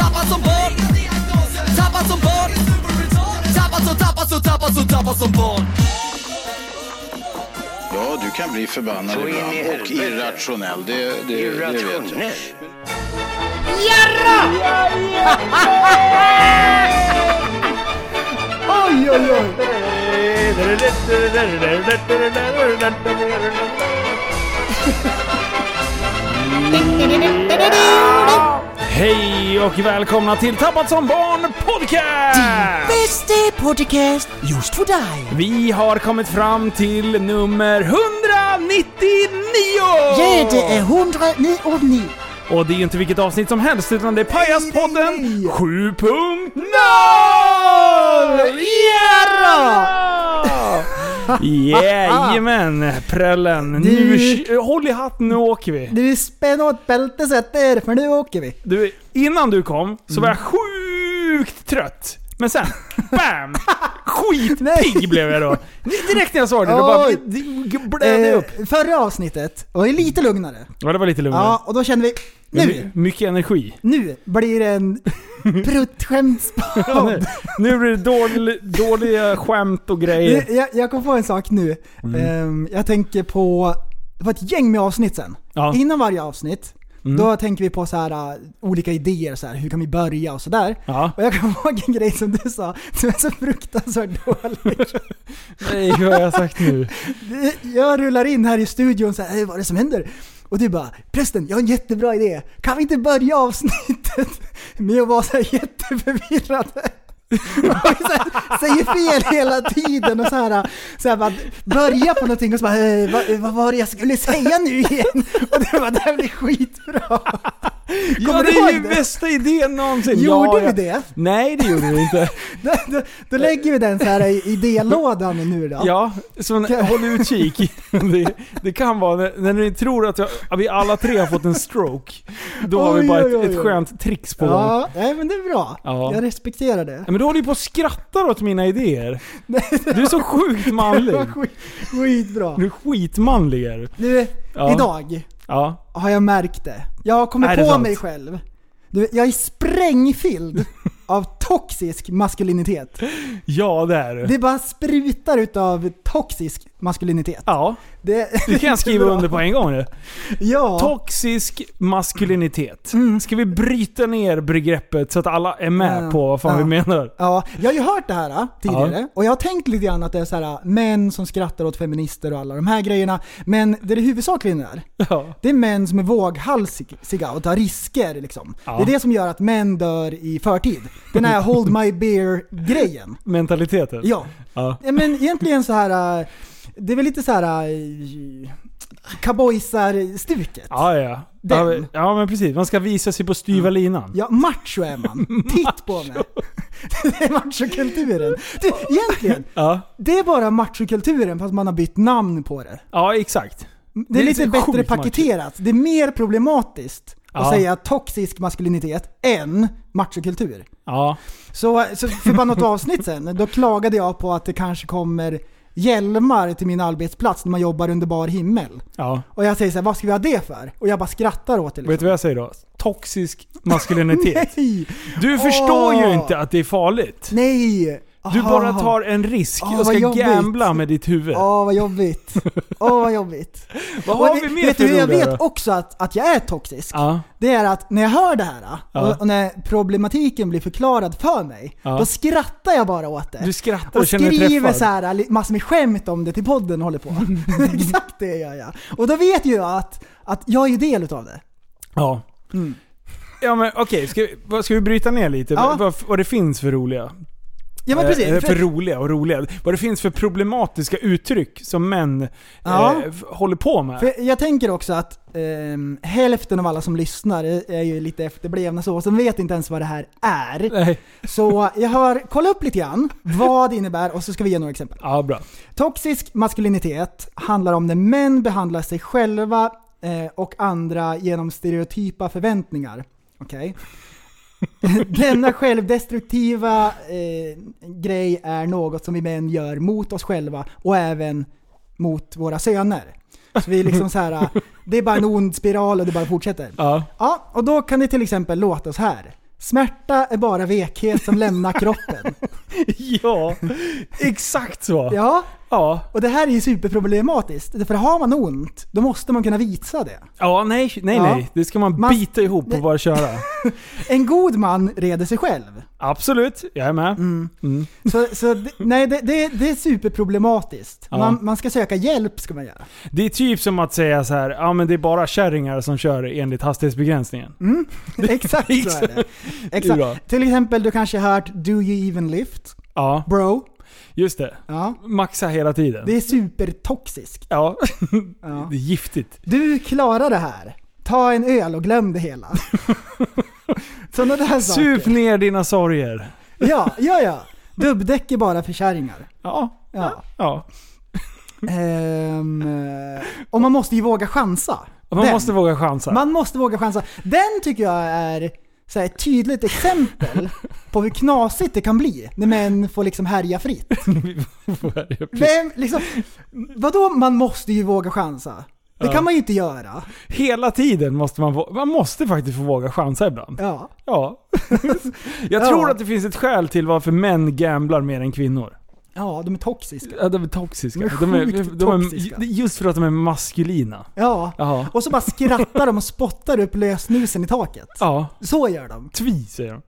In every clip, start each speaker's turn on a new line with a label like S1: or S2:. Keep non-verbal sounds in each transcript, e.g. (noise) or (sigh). S1: Tappad som barn Tappad som barn Tappad som, tappad som, tappad som, tappad som barn
S2: Ja, du kan bli förbannad
S3: Så in i
S2: ibland och
S3: helvete.
S2: irrationell. Det, det, det vet jag.
S3: Irrationell.
S4: Oj, oj, oj! Hej och välkomna till Tappat som barn podcast!
S5: Bästa podcast just för dig!
S4: Vi har kommit fram till nummer 199!
S5: Ja, det är 109.
S4: Och det är inte vilket avsnitt som helst, utan det är Pajaspodden 7.0! Yeah! Jajamän, prällen. Nu, sh- håll i hatten, nu åker vi.
S6: Du spänn åt bältet sätter för nu åker vi.
S4: Du, innan du kom så var
S5: Mm.
S4: jag sjukt trött. Men sen, bam! Skitpigg blev jag då. Direkt när jag såg det, då bara
S6: Oj.
S4: det blödde upp.
S6: Eh, förra avsnittet var ju lite lugnare.
S4: Ja, det var lite lugnare.
S6: Ja, och då kände vi nu,
S4: My- Mycket energi.
S6: nu blir det en (laughs) pruttskämtspodd.
S4: Nu blir det dålig, dåliga skämt och grejer.
S6: jag, jag kom på en sak nu. Ehm, jag tänker på, det var ett gäng med avsnitt sen.
S4: Ja.
S6: Innan varje avsnitt, då tänker vi på så här, äh, olika idéer, så här, hur kan vi börja och sådär.
S4: Ja.
S6: Och jag kom ihåg en grej som du sa, som är så fruktansvärt dålig.
S4: Nej, vad har jag sagt nu?
S6: Jag rullar in här i studion så här, "Hej, vad är det som händer? Och du bara, prästen jag har en jättebra idé. Kan vi inte börja avsnittet med att vara så här jätteförvirrade? Och så här, säger fel hela tiden och så här, så här bara, börja på någonting och så bara, "Eh, vad, vad var det jag skulle säga nu igen? Och du bara, det här blir skitbra.
S4: ja,
S6: Kommer
S4: det
S6: du
S4: är
S6: ihåg
S4: ju
S6: det?
S4: bästa idén någonsin. ja,
S6: Gjorde
S4: ja.
S6: vi det?
S4: Nej, det gjorde vi inte.
S6: Då, då, då lägger vi den så här i idélådan nu då.
S4: Ja, så en- håll utkik. (laughs) Det, det kan vara när, när ni tror att jag, att vi alla tre har fått en stroke. Då har vi
S6: Oj,
S4: bara
S6: oj, oj,
S4: ett, ett
S6: oj.
S4: skönt trix på gång.
S6: Ja, nej men det är bra.
S4: Ja.
S6: Jag respekterar det.
S4: Nej, Men du håller ju på och skrattar åt mina idéer. Du är så sjukt manlig.
S6: (laughs) Skit, skitbra.
S4: Du är skitmanlig är du.
S6: Du,
S4: Ja.
S6: idag
S4: Ja.
S6: har jag märkt det. Jag har
S4: Är
S6: kommit
S4: det
S6: på
S4: sant?
S6: mig själv. Du, jag
S4: (laughs)
S6: är sprängfylld av toxisk maskulinitet.
S4: ja, det är du.
S6: Det bara sprutar utav toxisk maskulinitet.
S4: Ja,
S6: (laughs) Det,
S4: det kan jag skriva under på en gång nu.
S6: Ja, Mm.
S4: Toxisk maskulinitet. Ska vi bryta ner begreppet så att alla är med
S6: Ja.
S4: på vad fan vi
S6: Ja.
S4: menar?
S6: ja, jag har ju hört det här äh, tidigare och jag har tänkt lite grann att det är så här äh, män som skrattar åt feminister och alla de här grejerna. Men det det huvudsakligen är,
S4: Ja.
S6: det är män som är våghalsiga och tar risker liksom.
S4: Ja.
S6: Det är det som gör att män dör i förtid.
S4: (laughs)
S6: Den här hold my beer-grejen.
S4: Mentaliteten.
S6: Ja.
S4: Ja.
S6: Ja, men egentligen så här. äh, Det är väl lite så här äh, cowboysar-stuket.
S4: Ja, ja.
S6: Den. Mm.
S4: Ja, men- Ja, men precis. Man ska visa sig på styva linan.
S6: Ja, macho är man. Titt på mig. (laughs) Det är machokulturen. Du, egentligen,
S4: Ja,
S6: det är bara machokulturen fast man har bytt namn på det.
S4: ja exakt.
S6: Det är,
S4: Det är
S6: lite
S4: så
S6: bättre
S4: sjukt
S6: paketerat. Det är mer problematiskt
S4: Ja.
S6: att säga toxisk maskulinitet än machokultur.
S4: Ja.
S6: Så, så för
S4: (laughs)
S6: bara något avsnitt sen, då klagade jag på att det kanske kommer hjälmar till min arbetsplats när man jobbar under bar himmel.
S4: ja.
S6: Och jag säger så här, vad ska vi ha det för? Och jag bara skrattar åt det. liksom.
S4: Vet du vad jag säger då? Toxisk maskulinitet.
S6: (laughs) Nej!
S4: Du förstår ju
S6: Åh.
S4: inte att det är farligt.
S6: Nej!
S4: Du
S6: Ah.
S4: bara tar en risk
S6: Ah,
S4: och ska
S6: vad jobbigt.
S4: gambla med ditt huvud.
S6: Åh vad jobbigt. Åh vad jobbigt.
S4: (laughs) Vad har
S6: Och
S4: vi
S6: det-
S4: mer
S6: vet
S4: för
S6: du, Jag
S4: roliga då?
S6: vet också att, att jag är toxisk.
S4: Ja.
S6: Det är att när jag hör det här
S4: Ja.
S6: och, och när problematiken blir förklarad för mig,
S4: Ja.
S6: då skrattar jag bara åt det.
S4: Du skrattar och
S6: och
S4: känner dig
S6: skriver
S4: träffad. Mm.
S6: så här, li- massor med skämt om det till podden och håller på. (laughs) Exakt det gör jag. Och då vet ju jag att, att jag är ju del utav det.
S4: Ja. Ja men okej, ska, vi- vad- ska vi bryta ner lite
S6: Ja.
S4: vad, vad det finns för roliga?
S6: Ja men
S4: eh,
S6: precis.
S4: eh, för,
S6: För-
S4: roliga och roliga. Vad det finns för problematiska uttryck som män
S6: Ja.
S4: eh, f- håller på med.
S6: För jag tänker också att ehm, hälften av alla som lyssnar är, är ju lite efterblivna så, som vet inte ens vad det här är.
S4: Nej.
S6: Så jag har kollat upp lite grann vad det innebär och så ska vi ge några exempel.
S4: Ja, bra.
S6: Toxisk maskulinitet handlar om när män behandlar sig själva eh, och andra genom stereotypa förväntningar. Okej? (laughs) Denna självdestruktiva eh, grej är något som vi män gör mot oss själva och även mot våra söner. Så vi är liksom så
S4: (laughs)
S6: här, eh, det är bara en ond spiral och det bara fortsätter. (laughs)
S4: Ja.
S6: Ja, och då kan det till exempel låta så här. Smärta är bara vekhet som lämnar kroppen.
S4: ja, exakt så. (laughs) Ja.
S6: Ja,
S4: Ja.
S6: och det här är ju superproblematiskt. För har man ont, då måste man kunna visa det.
S4: nej, nej,
S6: Ja.
S4: nej. Det ska man,
S6: Man-
S4: bita ihop och bara köra.
S6: En god man reder sig själv.
S4: Absolut, jag är med.
S6: Mm. Så, så det, nej, det, det, det är superproblematiskt.
S4: Ja.
S6: Man, man ska söka hjälp, ska man (laughs) göra.
S4: Det är typ som att säga så här, ja men det är bara kärringar som kör enligt hastighetsbegränsningen.
S6: Mm. Exakt så är det.
S4: Bra.
S6: Exakt. Till exempel, du kanske har hört “Do you even lift?”
S4: Ja,
S6: Bro.
S4: just det.
S6: Ja.
S4: Maxa hela tiden.
S6: Det är supertoxiskt.
S4: Ja,
S6: Ja.
S4: det är giftigt.
S6: Du klarar det här. Ta en öl och glöm det (laughs) hela. Sådana där saker.
S4: Sup ner dina sorger.
S6: Ja, ja, ja. Dubbdäck är bara för kärringar.
S4: Ja,
S6: Ja.
S4: ja.
S6: Ehm, eh, och man måste ju våga chansa.
S4: Och Man
S6: Den.
S4: måste våga chansa.
S6: (laughs) Man måste våga chansa. Den tycker jag är så här, ett tydligt exempel på hur knasigt det kan bli när män får liksom härja fritt. Vem, liksom, vadå man måste ju våga chansa? Det
S4: Ja.
S6: kan man ju inte göra.
S4: Hela tiden måste man, vå- man måste faktiskt få våga chansa ibland.
S6: Ja.
S4: Ja. (laughs) Jag
S6: Ja.
S4: tror att det finns ett skäl till varför män gamblar mer än kvinnor.
S6: ja, de är toxiska.
S4: Ja, de är toxiska.
S6: De är sjukt toxiska.
S4: ju- Just för att de är maskulina.
S6: Ja.
S4: Jaha.
S6: Och så bara skrattar de och spottar upp lösnusen i taket.
S4: Ja,
S6: Så gör de.
S4: tvi säger de.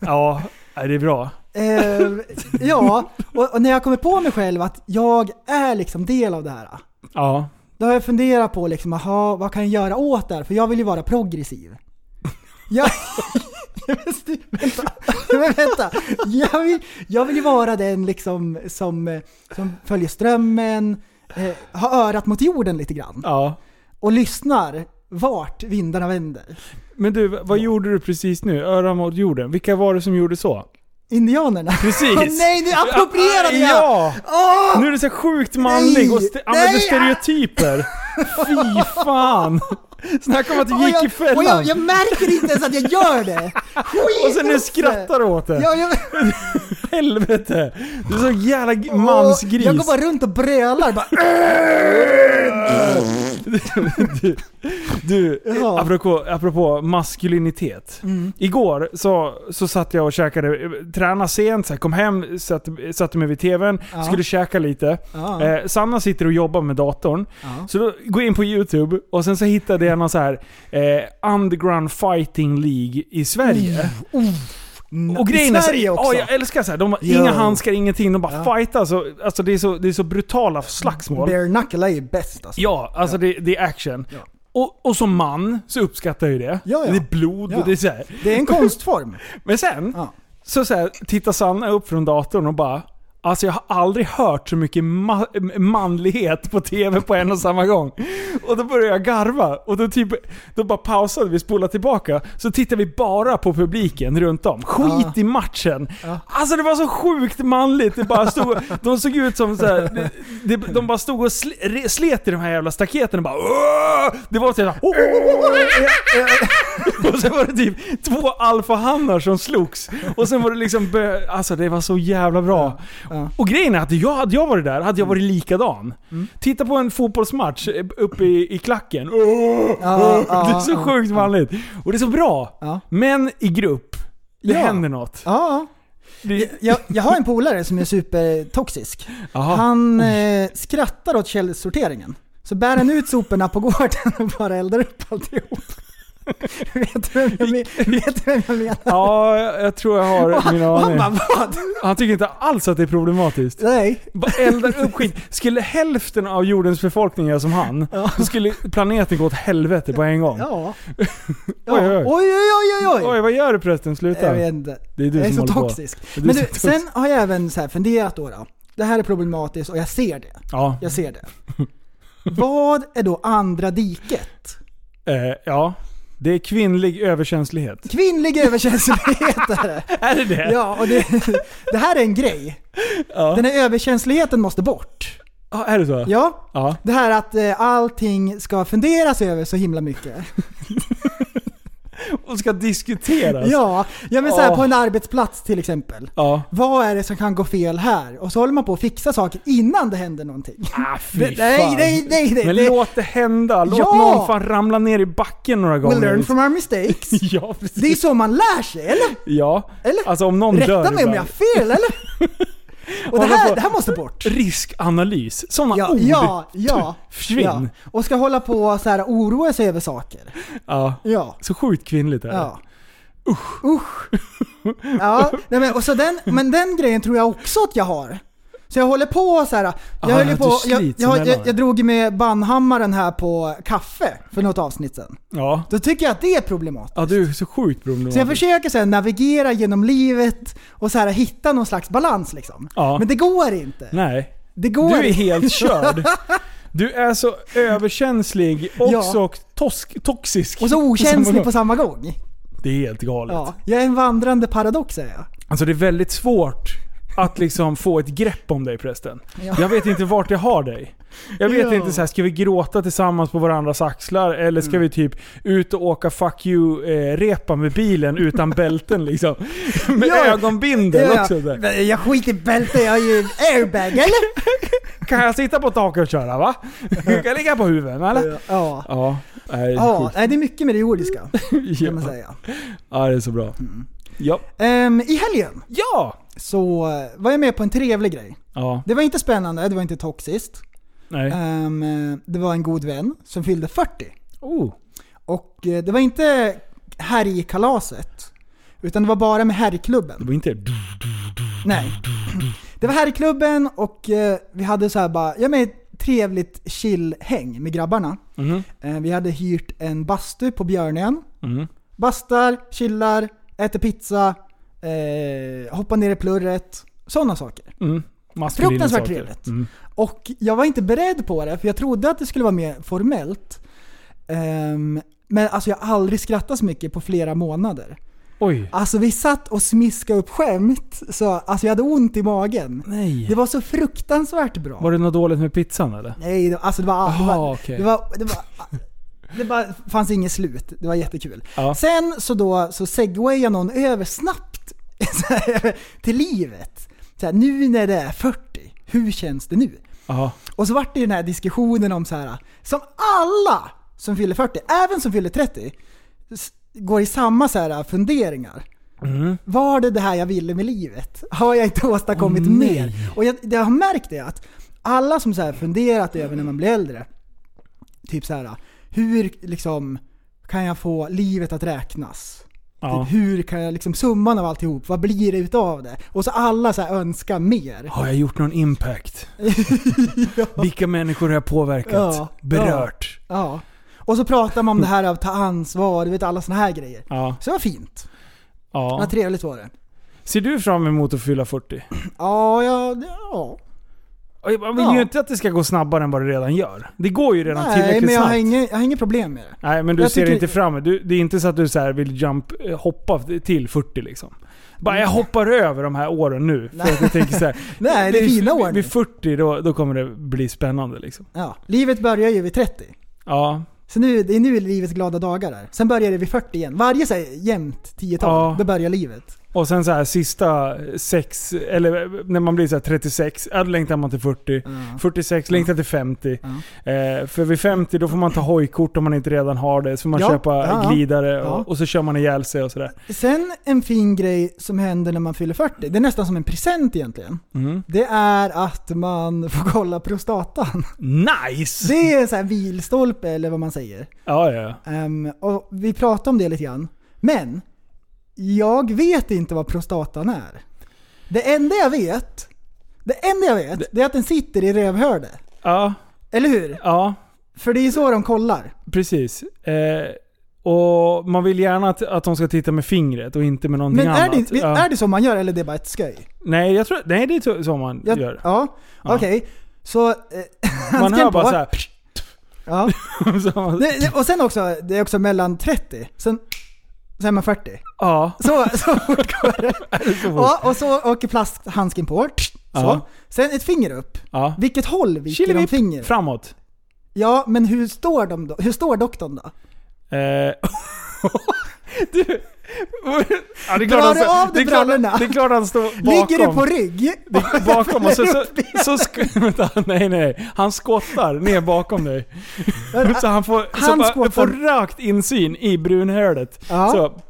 S4: Ja, nej, det är bra.
S6: Ehm, ja, och, och när jag kommer på mig själv att jag är liksom del av det här.
S4: Ja.
S6: Då har jag funderat på liksom, aha, vad kan jag göra åt det här? För jag vill ju vara progressiv. Jag... (laughs) Men stu- vänta, men vänta. Jag vill, jag vill ju vara den liksom som, eh, som följer strömmen, eh, har örat mot jorden lite grann.
S4: ja.
S6: Och lyssnar vart vindarna vänder.
S4: Men du, vad gjorde du precis nu? Öra mot jorden. Vilka var det som gjorde så?
S6: Indianerna.
S4: Precis!
S6: (laughs) Åh nej, nu approprierade jag!
S4: Ja!
S6: Åh!
S4: Nu är du så sjukt manlig och st-
S6: Nej!
S4: använder
S6: Nej!
S4: stereotyper. Fy fan! Snacka om att
S6: Och
S4: du gick i
S6: jag, och jag,
S4: fällan.
S6: jag märker inte ens att jag gör det!
S4: (laughs)
S6: Skit
S4: Och sen nu
S6: också.
S4: skrattar du åt det.
S6: Ja, jag,
S4: Helvete! Du är så jävla g-
S6: Åh,
S4: mansgris.
S6: Jag går bara runt och brölar. Bara,
S4: du, du
S6: Ja.
S4: Eh,
S6: Mm.
S4: apropå, apropå maskulinitet. Igår så, så satt jag och käkade, eh, tränade sent, så här, kom hem, satt, satte mig vid tvn,
S6: Ja.
S4: skulle käka lite.
S6: Ja.
S4: Eh, Sanna sitter och jobbar med datorn.
S6: Ja.
S4: Så då går jag in på YouTube och sen så hittade jag någon så här eh, underground fighting League i Sverige. Och grejen
S6: Mm. I
S4: är
S6: Sverige
S4: så,
S6: också.
S4: Ja, jag älskar så här. De har
S6: Ja.
S4: inga handskar, ingenting. De bara
S6: Ja.
S4: fightar. Så, alltså det är, så, det är så brutala slagsmål.
S6: Bare knuckle är ju bäst alltså.
S4: Ja, alltså Det, det är action.
S6: Ja.
S4: Och, och som man så uppskattar jag ju det.
S6: Ja, ja.
S4: Det är blod
S6: Ja.
S4: och det är så här.
S6: Det är
S4: (laughs)
S6: en konstform.
S4: Men sen
S6: Ja.
S4: så, så här, tittar Sanna upp från datorn och bara Alltså jag har aldrig hört så mycket ma- manlighet på TV på en och samma gång. Och då började jag garva och då, typ, då bara pausade vi, spolade tillbaka. Så tittade vi bara på publiken runt om. Skit
S6: Ja.
S4: i matchen. Alltså det var så sjukt manligt. Det bara stod, de såg ut som så här, de, de, de bara stod och sl- re- slet i de här jävla staketen och bara "Åh!" Det var såhär (laughs) och sen var det typ två alfahannar som slogs. Och sen var det liksom bö- Alltså det var så jävla bra. Och grejen är att jag, hade jag varit där, hade
S6: Mm.
S4: jag varit likadan. Titta på en fotbollsmatch uppe i, i klacken. Åh!
S6: Ja,
S4: (laughs) det är
S6: ja,
S4: så sjukt manligt. Och det är så bra.
S6: Ja.
S4: Men i grupp, det
S6: Ja.
S4: händer något.
S6: Ja.
S4: Det,
S6: Jag, jag har en polare som är supertoxisk.
S4: Aha.
S6: Han eh, skrattar åt källsorteringen. Så bär han ut soporna på gården och bara eldar upp alltihop. (laughs) vet du vem jag, men, vet du vem jag menar?
S4: Ja, jag jag tror jag
S6: (laughs)
S4: har mina
S6: Och han
S4: aningar.
S6: bara vad?
S4: Han tycker inte alls att det är problematiskt.
S6: Nej.
S4: Bara eldar upp skit. Skulle hälften av jordens befolkning göra som han, då skulle planeten gå åt helvete på en gång.
S6: Ja. ja.
S4: Oj, oj.
S6: Oj, oj, oj, oj, oj.
S4: Oj, vad gör du prästen? Sluta.
S6: Jag vet inte.
S4: Det är du
S6: jag är
S4: som
S6: så
S4: håller på.
S6: toxisk.
S4: Det är du
S6: Men
S4: som
S6: du,
S4: är toxisk.
S6: sen har jag även så här funderat då, då. Det här är problematiskt och jag ser det.
S4: Ja.
S6: Jag
S4: (laughs)
S6: ser det. Vad är då andra diket?
S4: Eh, ja. Det är kvinnlig överkänslighet.
S6: Kvinnlig överkänslighet är det.
S4: (laughs) Är det det?
S6: Ja, och det, det här är en grej.
S4: Ja.
S6: Den här överkänsligheten måste bort.
S4: Ja, är det så?
S6: Ja.
S4: Ja.
S6: Det här att eh, allting ska funderas över så himla mycket.
S4: Alltså. Och ska diskuteras.
S6: Ja, ja men så här,
S4: Åh.
S6: på en arbetsplats till exempel.
S4: Ja.
S6: Vad är det som kan gå fel här? Och så håller man på att fixa saker innan det händer någonting.
S4: Ah, fy
S6: Det- nej,
S4: fan.
S6: nej, nej, nej,
S4: Men
S6: det-
S4: låt det hända. Låt
S6: Ja!
S4: någon fan ramla ner i backen några gånger.
S6: We learn
S4: (laughs)
S6: from our mistakes.
S4: Ja, precis.
S6: Det är så man lär sig, eller?
S4: Ja.
S6: Eller?
S4: Alltså om någon dör.
S6: Rätta mig om
S4: ibland.
S6: jag har fel,
S4: (laughs)
S6: eller? Och det
S4: Hålla
S6: här,
S4: på.
S6: det här måste bort.
S4: Riskanalys. Sådana
S6: Ja,
S4: ord.
S6: ja, ja.
S4: Försvinn.
S6: Ja. Och ska hålla på och så här oroa sig över saker.
S4: Ja.
S6: Ja.
S4: Så sjukt kvinnligt är det.
S6: ja. Usch. Usch. Ja, nej, men, och så den, men den grejen tror jag också att jag har. Så jag håller på och så här. Jag,
S4: Ah,
S6: höll ju
S4: du
S6: på, jag,
S4: slits
S6: jag,
S4: emellan.
S6: jag, jag drog ju med bandhammaren här på kaffe för något avsnitt sen.
S4: Ja.
S6: Då tycker jag att det är problematiskt.
S4: Ja, du är så sjukt
S6: Så jag
S4: problematisk.
S6: försöker så här, navigera genom livet och så här, hitta någon slags balans liksom.
S4: Ja.
S6: Men det går inte.
S4: Nej.
S6: Det går
S4: Du är
S6: inte.
S4: helt
S6: (laughs)
S4: körd. Du är så överkänslig och
S6: Ja.
S4: så tosk, toxisk.
S6: Och så okänslig på
S4: gång.
S6: samma gång.
S4: Det är helt galet.
S6: Ja. Jag är en vandrande paradox är jag.
S4: Alltså det är väldigt svårt att liksom få ett grepp om dig prästen.
S6: Ja.
S4: Jag vet inte vart jag har dig. Jag vet
S6: Ja.
S4: inte så här, ska vi gråta tillsammans på varandras axlar eller
S6: Mm.
S4: ska vi typ ut och åka fuck you-repa med bilen
S6: (laughs)
S4: utan bälten liksom. (laughs) Med
S6: Ja.
S4: ögonbindel också. Där.
S6: Men Jag skiter i bältet, jag är ju airbag eller?
S4: Kan jag sitta på taket och köra
S6: (laughs)
S4: va? Du kan ligga på huven eller?
S6: Ja.
S4: Ja, nej,
S6: Ja,
S4: sjukt.
S6: nej, det är mycket med det jordiska kan man
S4: ja.
S6: säga.
S4: ja det är så bra.
S6: Mm.
S4: Ja.
S6: Ehm, I helgen
S4: Ja!
S6: så eh, var jag med på en trevlig grej.
S4: Ja,
S6: Det var inte spännande, det var inte toxiskt.
S4: nej.
S6: Ehm, eh, det var en god vän som fyllde 40.
S4: Oh.
S6: Och eh, det var inte härjkalaset. Utan det var bara med
S4: Det
S6: herrklubben.
S4: var inte...
S6: Nej. Det var herrklubben och eh, vi hade så här bara, ja men ett trevligt chill-häng med grabbarna.
S4: Mhm.
S6: Eh, vi hade hyrt en bastu på Björnön.
S4: Mm.
S6: Bastar, chillar, äter pizza, eh, hoppar ner i plurret. Sådana saker.
S4: Mm. Maskulina
S6: Fruktansvärt
S4: saker.
S6: trevligt.
S4: Mm.
S6: Och jag var inte beredd på det, för jag trodde att det skulle vara mer formellt. Ehm, men alltså jag har aldrig skrattat så mycket på flera månader.
S4: Oj.
S6: Alltså vi satt och smiskade upp skämt, så alltså jag hade ont i magen.
S4: Nej.
S6: Det var så fruktansvärt bra.
S4: Var det något dåligt med pizzan eller?
S6: Nej, det, alltså det var... det, var,
S4: Aha, okej.
S6: det, var, det, var det bara fanns inget slut. Det var jättekul.
S4: Ja.
S6: Sen så då så segwayar någon över snabbt (laughs) så här, till livet. Så här, nu när det är 40, hur känns det nu?
S4: Ja.
S6: Och så vart det ju den här diskussionen om så här som alla som fyller 40, även som fyller 30, s- går i samma så här funderingar.
S4: Mm.
S6: Var det det här jag ville med livet? Har jag inte åstadkommit
S4: Åh, nej.
S6: mer? Och jag, jag har märkt det att alla som så här funderat över när man blir äldre, typ så här, hur liksom kan jag få livet att räknas?
S4: ja.
S6: Typ, hur kan jag liksom summan av alltihop, vad blir det utav det? Och så alla så här önskar mer.
S4: Har jag gjort någon impact?
S6: (laughs)
S4: Vilka människor har jag påverkat?
S6: Ja.
S4: Berört?
S6: Ja. Och så pratar man om det här av att ta ansvar, du vet alla såna här grejer.
S4: Ja.
S6: Så det var fint.
S4: ja.
S6: Vad trevligt var det.
S4: Ser du fram emot att fylla 40?
S6: Ja, ja, ja.
S4: Och Man vill ju
S6: Ja.
S4: inte att det ska gå snabbare än vad det redan gör. Det går ju redan
S6: Nej,
S4: tillräckligt
S6: men jag har,
S4: snabbt.
S6: inget, jag har inget problem med det.
S4: Nej, men du
S6: Jag
S4: ser
S6: tycker-
S4: inte fram emot. Du- Det är inte så att du så här vill jump, eh, hoppa till 40 liksom. Bara jag hoppar över de här åren nu. För att jag tänker så här,
S6: Mm. (laughs) Nej, det är fina år nu.
S4: Vid 40 då, då kommer det bli spännande liksom.
S6: Ja. Livet börjar ju vid 30.
S4: Ja,
S6: Så nu, det är nu livets glada dagar är. Sen börjar det vid 40 igen. Varje så här, jämnt tiotal,
S4: Ja.
S6: då börjar livet.
S4: Och sen så här sista sex, eller när man blir så här 36, ja, då längtar man till 40.
S6: Mm.
S4: 46, längtar till 50. Eh, för vid 50 då får man ta hojkort om man inte redan har det. Så får man
S6: Ja,
S4: köpa
S6: ja, ja.
S4: glidare
S6: Ja.
S4: och, och så kör man ihjäl sig och sådär.
S6: Sen en fin grej som händer när man fyller 40, det är nästan som en present egentligen.
S4: Mm.
S6: Det är att man får kolla prostatan. (laughs)
S4: Nice!
S6: Det är en sån här vilstolpe eller vad man säger.
S4: Ja, ja.
S6: Ehm, och vi pratade om det lite grann. Men, jag vet inte vad prostatan är. Det enda jag vet, det enda jag vet, det är att den sitter i rövhörde.
S4: Ja,
S6: Eller hur?
S4: ja.
S6: För det är så de kollar.
S4: Precis. Eh, och man vill gärna att, att de ska titta med fingret och inte med någonting
S6: Men är
S4: annat.
S6: det,
S4: ja.
S6: är det så man gör eller är det bara ett skoj?
S4: Nej, jag tror, nej, det är så- så man
S6: Jag,
S4: gör.
S6: Ja,
S4: Ja.
S6: okej. Så, eh,
S4: Man
S6: handsken
S4: hör
S6: på.
S4: bara såhär...
S6: Ja.
S4: (laughs) Så,
S6: Det, det, och sen också, det är också mellan 30, sen, sen är man 40.
S4: ja,
S6: Så, (laughs) så fort går det. Ja, och så åker plasthandsken på. Så.
S4: Ja.
S6: Sen ett finger upp.
S4: ja.
S6: Vilket håll viker de
S4: Chilivipp,
S6: finger?
S4: framåt.
S6: Ja, men hur står de då? Hur står doktorn då?
S4: Eh, (laughs) du... Ja, det är
S6: Drar
S4: klart han
S6: du
S4: står-
S6: av
S4: det
S6: dig
S4: är klart-
S6: brallorna?
S4: Det är klart han står bakom.
S6: (laughs) Ligger du på rygg?
S4: Det- bakom och så, så, så, (laughs) sk- vänta, nej nej. Han skottar ner bakom
S6: (laughs)
S4: dig. Så han får, så
S6: Han
S4: bara,
S6: skottar-
S4: får rakt insyn i brunhålet.
S6: (laughs) Ja.
S4: (laughs) Så,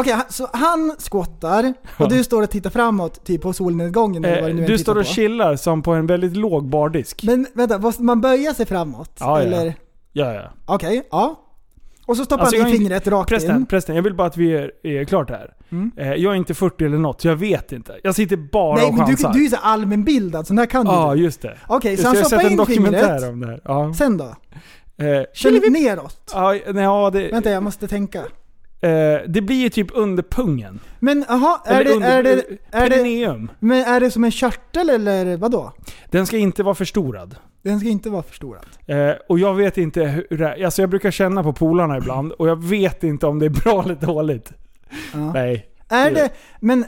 S6: Okej, han- så han skottar
S4: Ja.
S6: och du står och tittar framåt typ på solnedgången eller vad det nu
S4: eh,
S6: än
S4: du
S6: tittar
S4: står och
S6: på.
S4: chillar som på en väldigt låg bardisk.
S6: Men vänta, måste man böja sig framåt?
S4: Ja, ja.
S6: eller?
S4: ja, ja.
S6: Okej, ja. Och så stoppar
S4: Alltså,
S6: han
S4: jag
S6: i
S4: är inte-
S6: fingret rakt
S4: Prästen,
S6: in.
S4: prästen, jag vill bara att vi är, är klart här. Eh, jag är inte 40 eller något, så jag vet inte. Jag sitter bara
S6: Mm. Nej
S4: och
S6: men du,
S4: chansar.
S6: du är så allmänbildad, så där kan du
S4: Ja, ah,
S6: inte.
S4: just det.
S6: Okej,
S4: Just
S6: så han
S4: det, jag har
S6: stoppar
S4: sett en
S6: in
S4: dokumentär
S6: fingret.
S4: om det här. Ja.
S6: Sen då?
S4: Eh,
S6: Kör neråt.
S4: ja, nej, ja, det,
S6: Vänta, jag måste tänka.
S4: eh, det blir ju typ under pungen.
S6: Men jaha, är
S4: Eller
S6: det,
S4: under, eh,
S6: är, det, är, det,
S4: perineum.
S6: men är det som en körtel eller vadå?
S4: Den ska inte vara förstorad.
S6: Den ska inte vara förstorad.
S4: Eh, och jag vet inte hur det är. Alltså jag brukar känna på polarna ibland och jag vet inte om det är bra eller dåligt.
S6: Ja.
S4: Nej.
S6: Är det, men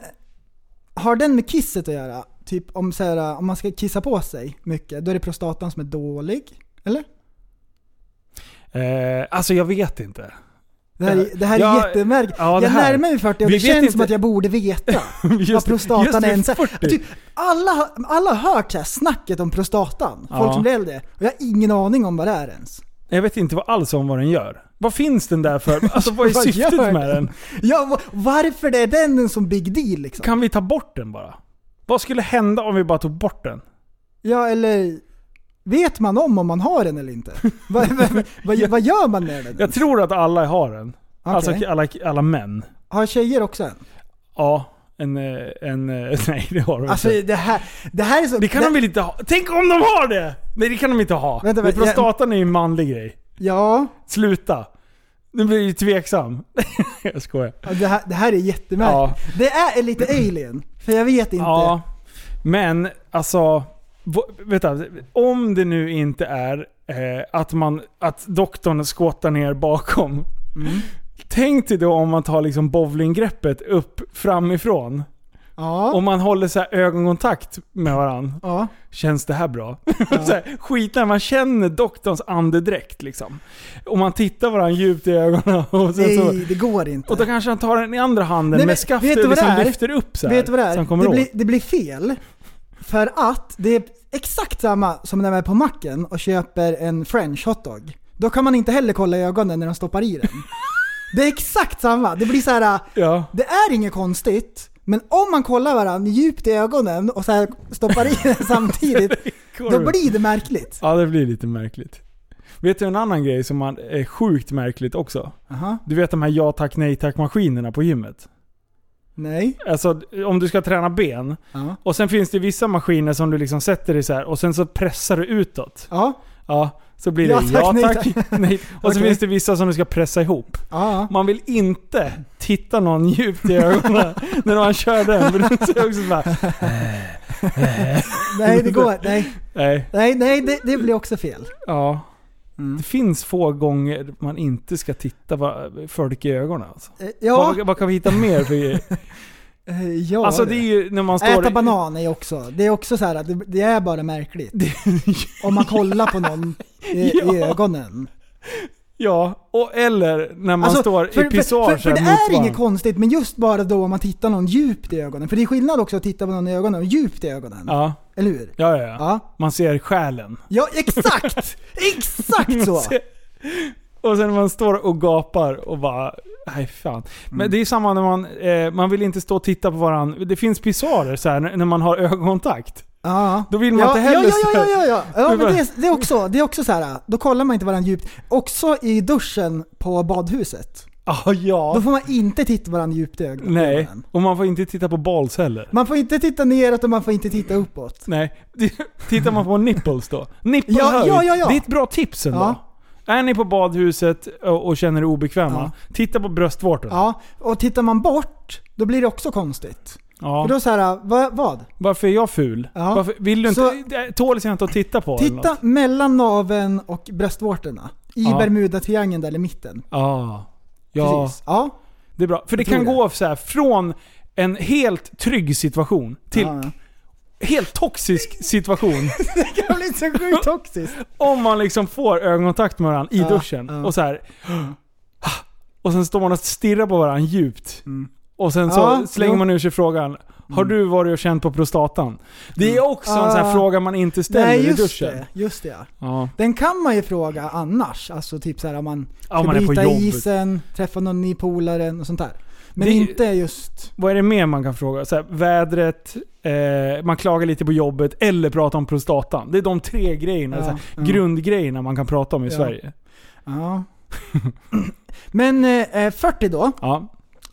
S6: har den med kisset att göra? Typ om, så här, om man ska kissa på sig mycket, då är det prostatan som är dålig? Eller?
S4: Eh, alltså jag vet
S6: (laughs)
S4: inte.
S6: Det här, är- det här är
S4: Ja,
S6: jättemärkligt.
S4: ja, det
S6: jag
S4: här.
S6: närmar mig 40 och
S4: Vi
S6: det
S4: vet
S6: känns
S4: inte-
S6: som att jag
S4: (laughs)
S6: borde veta vad
S4: Just,
S6: prostatan
S4: vid
S6: ens är.
S4: 40.
S6: Typ, alla, har- alla har hört så här snacket om prostatan, folk
S4: Ja.
S6: som blir äldre. Och jag har ingen aning om vad det är ens.
S4: Jag vet inte vad alls om vad den gör. Vad finns den där
S6: (laughs)
S4: för? Alltså vad är
S6: Vad
S4: syftet
S6: gör
S4: med den?
S6: Ja, va- varför det är den en sån big deal liksom?
S4: Kan vi ta bort den bara? Vad skulle hända om vi bara tog bort den?
S6: Ja, eller vet man om om man har den eller inte? vad, vad, vad, vad gör man med den?
S4: Jag tror att alla har den.
S6: Okej.
S4: Alltså alla, alla män.
S6: Har tjejer också en?
S4: Ja, en... eh, en eh, (laughs) nej, det har de
S6: Alltså
S4: inte.
S6: det här, det här är så...
S4: Det kan de väl inte ha? Tänk om de har det! Nej, det kan de inte ha.
S6: Vänta,
S4: Men
S6: vänta, jag-
S4: prostatan är ju en manlig grej.
S6: Ja,
S4: Sluta. Nu blir jag ju tveksam. (laughs) jag skojar.
S6: ja, det här, det här är jättemärkligt. Det är lite alien, för jag vet inte.
S4: Ja. Men alltså... v- Vänta, om det nu inte är eh, att, man, att doktorn skåtar ner bakom.
S6: Mm.
S4: Tänk dig då om man tar liksom bowlinggreppet upp framifrån.
S6: Ja.
S4: Om man håller så här ögonkontakt med varandra.
S6: ja.
S4: Känns det här bra? (laughs) så här, skit när man känner doktorns andedräkt liksom. Och man tittar varandra djupt i ögonen (laughs) och sen så...
S6: Nej, det går inte.
S4: Och då kanske han tar den i andra handen
S6: Nej, men
S4: med skaftet
S6: vet du
S4: och
S6: vad det
S4: liksom
S6: är?
S4: lyfter upp så här,
S6: vet du vad det
S4: Så
S6: är?
S4: han kommer
S6: Det
S4: åt.
S6: blir, det blir fel. För att det är exakt samma som när man är på macken och köper en french hotdog. Då kan man inte heller kolla i ögonen när de stoppar i
S4: (laughs)
S6: den. Det är exakt samma. Det blir så här.
S4: Ja.
S6: det är inget konstigt. Men om man kollar varandra djupt i ögonen och så här stoppar i
S4: (laughs)
S6: den samtidigt, då
S4: korv.
S6: blir det märkligt.
S4: ja, det blir lite märkligt. Vet du en annan grej som man är sjukt märkligt också?
S6: Aha.
S4: Du vet de här ja tack nej tack maskinerna på gymmet?
S6: Nej.
S4: Alltså om du ska träna ben.
S6: Ja.
S4: Och sen finns det vissa maskiner som du liksom sätter dig så här och sen så pressar du utåt.
S6: Ja.
S4: Ja, så blir det ja tack, nej, tack. (laughs) nej. Och så
S6: Okej.
S4: finns det vissa som du ska pressa ihop.
S6: Ja.
S4: Man vill inte titta någon djupt i (laughs) ögonen när man kör den. För då ser jag också så här,
S6: Nej, det går. Nej,
S4: nej.
S6: nej, nej det, det blir också fel.
S4: Ja.
S6: Mm.
S4: Det finns få gånger man inte ska titta va- folk i ögonen. Alltså.
S6: Eh, Ja.
S4: Vad, vad kan vi hitta mer för
S6: eh, (laughs) ja
S4: Alltså det är ju när man står... (laughs)
S6: Äta banan är ju också, det är också så här att det, det är
S4: (laughs)
S6: bara märkligt. Om man kollar på någon i, i
S4: Ja.
S6: ögonen.
S4: Ja, och, eller när man
S6: Alltså,
S4: står i pissoar
S6: för, för det
S4: såhär
S6: är
S4: mot
S6: inget
S4: varandra.
S6: konstigt, men just bara då om man tittar någon djupt i ögonen. För det är skillnad också att titta på någon i ögonen och djupt i ögonen.
S4: Ja,
S6: Eller hur?
S4: ja, ja, ja.
S6: Ja.
S4: Man ser själen.
S6: Ja, exakt! exakt (laughs) så!
S4: (laughs) Se- Och sen när man står och gapar och bara, nej fan.
S6: Mm.
S4: Men det är samma när man, eh, man vill inte stå och titta på varandra. Det finns pissoarer så här när när man har ögonkontakt.
S6: Ja.
S4: Då vill man
S6: ja,
S4: inte heller
S6: ja, ja,
S4: så
S6: ja,
S4: här.
S6: ja, ja. ja
S4: Det är
S6: men
S4: bara-
S6: det, är- det, är också, det är också så här. då kollar man inte varandra djupt. Också i duschen på badhuset.
S4: Ah, (laughs)
S6: Då
S4: ja.
S6: får man inte titta varandra djupt i ögonen.
S4: Nej, och man får inte titta på balls heller.
S6: Man får inte titta neråt och man får inte titta uppåt.
S4: Nej, (laughs) tittar man på nipples då?
S6: Ja,
S4: Nippelhöjd,
S6: ja, ja, ja.
S4: det är ett bra tips ändå.
S6: Ja.
S4: Är ni på badhuset och och känner er obekväma, titta på bröstvårtan.
S6: Ja, och tittar man bort, då blir det också konstigt.
S4: Ja.
S6: För då så här, vad? vad?
S4: Varför är jag ful?
S6: Ja.
S4: Varför, vill du
S6: Så-
S4: inte, tåls jag inte att titta på? eller
S6: Titta
S4: något?
S6: mellan naveln och bröstvårtorna. I
S4: Ja.
S6: Bermudatriangeln där i mitten.
S4: Ah. Ja,
S6: Precis. Ja.
S4: det är bra. För det
S6: tror
S4: kan
S6: det.
S4: gå så här från en helt trygg situation till
S6: Ja, ja.
S4: helt toxisk situation.
S6: Det blir så sjukt toxiskt.
S4: (laughs) om man liksom får ögonkontakt med varandra i
S6: Ja,
S4: duschen
S6: ja.
S4: och så här. (gasps) Och sen står man och stirrar på varandra djupt. Och sen så
S6: Mm. Ja,
S4: slänger
S6: jo.
S4: man ur sig frågan. Har du varit och känt på prostatan? Det är också en sån här
S6: Ah.
S4: fråga man inte ställer
S6: Nej,
S4: i
S6: just
S4: duschen.
S6: det. Just det ja.
S4: Ja.
S6: Den kan man ju fråga annars. Alltså typ såhär om man
S4: Ja,
S6: ska
S4: om man är på
S6: bryta
S4: jobbet.
S6: isen, träffa någon ny polare och sånt där. Men
S4: Det är ju-
S6: inte just...
S4: Vad är det mer man kan fråga? Så här, vädret, eh, man klagar lite på jobbet eller pratar om prostatan. Det är de tre grejerna,
S6: Ja,
S4: så här,
S6: ja.
S4: grundgrejerna man kan prata om i
S6: Ja.
S4: Sverige.
S6: Ja. Men eh, 40 då.
S4: Ja.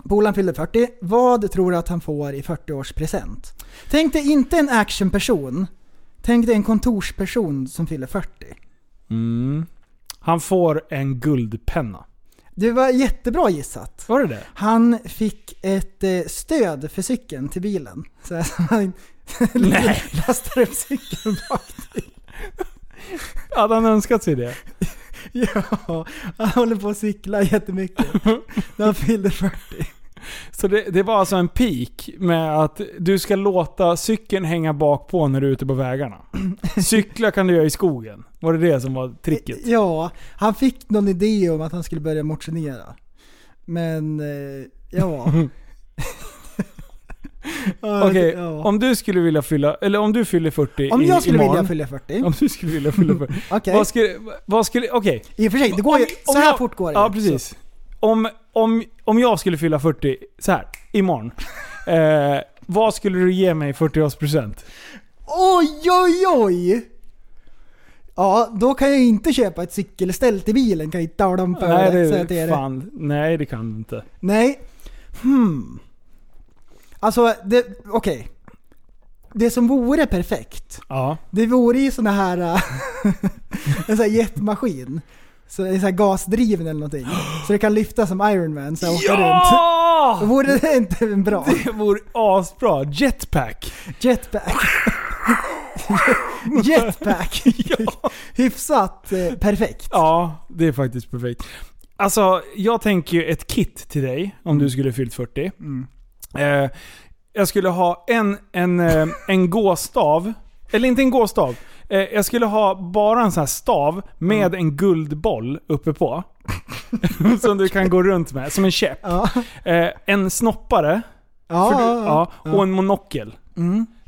S6: Polan fyllde 40. Vad tror du att han får i 40-årspresent? Tänk dig inte en actionperson. Tänk dig en kontorsperson som fyller 40.
S4: Mm. Han får en guldpenna.
S6: Det var jättebra gissat.
S4: Var det det?
S6: Han fick ett eh, stöd för cykeln till bilen. Så att (laughs) han
S4: Nej.
S6: lastar upp cykeln bak. (laughs)
S4: Hade han önskat sig det?
S6: Ja, han håller på att cykla jättemycket. När han fyllde 40.
S4: Så det, det var alltså en peak med att du ska låta cykeln hänga bak på när du är ute på vägarna. Cykla kan du göra i skogen. Var det det som var tricket?
S6: Ja, han fick någon idé om att han skulle börja motionera. Men, eh,
S4: (laughs)
S6: ja. Ja,
S4: Okej,
S6: det- ja.
S4: om du skulle vilja fylla, eller om du fyller 40
S6: Om
S4: i,
S6: jag skulle
S4: imorgon,
S6: vilja fylla 40?
S4: Om du skulle vilja fylla
S6: (laughs)
S4: 40.
S6: Okej.
S4: Vad skulle, vad skulle, okej.
S6: I och för sig, det går ju,
S4: Om
S6: så här
S4: jag-
S6: fort går det
S4: Ja,
S6: ju. Så-
S4: precis. Om, om, om jag skulle fylla 40, så här, imorgon. eh, vad skulle du ge mig i 40-årspresent?
S6: Oj, oj, oj! Ja, då kan jag ju inte köpa ett cykelställ till bilen kan jag inte tala om för
S4: Nej,
S6: det.
S4: det,
S6: så att det är det.
S4: fan. Nej, det kan du inte.
S6: Nej. Hmm. Alltså, det, okej. Det som vore perfekt,
S4: Ja.
S6: det vore ju såna här... äh, (laughs) en sån här jetmaskin. Så en sån här gasdriven eller någonting. Så det kan lyfta som Iron Man så här, åka runt. (laughs)
S4: (laughs) Ja!
S6: Vore det inte en bra
S4: Det vore asbra. Jetpack. (laughs)
S6: jetpack? jetpack. Hyfsat eh, perfekt.
S4: Ja, det är faktiskt perfekt. Alltså, jag tänker ju ett kit till dig om du skulle fyllt 40. Eh, jag skulle ha en, en, eh, en gåstav. Eller inte en gåstav. Eh, jag skulle ha bara en sån här stav med en guldboll uppe på. (laughs) som du kan gå runt med, som en käpp.
S6: Ja.
S4: Eh, en snoppare.
S6: Ja,
S4: För du,
S6: ja.
S4: Ah, ja, Mm. och en monokel.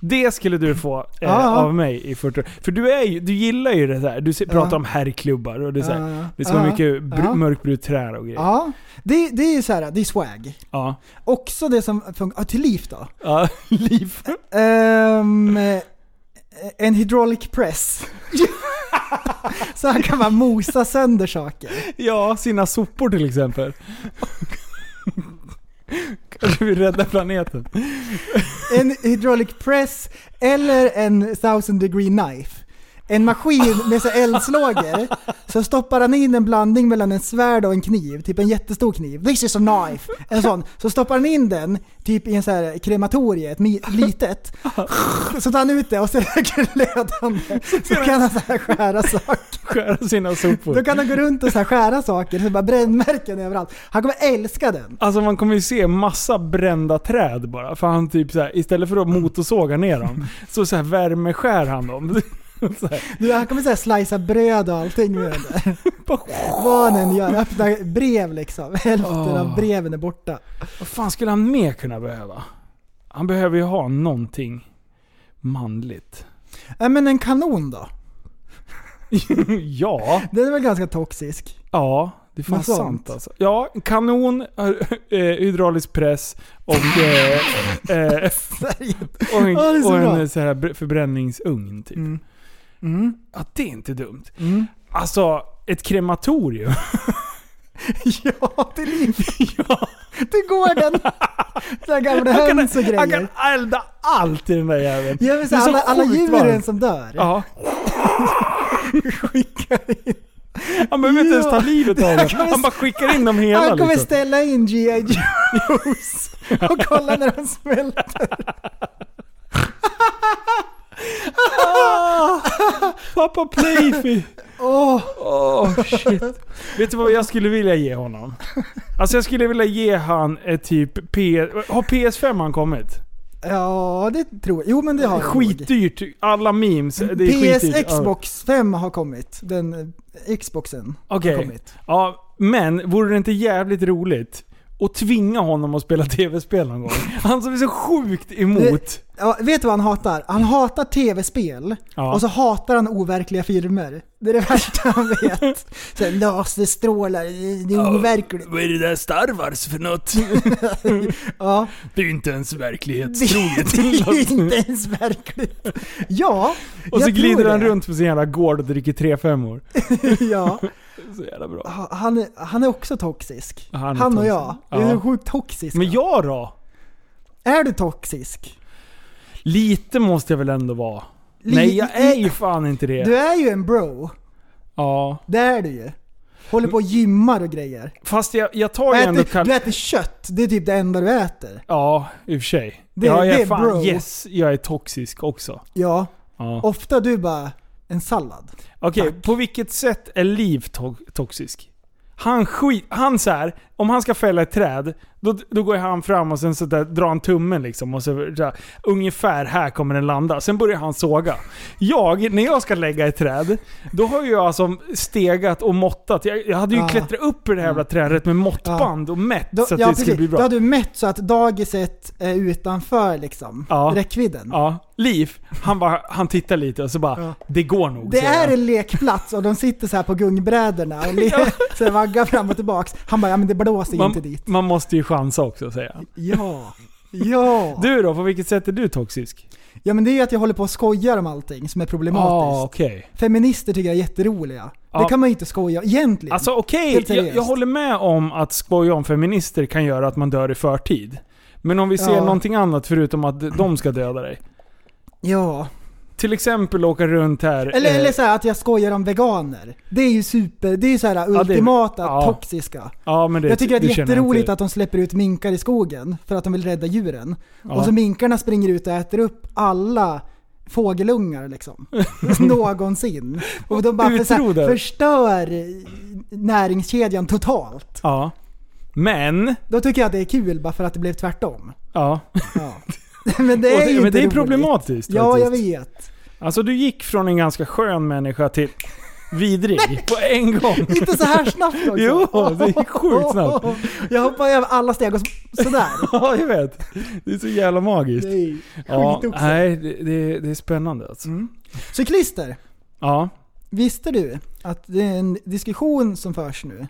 S4: Det skulle du få eh,
S6: Ja.
S4: av mig i 40 För du, är ju, du gillar ju det där. Du se- pratar om herrklubbar och det är, så
S6: Ja.
S4: här, det är så
S6: Ja.
S4: mycket br-
S6: Ja.
S4: mörkbrunt trä och grejer. Ja.
S6: ja. Det, det är ju så här, det är swag.
S4: Ja.
S6: Också det som funkar, ja, till liv då.
S4: Ah, (laughs) liv.
S6: Ehm, eh, en hydraulic press. (laughs) så han kan bara mosa sönder saker.
S4: Ja, sina sopor till exempel. Kanske vi räddar planeten.
S6: En hydraulic press eller en thousand degree knife. En maskin med så här eldslågor. Så stoppar han in en blandning mellan en svärd och en kniv. Typ en jättestor kniv. This is a knife! En sån. Så stoppar han in den typ i en så här krematorie, ett mi- litet. Så tar han ut det och så lägger glödande. Så kan han så här skära saker.
S4: Skära sina
S6: Då
S4: sopor.
S6: kan han gå runt och så här skära saker, så bara brännmärken överallt. Han kommer älska den.
S4: Alltså man kommer ju se massa brända (laughs) träd bara. För han typ så här, istället för att motorsåga ner dem, så, så här värmeskär han dem. Så här,
S6: Du, han kommer såhär slicea bröd och allting
S4: (laughs)
S6: med den där. Vad han än gör. Öppna brev liksom. Hälften av
S4: Åh.
S6: breven är borta.
S4: Vad fan skulle han mer kunna behöva? Han behöver ju ha någonting
S6: (laughs)
S4: manligt.
S6: Nej men en kanon då?
S4: ja,
S6: Den är väl ganska toxisk? (laughs)
S4: ja. Det är fan
S6: Något sånt.
S4: sant alltså. Ja, kanon, eh, hydraulisk press och,
S6: (laughs)
S4: eh, eh, och en,
S6: Ja, det är så
S4: och
S6: bra.
S4: en så här br- förbränningsugn typ.
S6: Mm. Mm.
S4: Ja, det är inte dumt.
S6: Mm.
S4: Alltså, ett krematorium.
S6: Ja, det är liv. (laughs) ja. Till
S4: (laughs)
S6: gården. Sådär gamla höns och
S4: Han kan
S6: grejer.
S4: elda allt i den där jäveln.
S6: Ja, men
S4: Det är
S6: såhär,
S4: så
S6: alla, alla
S4: sjukt
S6: djuren
S4: varmt.
S6: som dör.
S4: Ja. skickar in. Han behöver inte
S6: Ja.
S4: ens ta livet av
S6: Han
S4: dem.
S6: kommer-
S4: Han bara skickar in dem hela.
S6: Han kommer
S4: liksom.
S6: ställa in G.I.
S4: (laughs)
S6: Joes och kolla när de smälter.
S4: Pappa Playfi.
S6: Åh,
S4: Åh shit. Vet du vad jag skulle vilja ge honom? Alltså jag skulle vilja ge han ett typ P... Har PS5 han kommit?
S6: Ja, det tror jag. Jo, men det har jag nog.
S4: Skitdyrt. Alla memes. Det är skitdyrt.
S6: PS
S4: Ja.
S6: Xbox 5 har kommit. Den eh, Xboxen har
S4: Okej.
S6: kommit.
S4: Ja, men vore det inte jävligt roligt att tvinga honom att spela tv-spel någon gång? Han som är så sjukt emot.
S6: Ja, vet du vad han hatar? Han hatar tv-spel
S4: Ja.
S6: och så hatar han overkliga filmer. Det är det värsta han vet. Så här, Laserstrålar, det är overkligt.
S4: Vad är det där Star Wars för något?
S6: Ja,
S4: Det är ju inte ens
S6: det, (laughs) det är
S4: verklighetstroget.
S6: inte ens verkligt. Ja,
S4: och så
S6: jag tror
S4: glider han
S6: det.
S4: runt på sin jävla gård och dricker tre femmor.
S6: Ja,
S4: Så jävla bra.
S6: ha- han, är- han är också toxisk.
S4: Han är
S6: Han, och
S4: toxisk.
S6: jag. Vi
S4: Ja.
S6: är sjukt toxiska.
S4: Men jag då?
S6: Är du toxisk?
S4: Lite måste jag väl ändå vara?
S6: Li-
S4: Nej, jag är ju fan inte det.
S6: Du är ju en bro.
S4: Ja.
S6: Det är du ju. Håller på och gymmar och grejer.
S4: Fast jag, jag
S6: Och
S4: tar ju ändå...
S6: äter,
S4: Kal-
S6: Du äter kött, det är typ det enda du äter.
S4: ja, i och för sig.
S6: Det-
S4: ja, jag
S6: det
S4: är
S6: är
S4: fan
S6: bro.
S4: yes, jag är toxisk också.
S6: Ja,
S4: Ja.
S6: ofta du bara en sallad.
S4: Okej, på vilket sätt är Liv to- toxisk? Han skit... Han så här, om han ska fälla ett träd, då, då går han fram och sen så där, drar han tummen liksom. Och så, så här, ungefär här kommer den landa. Sen börjar han såga. Jag, när jag ska lägga ett träd, då har ju jag som stegat och måttat. Jag, jag hade ju
S6: Ah.
S4: klättrat upp i det här jävla trädet med måttband och mätt
S6: Då,
S4: så att
S6: ja,
S4: det skulle
S6: precis.
S4: bli bra.
S6: Då har du mätt så att dagiset är utanför liksom,
S4: Ja.
S6: räckvidden.
S4: Ja, Liv, han, bara, han tittar lite och så bara
S6: Ja.
S4: “Det går nog”.
S6: Det
S4: säger
S6: är
S4: han.
S6: en lekplats och de sitter så här på gungbrädorna
S4: (laughs)
S6: och le- (laughs) så här vaggar fram och tillbaks. Han bara, ja men det blåser inte
S4: man,
S6: dit.
S4: man måste ju chansa också säger han.
S6: Ja. Ja.
S4: Du då, på Ah, vilket sätt är du toxisk?
S6: ja men det är ju att jag håller på och skojar om allting som är problematiskt.
S4: okej.
S6: Feminister tycker jag är jätteroliga.
S4: Ja.
S6: Det kan man ju inte skoja egentligen.
S4: Alltså okej,
S6: Helt seriöst.
S4: jag, jag håller med om att skoja om feminister kan göra att man dör i förtid. Men om vi ser
S6: Ja.
S4: någonting annat förutom att de ska döda dig.
S6: ja.
S4: Till exempel åka runt här...
S6: Eller,
S4: eh,
S6: eller så här att jag skojar om veganer. Det är ju super, det är ju så här
S4: det är-
S6: ultimata
S4: ja.
S6: toxiska.
S4: ja, men det,
S6: jag tycker att det
S4: du
S6: är
S4: känner
S6: jätteroligt
S4: inte-
S6: att de släpper ut minkar i skogen för att de vill rädda djuren.
S4: Ja.
S6: Och så minkarna springer ut och äter upp alla fågelungar liksom.
S4: (laughs)
S6: Någonsin. Och de bara för, så här,
S4: Utroder.
S6: förstör näringskedjan totalt.
S4: Ja. Men...
S6: Då tycker jag att det är kul bara för att det blev tvärtom.
S4: Ja. (laughs)
S6: Ja. (laughs) Men det
S4: Och
S6: är ju
S4: det, men
S6: inte
S4: det är
S6: roligt.
S4: problematiskt
S6: Ja, jag
S4: faktiskt.
S6: vet.
S4: Alltså du gick från en ganska skön människa till vidrig på en gång.
S6: (laughs) Inte så här snabbt också.
S4: Jo, det gick sjukt snabbt.
S6: (laughs) Jag hoppar över alla steg och så- sådär.
S4: (laughs) (laughs) Ja, jag vet. Det är så jävla magiskt.
S6: Det är ju
S4: Ja,
S6: skit också.
S4: nej, det, det, det är spännande alltså.
S6: Cyklister,
S4: Ja.
S6: visste du att det är en diskussion som förs nu?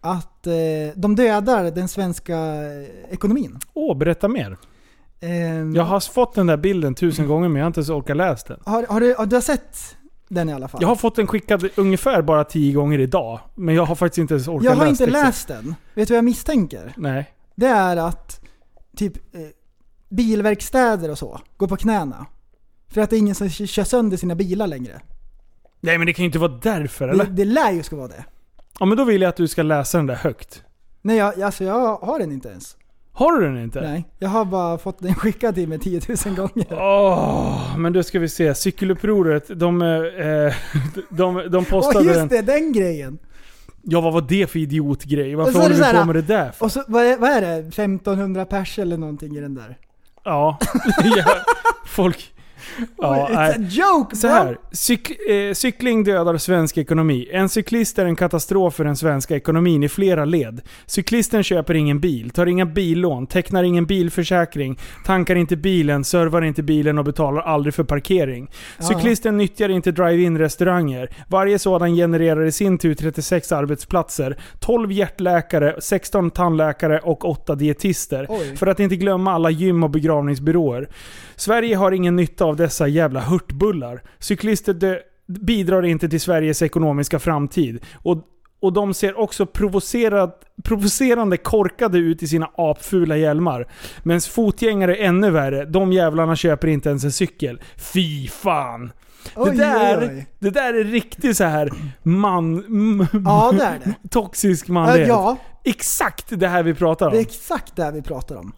S6: Att eh, de dödar den svenska eh, ekonomin.
S4: Åh, berätta mer.
S6: Ehm,
S4: Jag har fått den där bilden tusen gånger men jag har inte ens orkat läsa den.
S6: har, har, du, har du sett den i alla fall?
S4: Jag har fått den skickad ungefär bara tio gånger idag. Men jag har faktiskt inte ens orkat läsa
S6: Jag har inte
S4: texten.
S6: läst den. Vet du vad jag misstänker?
S4: Nej.
S6: Det är att typ eh, bilverkstäder och så går på knäna. För att det är ingen som kö- kör sönder sina bilar längre.
S4: Nej men det kan ju inte vara därför
S6: Det,
S4: eller?
S6: det lär ju ska vara det.
S4: Ja men då vill jag att du ska läsa den där högt.
S6: Nej, jag, alltså jag har den inte ens.
S4: Har du den inte?
S6: Nej, jag har bara fått den skickad till mig 10 000 gånger.
S4: Åh, men då ska vi se. Cykelupproret, de, eh, (laughs) de, de
S6: Och
S4: postade
S6: just
S4: den.
S6: det, den grejen!
S4: Ja vad var det för idiotgrej?
S6: Och
S4: Varför
S6: så är
S4: håller
S6: det så
S4: vi
S6: här-
S4: på med det där för?
S6: Och så, vad är, vad
S4: (laughs)
S6: är det? 1500 pers eller någonting i den där?
S4: Ja. ja. Folk, Ja,
S6: It's a
S4: nej.
S6: joke
S4: Så
S6: bro.
S4: här, cyk, eh, cykling dödar svensk ekonomi. En cyklist är en katastrof för den svenska ekonomin i flera led. Cyklisten köper ingen bil, tar inga billån, tecknar ingen bilförsäkring, tankar inte bilen, servar inte bilen och betalar aldrig för parkering. Cyklisten nyttjar inte drive-in restauranger. Varje sådan genererar i sin tur 36 arbetsplatser, 12 hjärtläkare, 16 tandläkare och 8 dietister.
S6: Oj.
S4: För att inte glömma alla gym och begravningsbyråer. Sverige har ingen nytta av dessa jävla hurtbullar. Cyklister dö- bidrar inte till Sveriges ekonomiska framtid. Och, och de ser också provocerat, provocerande korkade ut i sina apfula hjälmar. Medan fotgängare är ännu värre. De jävlarna köper inte ens en cykel. Fy fan!
S6: Oj,
S4: det, där,
S6: oj, oj.
S4: det där är riktigt så här man... m-
S6: Ja,
S4: (laughs)
S6: det är det.
S4: Toxisk
S6: Ja,
S4: manlighet.
S6: ja,
S4: Exakt det här vi pratar om.
S6: det är exakt det här vi pratar om.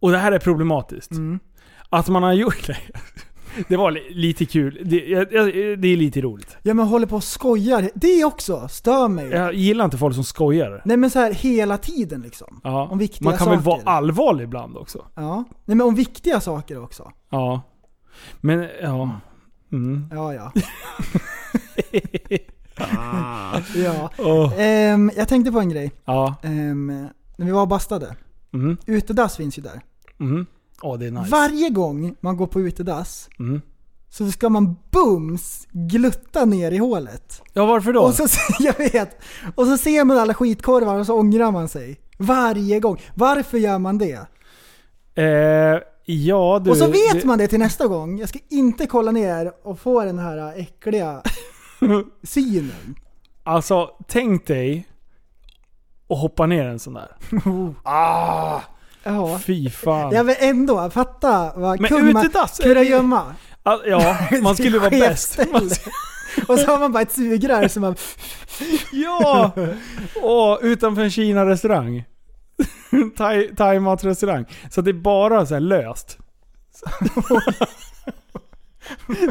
S4: Och det här är problematiskt.
S6: Mm.
S4: Att man har gjort det. Det var li- lite kul. Det, jag- jag- det är lite roligt.
S6: Ja men håller på och skojar. Det också stör mig.
S4: Jag gillar inte folk som skojar.
S6: Nej men så här hela tiden liksom.
S4: Ja.
S6: Om viktiga
S4: Man kan väl vara
S6: saker.
S4: allvarlig ibland också?
S6: Ja. Nej men om viktiga saker också.
S4: Ja. Men ja. Mm. (laughs)
S6: Ja, ja. ja.
S4: Åh,
S6: Ehm, jag tänkte på en grej.
S4: Ja.
S6: Ehm, när vi var och bastade.
S4: Mm.
S6: Utedass finns ju där.
S4: Mm. Åh, det är nice.
S6: Varje gång man går på utedass
S4: Mm.
S6: så ska man bums glutta ner i hålet.
S4: Ja, varför då?
S6: Och så, (laughs) jag vet. Och så ser man alla skitkorvar och så ångrar man sig. Varje gång. Varför gör man det?
S4: Eh, ja, du,
S6: och så vet
S4: det-
S6: man det till nästa gång. Jag ska inte kolla ner och få den här äckliga synen.
S4: (laughs) Alltså, tänk dig att hoppa ner en sån där.
S6: Ja.
S4: Fy fan.
S6: Jag vill ändå, fatta vad
S4: Men
S6: kumma-
S4: utedass är det-
S6: kurragömma.
S4: All- Ja, man
S6: (laughs)
S4: skulle vara
S6: Skevt
S4: bäst.
S6: ställe. Och så har man bara ett sugrör
S4: (laughs)
S6: som man...
S4: Ja! Och utanför en Kina-restaurang. (laughs) Thai- Thai-mat-restaurang. så det är bara så här löst. (laughs)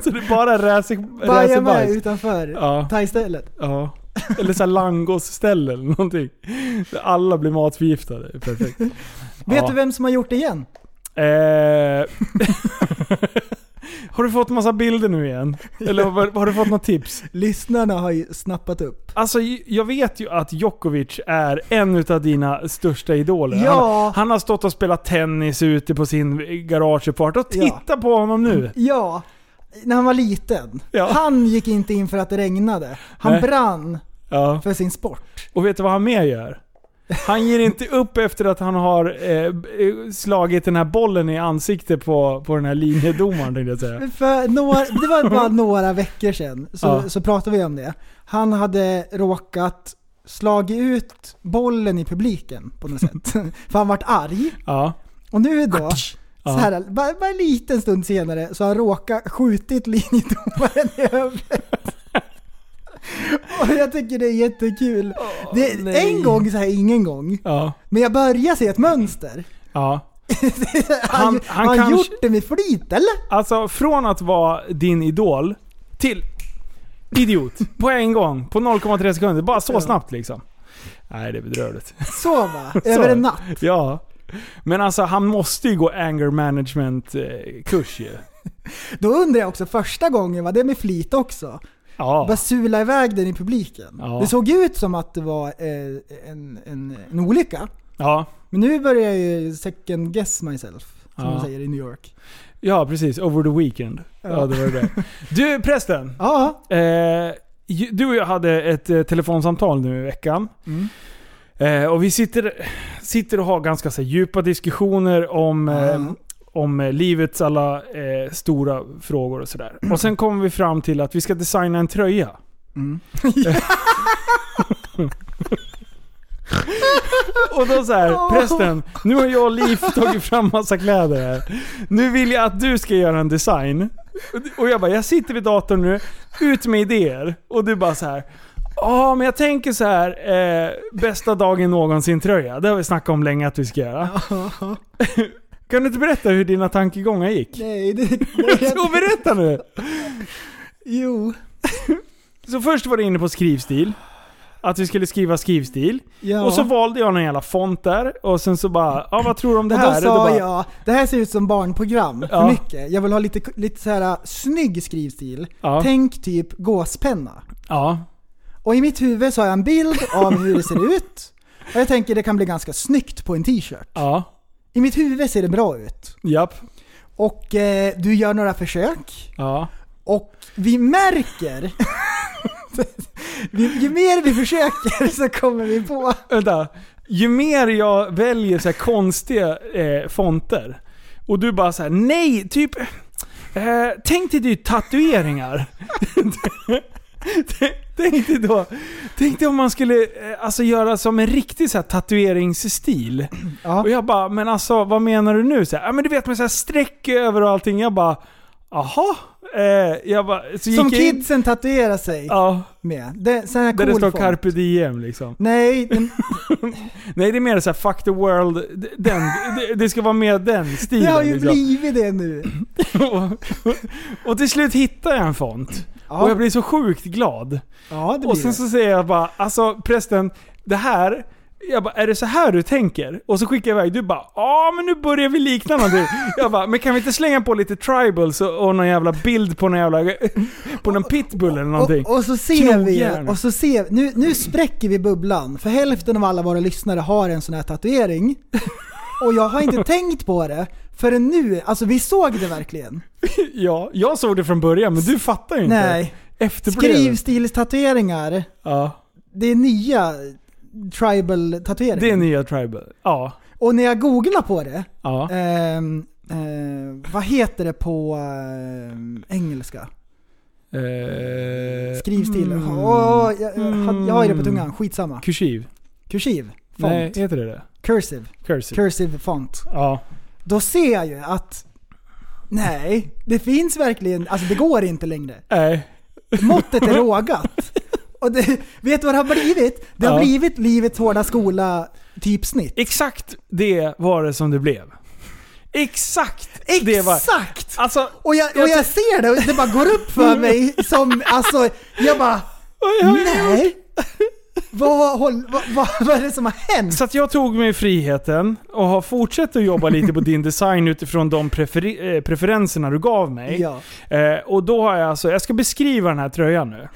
S4: så det är bara räse-
S6: Bajar med
S4: räsebajs.
S6: utanför
S4: Ja,
S6: thaistället.
S4: ja. Eller så här langosställe eller någonting. Där alla blir matförgiftade. Perfekt.
S6: Vet
S4: Ja.
S6: du vem som har gjort det igen?
S4: Eh, (laughs) har du fått massa bilder nu igen? Eller har, har du fått något tips?
S6: Lyssnarna har ju snappat upp.
S4: Alltså jag vet ju att Djokovic är en av dina största idoler.
S6: Ja.
S4: Han, han har stått och spelat tennis ute på sin garageuppfart och titta på honom nu.
S6: Ja, när han var liten.
S4: Ja.
S6: Han gick inte in för att det regnade. Han
S4: Nej.
S6: brann
S4: Ja.
S6: för sin sport.
S4: Och vet du vad han mer gör? Han ger inte upp efter att han har eh, b- slagit den här bollen i ansiktet på, på den här linjedomaren tänkte jag
S6: (laughs)
S4: säga.
S6: För några, det
S4: (laughs)
S6: var bara några veckor sedan så,
S4: Ja.
S6: så pratade vi om det. Han hade råkat slagit ut bollen i publiken på
S4: (laughs)
S6: något sätt. för han vart arg.
S4: Ja.
S6: Och nu då,
S4: Ja.
S6: så här, bara, bara en liten stund senare, så har han råkat skjutit linjedomaren i huvudet.
S4: (laughs)
S6: Och jag tycker det är jättekul. det,
S4: nej.
S6: en gång så här, ingen gång.
S4: Ja.
S6: Men jag börjar se ett mönster.
S4: Ja. (laughs) Han-
S6: Han,
S4: han
S6: han, han
S4: kanske-
S6: gjort det med flit eller?
S4: Alltså från att vara din idol till (laughs) idiot. På en gång. På 0,3 sekunder. Bara så snabbt liksom. Nej, det är (laughs) bedrövligt.
S6: Så va? Över en natt.
S4: Ja. Men alltså han måste ju gå anger management eh, kurs ju.
S6: Då undrar jag också, första gången var det med flit också?
S4: Ja.
S6: Bara sula iväg den i publiken.
S4: Ja.
S6: Det såg ut som att det var eh, en, en, en olycka.
S4: Ja.
S6: Men nu börjar jag ju second guess myself, som
S4: Ja.
S6: man säger i New York.
S4: ja, precis. Over the weekend. Ja, det var det. Du prästen.
S6: Ja,
S4: Eh, ju- du och jag hade ett eh, telefonsamtal nu i veckan. Eh, och vi sitter, sitter och har ganska så här, djupa diskussioner om, eh, om eh, livets alla eh, stora frågor och sådär. Och sen kommer vi fram till att vi ska designa en tröja. och då så här, prästen, nu har jag och Liv tagit fram massa kläder här. Nu vill jag att du ska göra en design. Och jag bara, jag sitter vid datorn nu, ut med idéer. Och du bara så här. Ja, men jag tänker så här. Eh, bästa dagen någonsin tröja. Det har vi snackat om länge att vi ska
S6: (laughs)
S4: göra. kan du inte berätta hur dina tankegångar gick?
S6: nej, (laughs) det,
S4: (laughs)
S6: nej jag,
S4: Så berätta nu!
S6: jo.
S4: Så först var du inne på skrivstil. att vi skulle skriva skrivstil.
S6: Ja.
S4: Och så valde jag någon jävla font där och sen så bara, ja vad tror du om det
S6: Och
S4: här?
S6: då
S4: Och då
S6: sa
S4: bara,
S6: jag, det här ser ut som barnprogram för
S4: Ja.
S6: mycket. Jag vill ha lite, lite så här eh, snygg skrivstil.
S4: Ja.
S6: Tänk typ gåspenna.
S4: Ja.
S6: Och i mitt huvud så har jag en bild av hur det ser ut. Och jag tänker det kan bli ganska snyggt på en t-shirt.
S4: Ja.
S6: I mitt huvud ser det bra ut.
S4: Japp.
S6: Och eh, du gör några försök.
S4: Ja.
S6: Och vi märker... (laughs) vi, ju mer vi försöker så kommer vi på...
S4: Vänta. Ju mer jag väljer så här konstiga eh, fonter och du bara så här, nej, typ... Eh, tänk dig typ tatueringar. (laughs) tänk dig då... Tänk dig om man skulle eh, alltså, göra som en riktig så här, tatueringsstil.
S6: Ja.
S4: Och jag bara, men alltså vad menar du nu? Så här, ja, men du vet med så här streck över och allting. Jag bara, jaha? Eh, jag bara, så
S6: Som
S4: gick jag in-
S6: kidsen tatuerar sig
S4: Ja,
S6: med. Det, sån här
S4: där det
S6: cool
S4: står
S6: font.
S4: carpe diem liksom.
S6: Nej, den,
S4: Nej det är mer såhär fuck the world, d- den, det, det ska vara mer
S6: (laughs)
S4: den
S6: det
S4: stilen.
S6: har ju
S4: liksom.
S6: blivit det nu.
S4: (laughs) och, och till slut hittar jag en font.
S6: Ja.
S4: Och jag blir så sjukt glad.
S6: Ja, det
S4: Och
S6: blir
S4: sen
S6: det.
S4: så säger jag bara, alltså prästen, det här, jag bara, är det så här du tänker? Och så skickar jag iväg, du bara, ja men nu börjar vi likna
S6: (laughs)
S4: någonting. jag bara, men kan vi inte slänga på lite tribals och, och någon jävla bild på någon jävla, på någon pitbull eller någonting?
S6: Och, och så ser vi,
S4: Knogjärn.
S6: och så ser vi, nu, nu spräcker vi bubblan. För hälften av alla våra lyssnare har en sån här tatuering. Och jag
S4: (laughs)
S6: har inte tänkt på det förrän nu. Alltså vi såg det verkligen.
S4: (laughs) Ja, jag såg det från början men du fattar ju inte.
S6: Nej.
S4: Efterbrevet.
S6: Skrivstilstatueringar,
S4: Ja.
S6: det är nya tribal-tatueringar.
S4: Det är nya tribal. Ja.
S6: Och när jag googlar på det,
S4: Ja.
S6: ehm, eh, vad heter det på ehm, engelska?
S4: Eh,
S6: Skrivstil?
S4: Mm.
S6: Eh, Åh, jag, jag, hade- jag har ju det på tungan, skitsamma.
S4: Kursiv?
S6: Kursiv? Font?
S4: Nej, heter det det?
S6: Cursive?
S4: Cursive?
S6: Cursive font.
S4: ja.
S6: Då ser jag ju att Nej, det finns verkligen, alltså det går inte längre.
S4: Nej.
S6: Måttet är rågat. Och det, vet du vad det har blivit? Det har
S4: Ja.
S6: blivit livets hårda skola typsnitt.
S4: Exakt det var det som det blev. Exakt! Det var...
S6: Exakt!
S4: Alltså,
S6: Och jag, och jag ser det och det bara går upp för mig som, alltså, jag bara Nej! Vad, håll, vad, vad, vad är det som har hänt?
S4: så att jag tog mig friheten och har fortsatt att jobba lite på din design utifrån de preferi- eh, preferenserna du gav mig.
S6: Ja.
S4: Eh, och då har jag alltså, jag ska beskriva den här tröjan nu.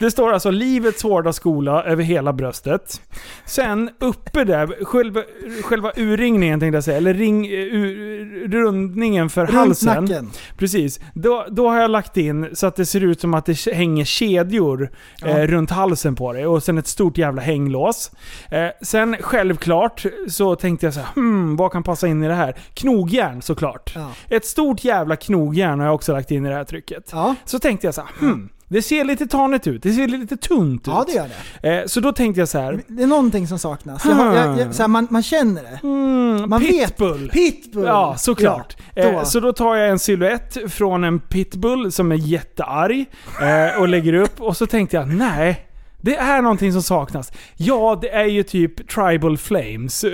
S4: Det står alltså livets hårda skola över hela bröstet. Sen uppe där, själva, själva urringningen tänkte jag säga, eller ring, eh, ur, rundningen för
S6: Runt
S4: halsen.
S6: nacken.
S4: Precis. Då, då har jag lagt in så att det ser ut som att det hänger kedjor eh, runt halsen på dig och sen ett stort jävla hänglås. Eh, sen självklart så tänkte jag så här, hmm, vad kan passa in i det här? Knogjärn såklart.
S6: Ja.
S4: Ett stort jävla knogjärn har jag också lagt in i det här trycket.
S6: Ja.
S4: Så tänkte jag så här, hmm, det ser lite tanigt ut, det ser lite tunt ut.
S6: Mm. ja, det gör det.
S4: Eh, så då tänkte jag så här,
S6: Det är någonting som saknas. Jag, har- jag,
S4: Ah.
S6: jag, så här, man, man känner det.
S4: hmm,
S6: Man vet-
S4: pitbull.
S6: Pitbull!
S4: Ja, såklart.
S6: Ja, då.
S4: Eh, så då tar jag en silhuett från en pitbull som är jättearg eh, och lägger upp och så tänkte jag nej. Det är någonting som saknas. Ja, det är ju typ tribal flames. Eh,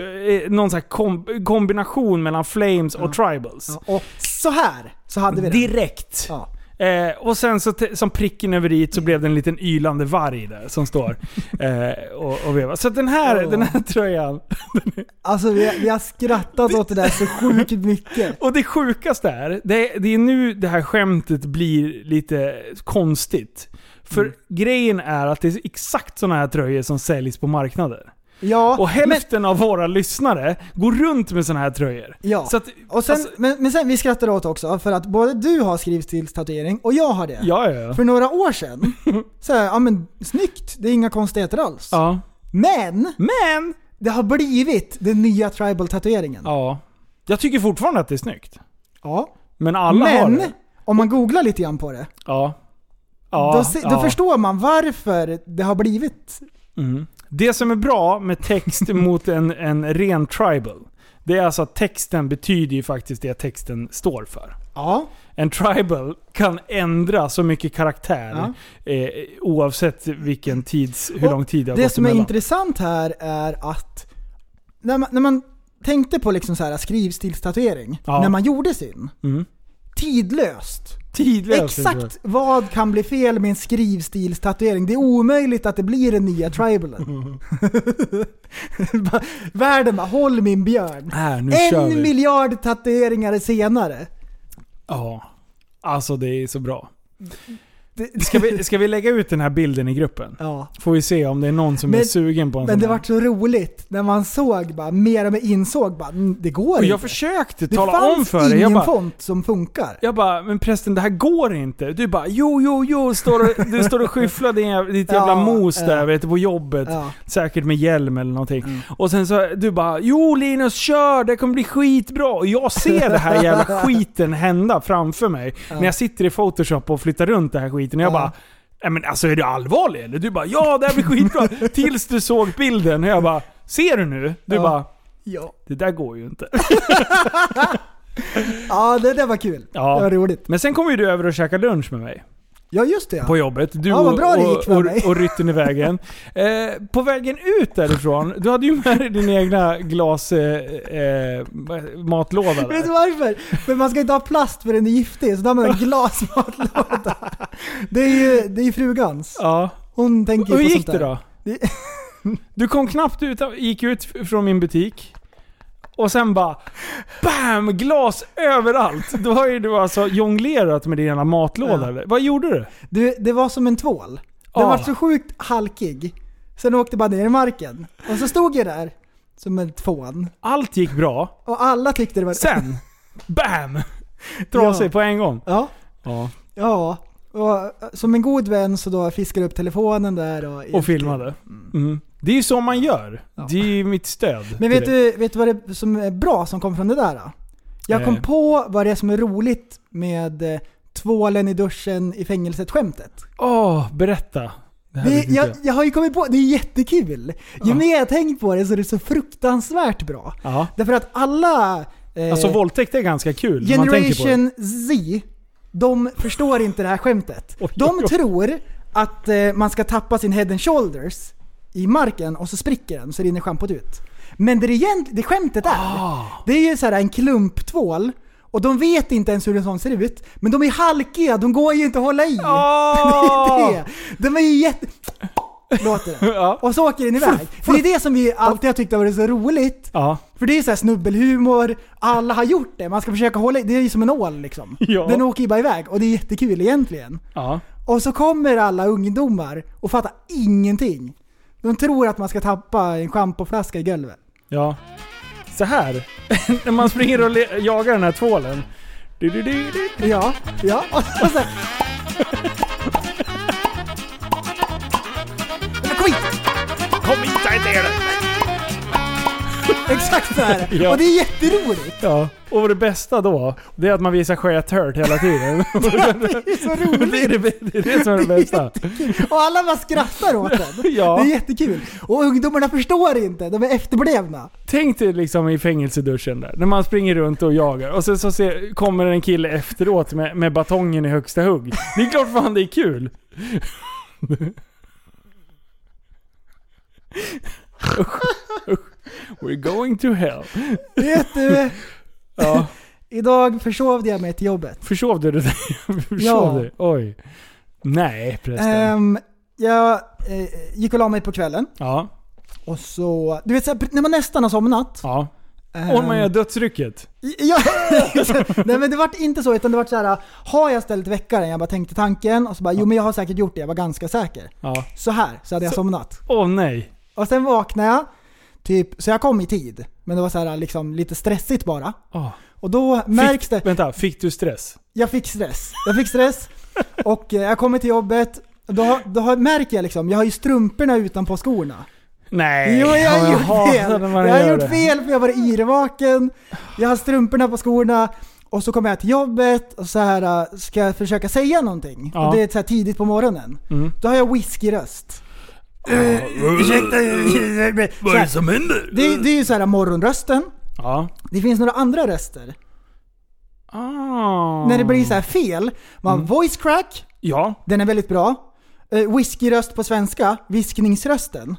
S4: Någon sån här kom- kombination mellan flames och tribals.
S6: Ja, och så här så hade vi det.
S4: Direkt.
S6: Ja.
S4: Eh, och sen så t- som pricken över i så blev det en liten ylande varg där som
S6: (laughs)
S4: står eh, och, och vevar. Så den här,
S6: Åh.
S4: den här tröjan.
S6: Alltså vi, vi har skrattat åt det där så sjukt mycket.
S4: Och det sjukaste är, det, det är nu det här skämtet blir lite konstigt. För
S6: Mm.
S4: grejen är att det är exakt sådana här tröjor som säljs på marknader.
S6: Ja,
S4: Och hälften av våra lyssnare går runt med sådana här tröjor.
S6: Ja.
S4: Så att,
S6: och sen,
S4: alltså,
S6: men, men sen vi skrattade åt också för att både du har skrivstilstatuering och jag har det.
S4: ja, ja, ja.
S6: För några
S4: (laughs)
S6: år sedan, så här, ja men snyggt, det är inga konstigheter alls.
S4: ja.
S6: Men,
S4: Men!
S6: det har blivit den nya tribal-tatueringen.
S4: Ja. Jag tycker fortfarande att det är snyggt.
S6: Ja.
S4: Men alla har
S6: Men,
S4: det.
S6: om man googlar lite grann på det,
S4: Ja. Ja,
S6: då, se,
S4: ja.
S6: då förstår man varför det har blivit
S4: Mm. Det som är bra med (laughs) text mot en, en ren tribal, det är alltså att texten betyder ju faktiskt det texten står för.
S6: Ja,
S4: En tribal kan ändra så mycket karaktär eh, oavsett vilken tids, hur
S6: Och
S4: lång tid det har
S6: det
S4: gått
S6: som är
S4: emellan.
S6: intressant här är att när man, när man tänkte på liksom så här skrivstilstatuering,
S4: Ja.
S6: när man gjorde sin,
S4: Mm.
S6: tidlöst.
S4: Tidlöst.
S6: Exakt vad kan bli fel med en skrivstilstatuering? Det är omöjligt att det blir den
S4: (laughs)
S6: nya tribalen. Bara, Världen bara, håll min björn.
S4: Här, nu kör
S6: En
S4: vi.
S6: miljard tatueringar senare.
S4: Ja. Alltså det är så bra. (laughs) Ska
S6: (laughs)
S4: vi, ska vi lägga ut den här bilden i gruppen?
S6: Ja.
S4: Får vi se om det är någon som är
S6: Men-
S4: sugen på en
S6: Men
S4: sån
S6: det
S4: här.
S6: vart så roligt när man såg bara, mer och mer insåg bara, "Mm, det går
S4: Och
S6: inte.
S4: jag försökte
S6: det
S4: tala
S6: fanns
S4: om för dig.
S6: ingen
S4: Jag bara,
S6: font som funkar.
S4: jag bara, men prästen det här går inte. Du bara, jo, jo, jo. Står och, du står och skyfflar din, jäv- ditt jävla
S6: (laughs) Ja,
S4: mos där
S6: ja.
S4: vet du, på jobbet.
S6: Ja. Mm.
S4: Säkert med hjälm eller någonting. Och sen så, du bara, jo Linus kör, det kommer bli skitbra. Och jag ser det här
S6: (laughs)
S4: jävla skiten hända framför mig. När jag sitter i photoshop och flyttar runt det här skiten. Och jag
S6: Ja.
S4: bara, Nej men alltså är du allvarlig eller? Du bara ja det här blir
S6: (laughs)
S4: skitbra. Tills du såg bilden och jag bara ser du nu? Du
S6: Ja.
S4: bara
S6: Ja.
S4: det där går ju inte.
S6: ja, det där var kul.
S4: Ja.
S6: Det var roligt.
S4: Men sen kom ju du över och käkade lunch med mig.
S6: Ja, just det.
S4: på jobbet. Du
S6: Ja, vad bra
S4: och,
S6: det gick för
S4: och,
S6: mig.
S4: och, och rytten i
S6: (laughs)
S4: vägen. Eh, på vägen ut därifrån, du hade ju med dig din egna glas eh, eh, matlåda där.
S6: Vet du varför? För man ska inte ha plast för den är giftig, så då
S4: (laughs)
S6: har man en glasmatlåda. Det är ju det är ju frugans.
S4: Ja.
S6: Hon tänker ju
S4: Hur
S6: på
S4: gick
S6: sånt
S4: det
S6: där.
S4: då?
S6: Det- (laughs)
S4: Du kom knappt ut, gick ut från min butik. Och sen bara BAM! Glas överallt. Då har ju du alltså jonglerat med din ena matlåda.
S6: Ja.
S4: eller? Vad gjorde du?
S6: Du, det var som en tvål. Den
S4: Ah.
S6: var så sjukt halkig. Sen åkte bara ner i marken. Och så stod jag där som en tvån.
S4: Allt gick bra.
S6: Och alla tyckte det var...
S4: Sen BAM! Trasig
S6: Ja.
S4: på en gång.
S6: Ja.
S4: Ja.
S6: Ja. Och eh, som en god vän så då fiskade jag upp telefonen där och...
S4: Och filmade. Mm. Det är ju så man gör. Det är ju mitt stöd.
S6: Men
S4: till
S6: vet
S4: dig.
S6: du, vet du vad det är som är bra som kom från det där? Då? Jag kom
S4: Eh.
S6: på vad det är som är roligt med eh, tvålen i duschen i fängelset-skämtet.
S4: Åh, berätta. Det här
S6: Det-
S4: vet inte
S6: Jag, jag har ju kommit på det är jättekul. Ju mer jag har tänkt på det så är det så fruktansvärt bra.
S4: jag. Ja.
S6: Därför att alla... eh,
S4: Alltså våldtäkt är ganska kul när man tänker på det.
S6: Generation Z, de förstår inte det här skämtet.
S4: Oj, oj,
S6: De
S4: oj.
S6: tror att eh, man ska tappa sin head and shoulders i marken och så spricker den så rinner schampot ut. Men det, är egent- det skämtet är,
S4: Ah.
S6: det är ju så här en klumptvål och de vet inte ens hur en sån ser ut. Men de är halkiga, de går ju inte att hålla i.
S4: Ah. Åh!
S6: (laughs) Det är det. De är ju jätte... Låter det.
S4: Ja.
S6: Och så åker den iväg. Det är det som vi alltid har tyckt har varit så roligt.
S4: Ja.
S6: För det är så här snubbelhumor, alla har gjort det, man ska försöka hålla i- det är ju som en ål liksom.
S4: Ja.
S6: Den åker ju bara iväg och det är jättekul egentligen.
S4: Ja.
S6: Och så kommer alla ungdomar och fattar ingenting. De tror att man ska tappa en schampoflaska i golvet.
S4: Ja. Så här. (laughs) när man springer och le- jagar den här tvålen. Du, du, du, du.
S6: Ja, ja. Och så, så här. Men Kom hit!
S4: Kom hit jag heter er!
S6: Exakt så här.
S4: Ja.
S6: Och det är jätteroligt.
S4: Ja. Och det bästa då, det är att man visar skäthört hela tiden. (laughs)
S6: Det är så roligt.
S4: det, är det, bä- det är det som
S6: (laughs)
S4: är det bästa.
S6: Och alla bara skrattar åt den.
S4: Ja.
S6: Det är jättekul. Och ungdomarna förstår inte, de är efterblivna.
S4: Tänk dig liksom i fängelseduschen där, när man springer runt och jagar och sen så ser, kommer en kille efteråt med, med batongen i högsta hugg. Det är klart fan det är kul! Usch, usch. We're going to hell. (laughs)
S6: Vet du,
S4: Ja,
S6: idag försovde jag mig till jobbet.
S4: försov du det där? Försov
S6: Ja.
S4: du? Oj. Nej prästen.
S6: Ehm, jag eh, gick och la mig på kvällen
S4: ja.
S6: och så, du vet så här, när man nästan har somnat.
S4: ja.
S6: Ehm,
S4: Och man gör dödsrycket.
S6: ja, (laughs) Nej men det vart inte så, utan det vart så här. har jag ställt väckaren? Jag bara tänkte tanken och så bara, jo men jag har säkert gjort det, jag var ganska säker.
S4: Ja.
S6: Så här, så hade jag
S4: Så-
S6: somnat.
S4: Åh nej.
S6: Och sen vaknade jag, typ, så jag kom i tid. Men det var så här, liksom, lite stressigt bara.
S4: Åh.
S6: Och då märks det,
S4: Fick, vänta, fick du stress?
S6: jag fick stress. Jag fick stress och eh, jag kommer till jobbet. Då, har- då har- märker jag liksom, jag har ju strumporna utanpå skorna.
S4: Nej.
S6: Jo, jag
S4: Ja,
S6: har gjort
S4: hatar
S6: fel.
S4: när man
S6: Jag har
S4: gör
S6: gjort
S4: det.
S6: fel för jag var yrvaken. Jag har strumporna på skorna. Och så kommer jag till jobbet och så här äh, ska jag försöka säga någonting.
S4: Ja.
S6: Och det är så här tidigt på morgonen.
S4: Mm.
S6: Då har jag whiskyröst. Ursäkta, vad är det som händer? Det, det är ju så här morgonrösten.
S4: Ja.
S6: Det finns några andra röster.
S4: Ah.
S6: När det blir så här fel. Man
S4: Mm.
S6: voice crack,
S4: Ja.
S6: den är väldigt bra. Eh, whiskyröst på svenska, viskningsrösten.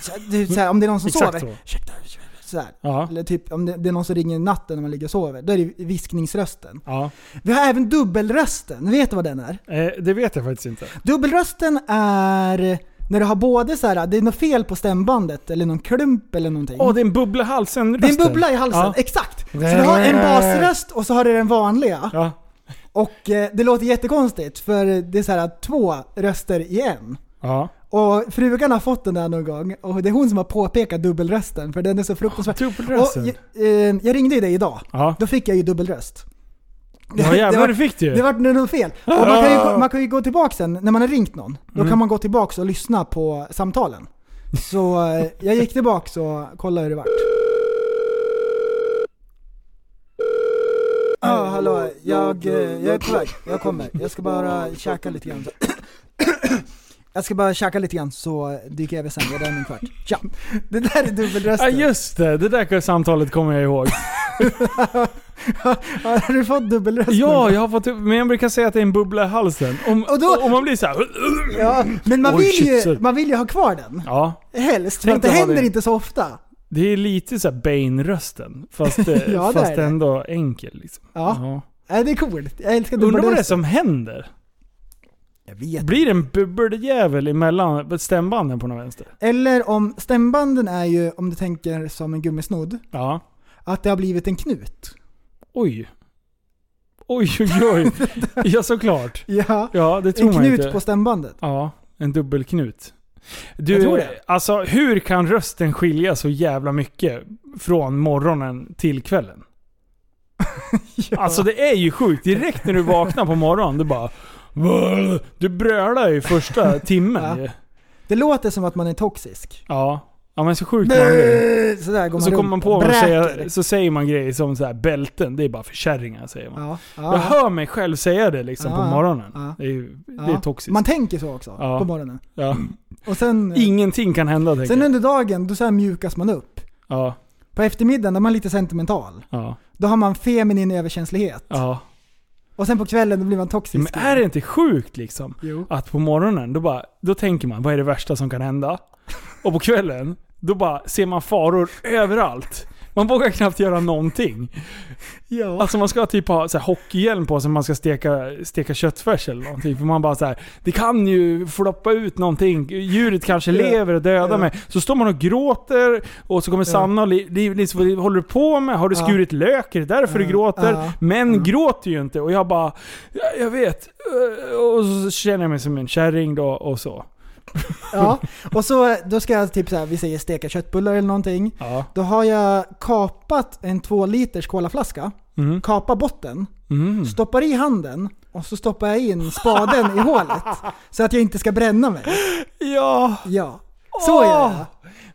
S6: Så, det är så här, om det är någon som
S4: Exakt
S6: sover.
S4: så.
S6: Ursäkta, ursäkta, så här.
S4: Ja.
S6: Eller typ om det, det är någon som ringer i natten när man ligger och sover. Då är det viskningsrösten.
S4: Ja.
S6: Vi har även dubbelrösten. Vet du vad den är?
S4: Eh, det vet jag faktiskt inte.
S6: Dubbelrösten är när du har både så här, det är något fel på stämbandet eller någon klump eller någonting.
S4: Åh, det är en bubbla i halsen
S6: det är en Mm. bubbla i halsen,
S4: Ja.
S6: exakt! Så du har en basröst och så har du den vanliga.
S4: Ja.
S6: Och eh, det låter jättekonstigt för det är så här två röster i en.
S4: ja.
S6: Och frugan har fått den där någon gång och det är hon som har påpekat dubbelrösten för den är så fruktansvärd.
S4: Ah, Dubbelrösten.
S6: Och, jag, eh, jag ringde ju dig idag.
S4: Ja.
S6: Då fick jag ju dubbelröst.
S4: Ja jävlar
S6: var-
S4: det fick du ju.
S6: Det vart något fel. Och man, kan ju, man kan ju gå tillbaka sen, när man har ringt någon, då
S4: Mm.
S6: kan man gå tillbaka och lyssna på samtalen. Så eh, jag gick tillbaka och kollade hur det vart. Ja, ah, hallå. Jag, eh, jag är på väg. Jag kommer. Jag ska bara käka lite grann. (coughs) Jag ska bara käka lite grann så dyker jag över sen. Jag är där om en kvart. Tja! Det där är
S4: Ja
S6: dubbelrösten.
S4: just det, det där samtalet kommer jag
S6: (laughs)
S4: ihåg.
S6: Har du fått dubbelrösten?
S4: Ja, jag har fått upp, men jag brukar säga att det är en bubbla i halsen. Om,
S6: Och då-
S4: om man blir så här.
S6: Ja, men man
S4: Oj,
S6: vill,
S4: shit,
S6: ju,
S4: så-
S6: man vill ju ha kvar den.
S4: Ja,
S6: Helst, för
S4: Tänk
S6: att det
S4: att ha
S6: händer
S4: det.
S6: inte så ofta.
S4: det är lite så här Bane-rösten. Fast, eh,
S6: (laughs) Ja, det
S4: fast
S6: är det.
S4: ändå enkel liksom.
S6: Ja, Nej, det är coolt. Jag älskar
S4: Undrar vad det är
S6: dubbelrösten.
S4: som händer?
S6: Jag vet.
S4: Blir det en bubbeljävel emellan stämbanden på någon vänster?
S6: Eller om stämbanden är ju, om du tänker som en gummisnodd,
S4: Ja.
S6: att det har blivit en knut.
S4: Oj. Oj, oj,
S6: (laughs)
S4: oj. ja, såklart.
S6: Ja,
S4: Ja, det tror
S6: en
S4: man ju
S6: knut
S4: inte.
S6: på stämbandet.
S4: Ja, en dubbelknut. Du,
S6: Jag tror det.
S4: alltså hur kan rösten skilja så jävla mycket från morgonen till
S6: (laughs)
S4: kvällen? Alltså det är ju sjukt. Direkt när du vaknar på morgonen, du bara... "Vad?" Du brölar ju
S6: (laughs)
S4: första timmen
S6: Ja.
S4: ju.
S6: Det låter som att man är toxisk.
S4: Ja. Ja men så sjukt man är.
S6: Sådär går man
S4: Så
S6: runt
S4: kommer man på
S6: och
S4: vad man
S6: bräker.
S4: säger, så säger man grejer som så här bälten, det är bara för kärringar säger man.
S6: Ja,
S4: Jag
S6: ja,
S4: hör mig själv säga det liksom på
S6: Ja, ja.
S4: morgonen.
S6: Ja.
S4: Det är ju det är
S6: ja.
S4: toxiskt.
S6: Man tänker så också,
S4: Ja.
S6: på morgonen.
S4: ja.
S6: Och sen,
S4: Ingenting kan hända tänker
S6: sen
S4: jag.
S6: under dagen, då så här mjukas man upp.
S4: Ja,
S6: På eftermiddagen, då är man lite sentimental.
S4: ja,
S6: Då har man feminin överkänslighet.
S4: ja.
S6: Och sen på kvällen, då blir man toxisk.
S4: Men är det inte sjukt liksom?
S6: Jo.
S4: Att på morgonen, då, bara, då tänker man vad är det värsta som kan hända? Och på kvällen, då bara ser man faror överallt. Man vågar knappt göra någonting.
S6: Ja.
S4: Alltså man ska typ ha så här, hockeyhjälm på sig när man ska steka, steka köttfärs eller någonting. För man bara så här, det kan ju floppa ut någonting. Djuret kanske
S6: Ja.
S4: lever och dödar
S6: Ja.
S4: mig. Så står man och gråter och så kommer Sanna och Liv, Liv, Liv vad håller du på med? Har du
S6: Ja.
S4: skurit lök? Är det därför du
S6: Ja.
S4: gråter?
S6: Ja. Mm.
S4: Män gråter ju inte. Och jag bara, "Ja, jag vet. Eh, Och så känner jag mig som en kärring då och så.
S6: Ja, och så då ska jag typ så här, vi säger steka köttbullar eller någonting.
S4: Ja.
S6: Då har jag kapat en två liters colaflaska,
S4: Mm.
S6: kapar botten,
S4: Mm.
S6: stoppar i handen och så stoppar jag in spaden i hålet.
S4: (laughs)
S6: Så att jag inte ska bränna mig.
S4: Ja.
S6: Ja, så gör jag.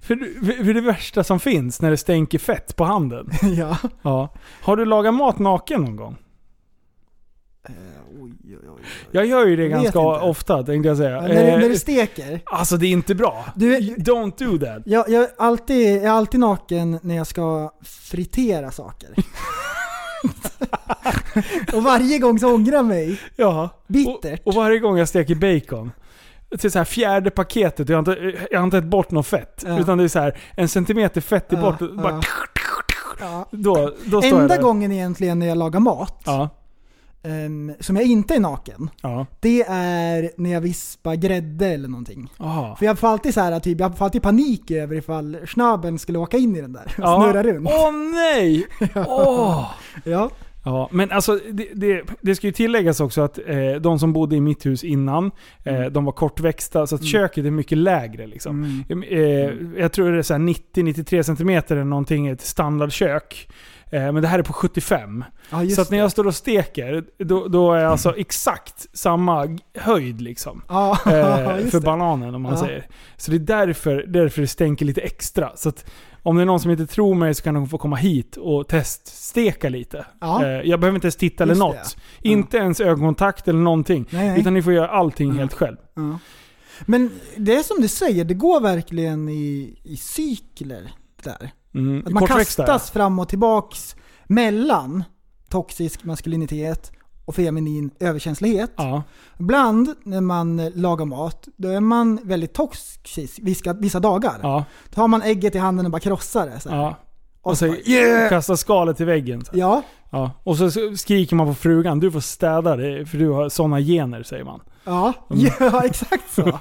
S4: För, för för det värsta som finns när det stänker fett på handen.
S6: (laughs) Ja.
S4: Ja. Har du lagat mat naken någon gång? Jag gör ju det
S6: Vet
S4: ganska
S6: inte.
S4: ofta tänkte jag säga.
S6: Ja, När, du-
S4: Eh,
S6: när du steker.
S4: Alltså det är inte bra.
S6: Du,
S4: Don't do that.
S6: jag, jag, är alltid, jag är alltid naken när jag ska
S4: (laughs)
S6: fritera saker. och varje gång så ångrar jag mig.
S4: Ja.
S6: Bittert.
S4: Och, och varje gång jag steker bacon, till så här fjärde paketet, jag har inte, jag har inte tagit bort något fett.
S6: Ja.
S4: Utan det är så här en centimeter fett i
S6: Ja,
S4: bort.
S6: ja.
S4: Bara,
S6: Ja.
S4: Då, då står jag
S6: Enda
S4: där.
S6: gången egentligen när jag lagar mat,
S4: Ja.
S6: ehm, som jag inte är naken,
S4: Ja.
S6: det är när jag vispar grädde eller någonting.
S4: Aha.
S6: För jag får alltid, så här, typ, jag får alltid panik över ifall snabben skulle åka in i den där och snurra runt.
S4: Åh
S6: (laughs)
S4: nej! Åh.
S6: Ja.
S4: Ja, men alltså det, det, det ska ju tilläggas också att eh, de som bodde i mitt hus innan, eh,
S6: Mm.
S4: de var kortväxta så att köket är mycket lägre. Liksom.
S6: Mm.
S4: Eh, jag tror det är så här 90-93 centimeter eller någonting i ett standardkök. Eh, men det här är på 75.
S6: Ja, just
S4: så att när
S6: det. Mm.
S4: jag står och steker, då, då är jag alltså exakt samma g- höjd liksom.
S6: (laughs) Ja,
S4: Eh,
S6: just
S4: för
S6: det.
S4: bananen om man
S6: Ja.
S4: säger. Så det är därför, därför det stänker lite extra. Så att om det är någon som inte tror mig så kan de få komma hit och teststeka lite.
S6: Ja.
S4: Eh, jag behöver inte ens titta eller
S6: Just
S4: något. Inte ens ögonkontakt eller någonting.
S6: Nej, Mm. nej.
S4: Utan ni får göra allting helt själv.
S6: Ja. Men det är som du säger, det går verkligen i, i cykler där.
S4: Mm.
S6: Att man
S4: Kortväxta.
S6: kastas fram och tillbaks mellan toxisk maskulinitet och feminin överkänslighet.
S4: Ja.
S6: Ibland när man eh, lagar mat, då är man väldigt toxisk vissa, vissa dagar.
S4: Ja.
S6: Då har man ägget i handen och bara krossar det. Så här.
S4: ja. Och så kastar skalet i väggen. Så. här.
S6: Ja,
S4: Ja. Och så skriker man på frugan, du får städa det för du har sådana gener säger man.
S6: ja,
S4: Mm.
S6: (laughs) ja exakt så.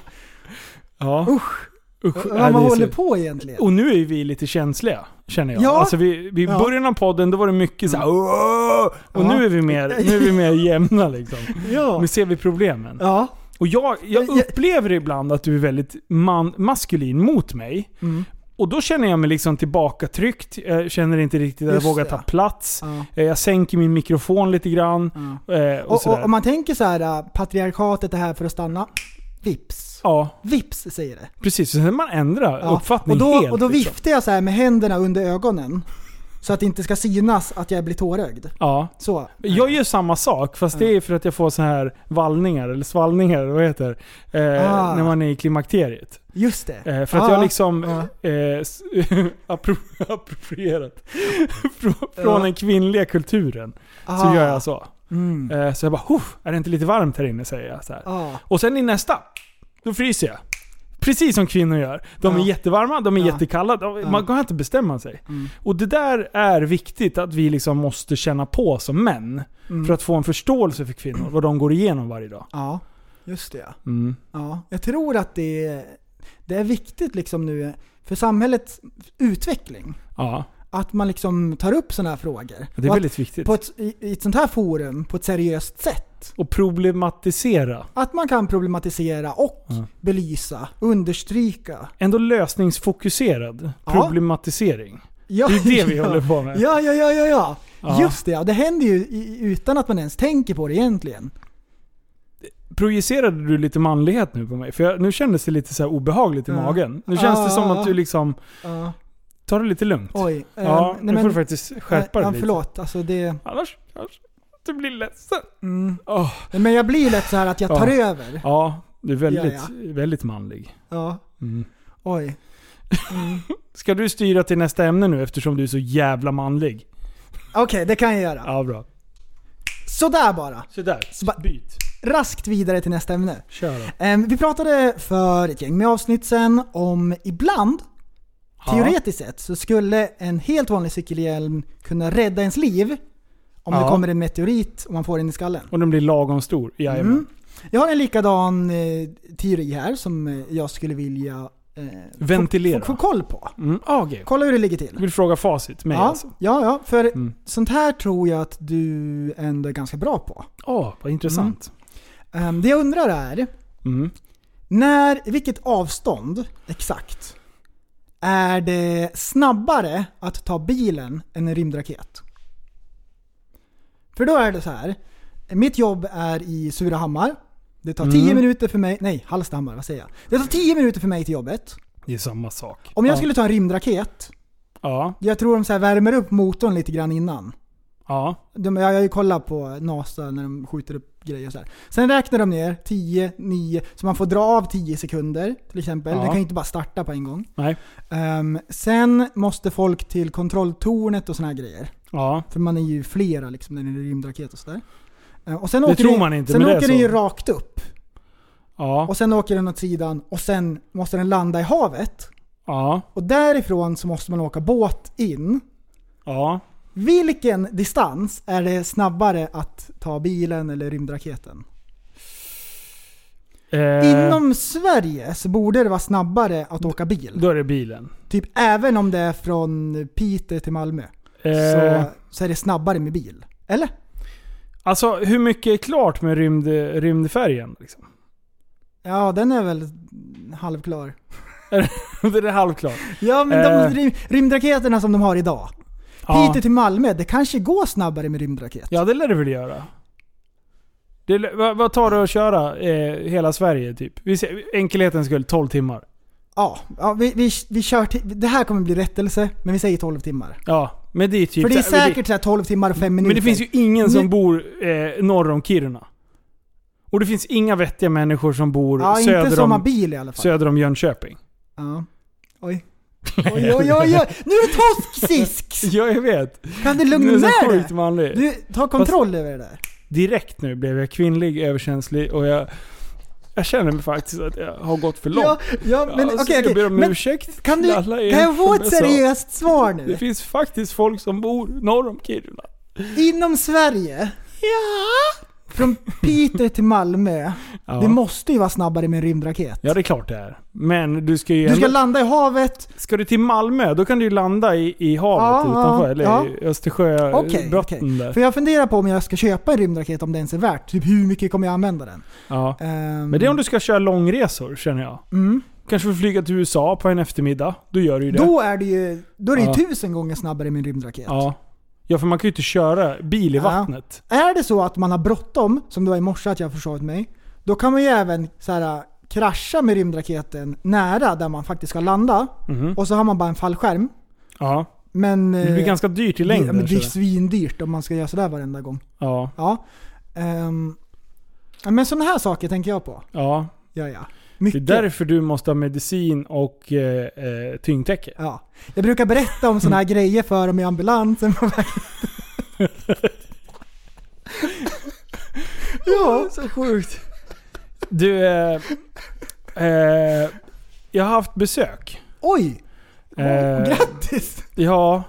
S4: Ja.
S6: Usch.
S4: Usch.
S6: Vad
S4: Ja, det
S6: man
S4: är
S6: håller
S4: så- Oh,
S6: på egentligen.
S4: Och nu är ju vi lite känsliga, känner jag.
S6: Ja.
S4: Alltså vi, vi, I
S6: Ja. Mm.
S4: början av podden då var det mycket så här, "Åh!" Och
S6: Ja.
S4: nu är vi mer, nu är vi
S6: (laughs)
S4: mer jämna liksom.
S6: Ja.
S4: Nu ser vi problemen.
S6: Ja,
S4: Och jag, jag
S6: Jag-
S4: upplever ibland att du är väldigt man, maskulin mot mig.
S6: Mm.
S4: Och då känner jag mig liksom tillbakatryckt. Jag känner inte riktigt att jag
S6: Just
S4: vågar
S6: det.
S4: ta plats.
S6: ja.
S4: Eh, Jag sänker min mikrofon lite grann. eh, Och,
S6: Och, och
S4: sådär.
S6: om man tänker så här, äh, patriarkatet är här för att stanna. Vips.
S4: Ja,
S6: Vips säger det.
S4: precis. Sen man ändrar
S6: Ja.
S4: uppfattning
S6: och då,
S4: helt.
S6: Och då
S4: liksom.
S6: viftar jag så här med händerna under ögonen. Så att det inte ska synas att jag blir tårögd.
S4: Ja.
S6: Så.
S4: Jag gör samma sak, fast det är för att jag får så här vallningar, eller svallningar, vad heter det? eh,
S6: Ah.
S4: När man är i klimakteriet.
S6: Just det.
S4: Eh, för att
S6: Ja,
S4: jag liksom
S6: ja.
S4: eh, s- (laughs) appro- approprierat (laughs) från, från
S6: Ja.
S4: den kvinnliga kulturen. Så
S6: Ah.
S4: gör jag så.
S6: Mm.
S4: Eh, så jag bara "Huff, är det inte lite varmt här inne? säger jag. Så här.
S6: Ja.
S4: Och sen i nästa, då fryser jag. Precis som kvinnor gör. De är
S6: Ja.
S4: jättevarma, de är
S6: Ja.
S4: jättekalla. De, man kan inte bestämma sig.
S6: Mm.
S4: Och det där är viktigt att vi liksom måste känna på som män.
S6: Mm.
S4: För att få en förståelse för kvinnor, vad de går igenom varje dag.
S6: Ja, just det. ja.
S4: Mm.
S6: Ja. Jag tror att det är, det är viktigt liksom nu för samhällets utveckling.
S4: Ja,
S6: Att man liksom tar upp sådana här frågor.
S4: det är
S6: Och att
S4: väldigt viktigt.
S6: på ett, i, I ett sånt här forum, på ett seriöst sätt.
S4: Och problematisera.
S6: Att man kan problematisera och
S4: Ja.
S6: belysa, understryka.
S4: Ändå lösningsfokuserad
S6: Ja.
S4: problematisering.
S6: (laughs) Ja,
S4: Det är det vi håller på med.
S6: Ja, ja, ja, ja, ja.
S4: Ja.
S6: Just det, ja. det händer ju i- utan att man ens tänker på det egentligen.
S4: Projicerade du lite manlighet nu på mig? För jag, nu kändes det lite så här obehagligt i
S6: Ja.
S4: magen. Nu känns det som
S6: Ah.
S4: att du liksom,
S6: Ja.
S4: tar det lite lugnt.
S6: Oj.
S4: Ja,
S6: eh,
S4: nu får du faktiskt skärpa
S6: nej, ja,
S4: dig lite.
S6: Förlåt, alltså det...
S4: Annars kanske du blir ledsen.
S6: Mm.
S4: Åh,
S6: Men jag blir lätt så här att jag tar över.
S4: Ja, du är väldigt,
S6: Ja,
S4: väldigt manlig.
S6: Ja.
S4: Mm.
S6: Oj.
S4: Ska du styra till nästa ämne nu eftersom du är så jävla manlig?
S6: Okej, det kan jag göra.
S4: Ja, bra.
S6: Sådär bara.
S4: Sådär,
S6: Så ba-
S4: byt.
S6: Raskt vidare till nästa ämne.
S4: Kör då.
S6: Ehm, Vi pratade för ett gäng med avsnitt sen om ibland, teoretiskt sett, så skulle en helt vanlig cykelhjälm kunna rädda ens liv om
S4: Ja.
S6: det kommer en meteorit och man får den i skallen.
S4: Och den blir lagom stor? Jajamän.
S6: Mm. Jag har en likadan eh, teori här som eh, jag skulle vilja eh, få-
S4: Ventilera.
S6: få, få koll på.
S4: Mm. Ah, okej.
S6: Kolla hur det ligger
S4: Jag
S6: till.
S4: vill fråga facit. Mig
S6: Ja,
S4: alltså.
S6: ja, ja, för
S4: Mm.
S6: sånt här tror jag att du ändå är ganska bra på.
S4: Åh, vad intressant.
S6: Ehm, det jag undrar är,
S4: Mm.
S6: när, i vilket avstånd exakt är det snabbare att ta bilen än en rymdraket? För då är det så här. Mitt jobb är i Surahammar. Det tar 10 minuter för mig, nej Hallstahammar, vad säger jag? Det tar 10 minuter för mig till jobbet.
S4: Det är samma sak.
S6: Om jag
S4: ja.
S6: skulle ta en rymdraket,
S4: Ja,
S6: jag tror de så här värmer upp motorn lite grann innan.
S4: ja.
S6: De, jag har ju kollat på NASA när de skjuter upp grejer och så här. Sen räknar de ner 10, 9, så man får dra av 10 sekunder till exempel.
S4: Ja.
S6: Den kan ju inte bara starta på en gång.
S4: Nej.
S6: Ehm, sen måste folk till kontrolltornet och såna här grejer.
S4: Ja.
S6: För man är ju flera liksom när det är rymdraket och sådär. Ehm, och sen
S4: Det
S6: åker
S4: tror
S6: den-
S4: man inte,
S6: Sen
S4: men det är
S6: åker den
S4: så.
S6: ju rakt upp.
S4: Ja.
S6: Och sen åker den åt sidan och sen måste den landa i havet.
S4: Ja.
S6: Och därifrån så måste man åka båt in.
S4: Ja.
S6: Vilken distans är det snabbare att ta bilen eller rymdraketen?
S4: Eh,
S6: Inom Sverige så borde det vara snabbare att åka bil.
S4: Då är det bilen.
S6: Typ även om det är från Piteå till Malmö.
S4: Eh,
S6: Så, så är det snabbare med bil. Eller?
S4: alltså, hur mycket är klart med rymd, rymdfärgen? Liksom? (laughs)
S6: Ja, den är väl halvklar.
S4: det är halvklart.
S6: (laughs) Ja, men de
S4: Eh.
S6: rym- rymdraketerna som de har idag.
S4: Ja.
S6: Piteå till Malmö, det kanske går snabbare med rymdraket.
S4: ja, det lär det väl göra. Det, lär- vad, vad tar det att köra eh, hela Sverige typ? Vi ser, enkelhetens skull, 12 timmar.
S6: ja, ja, vi, vi, vi kör till, det här kommer bli rättelse, men vi säger 12 timmar.
S4: Ja, men det är typ...
S6: För det är
S4: så här-
S6: säkert så här 12 timmar och 5 minuter.
S4: Men det finns ju ingen som
S6: Nu-
S4: bor eh, norr om Kiruna. Och det finns inga vettiga människor som bor
S6: ja, inte
S4: söder,
S6: som har
S4: om,
S6: bil i alla fall.
S4: söder om Jönköping. (laughs)
S6: Ja. Oj. Oj, oj, oj, oj. Nu är det
S4: (laughs)
S6: toxisk!
S4: Ja, jag vet.
S6: Kan du
S4: Du
S6: lugna
S4: är så
S6: ner
S4: sjukt
S6: dig?
S4: manlig.
S6: Du, ta kontroll över det där.
S4: Direkt nu blev jag kvinnlig, överkänslig och jag... Jag känner mig faktiskt att jag har gått för långt.
S6: Ja, ja
S4: Ja,
S6: men
S4: så
S6: okej,
S4: Jag
S6: okej.
S4: ber om
S6: Men
S4: ursäkt
S6: Kan, du,
S4: till alla er
S6: kan jag
S4: som
S6: få ett
S4: jag sa.
S6: seriöst svar nu?
S4: Det finns faktiskt folk som bor norr om Kiruna.
S6: Inom Sverige? Ja? Från Peter till Malmö.
S4: Ja.
S6: Det måste ju vara snabbare med en rymdraket.
S4: Ja, det är klart det är. Men du ska ju...
S6: Du ska
S4: ändå-
S6: landa i havet.
S4: Ska du till Malmö, då kan du ju landa i, i havet
S6: Ja,
S4: utanför,
S6: ja,
S4: eller
S6: ja.
S4: i Östersjö,
S6: Okej,
S4: botten
S6: okej.
S4: där.
S6: För jag funderar på om jag ska köpa en rymdraket om det ens är värt. Typ hur mycket kommer jag använda den?
S4: Ja.
S6: Ehm,
S4: Men det är om du ska köra långresor, känner jag.
S6: mm.
S4: Kanske vill flyga till USA på en eftermiddag, då gör du ju det.
S6: Då är det ju, då är det ju
S4: Ja.
S6: tusen gånger snabbare med en rymdraket.
S4: Ja. ja, för man kan ju inte köra bil i
S6: Ja.
S4: vattnet.
S6: Är det så att man har bråttom, som det var i morse att jag försovit mig, då kan man ju även så här, krascha med rymdraketen nära där man faktiskt ska landa.
S4: Mhm.
S6: Och så har man bara en fallskärm.
S4: Ja.
S6: Men,
S4: Det blir
S6: eh,
S4: ganska dyrt i
S6: Ja,
S4: längden.
S6: men det är
S4: så det-
S6: svindyrt om man ska göra sådär varenda gång.
S4: ja.
S6: Ja. Ehm, ja, men sådana här saker tänker jag på.
S4: ja.
S6: Ja, ja.
S4: Det är
S6: Mycket.
S4: därför du måste ha medicin och eh, eh, tyngdtäcke.
S6: Ja. Jag brukar berätta om sådana
S4: Mm.
S6: här grejer för dem
S4: (laughs)
S6: i ambulansen.
S4: (laughs)
S6: ja, så sjukt.
S4: Du, eh, eh, jag har haft besök.
S6: Oj!
S4: Eh,
S6: Grattis!
S4: ja.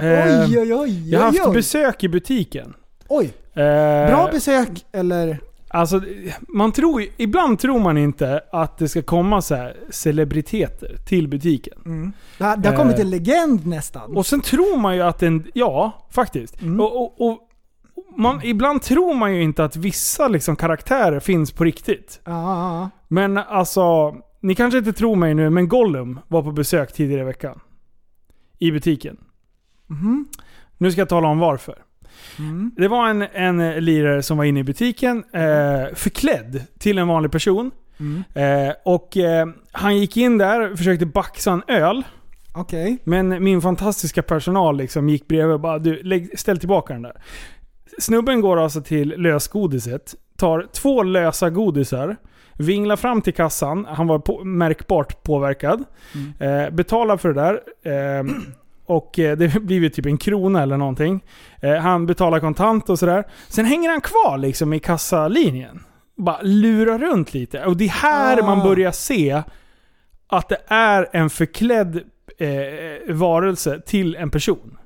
S4: Eh,
S6: Oj, oj, oj.
S4: jag har
S6: oj,
S4: haft
S6: oj.
S4: besök i butiken.
S6: Oj,
S4: Eh,
S6: bra besök eller?
S4: Alltså, man tror, ju- ibland tror man inte att det ska komma så här celebriteter till butiken.
S6: Det har, det har kommit
S4: Eh.
S6: en legend nästan.
S4: Och sen tror man ju att en... Ja, faktiskt. Och, och, och man, ibland tror man ju inte att vissa liksom, karaktärer finns på riktigt.
S6: Ja, ja,
S4: Men alltså, ni kanske inte tror mig nu, men Gollum var på besök tidigare i veckan. I butiken.
S6: Mhm,
S4: Nu ska jag tala om varför. Det var en, en eh, lirare som var inne i butiken, eh, förklädd till en vanlig person. Eh, och eh, Han gick in där och försökte baxa en öl.
S6: ja. Okej.
S4: Men min fantastiska personal liksom gick bredvid och bara du, lägg, ställ tillbaka den där. Snubben går alltså till lösgodiset, tar två lösa godisar, vinglar fram till kassan, han var på, märkbart påverkad,
S6: Mm.
S4: eh, betalar för det där. Eh, och eh, det (laughs) blir ju typ en krona eller någonting. Eh, han betalar kontant och sådär. Sen hänger han kvar liksom i kassalinjen. Bara lurar runt lite. Och det är här
S6: Ah.
S4: man börjar se att det är en förklädd eh, varelse till en person.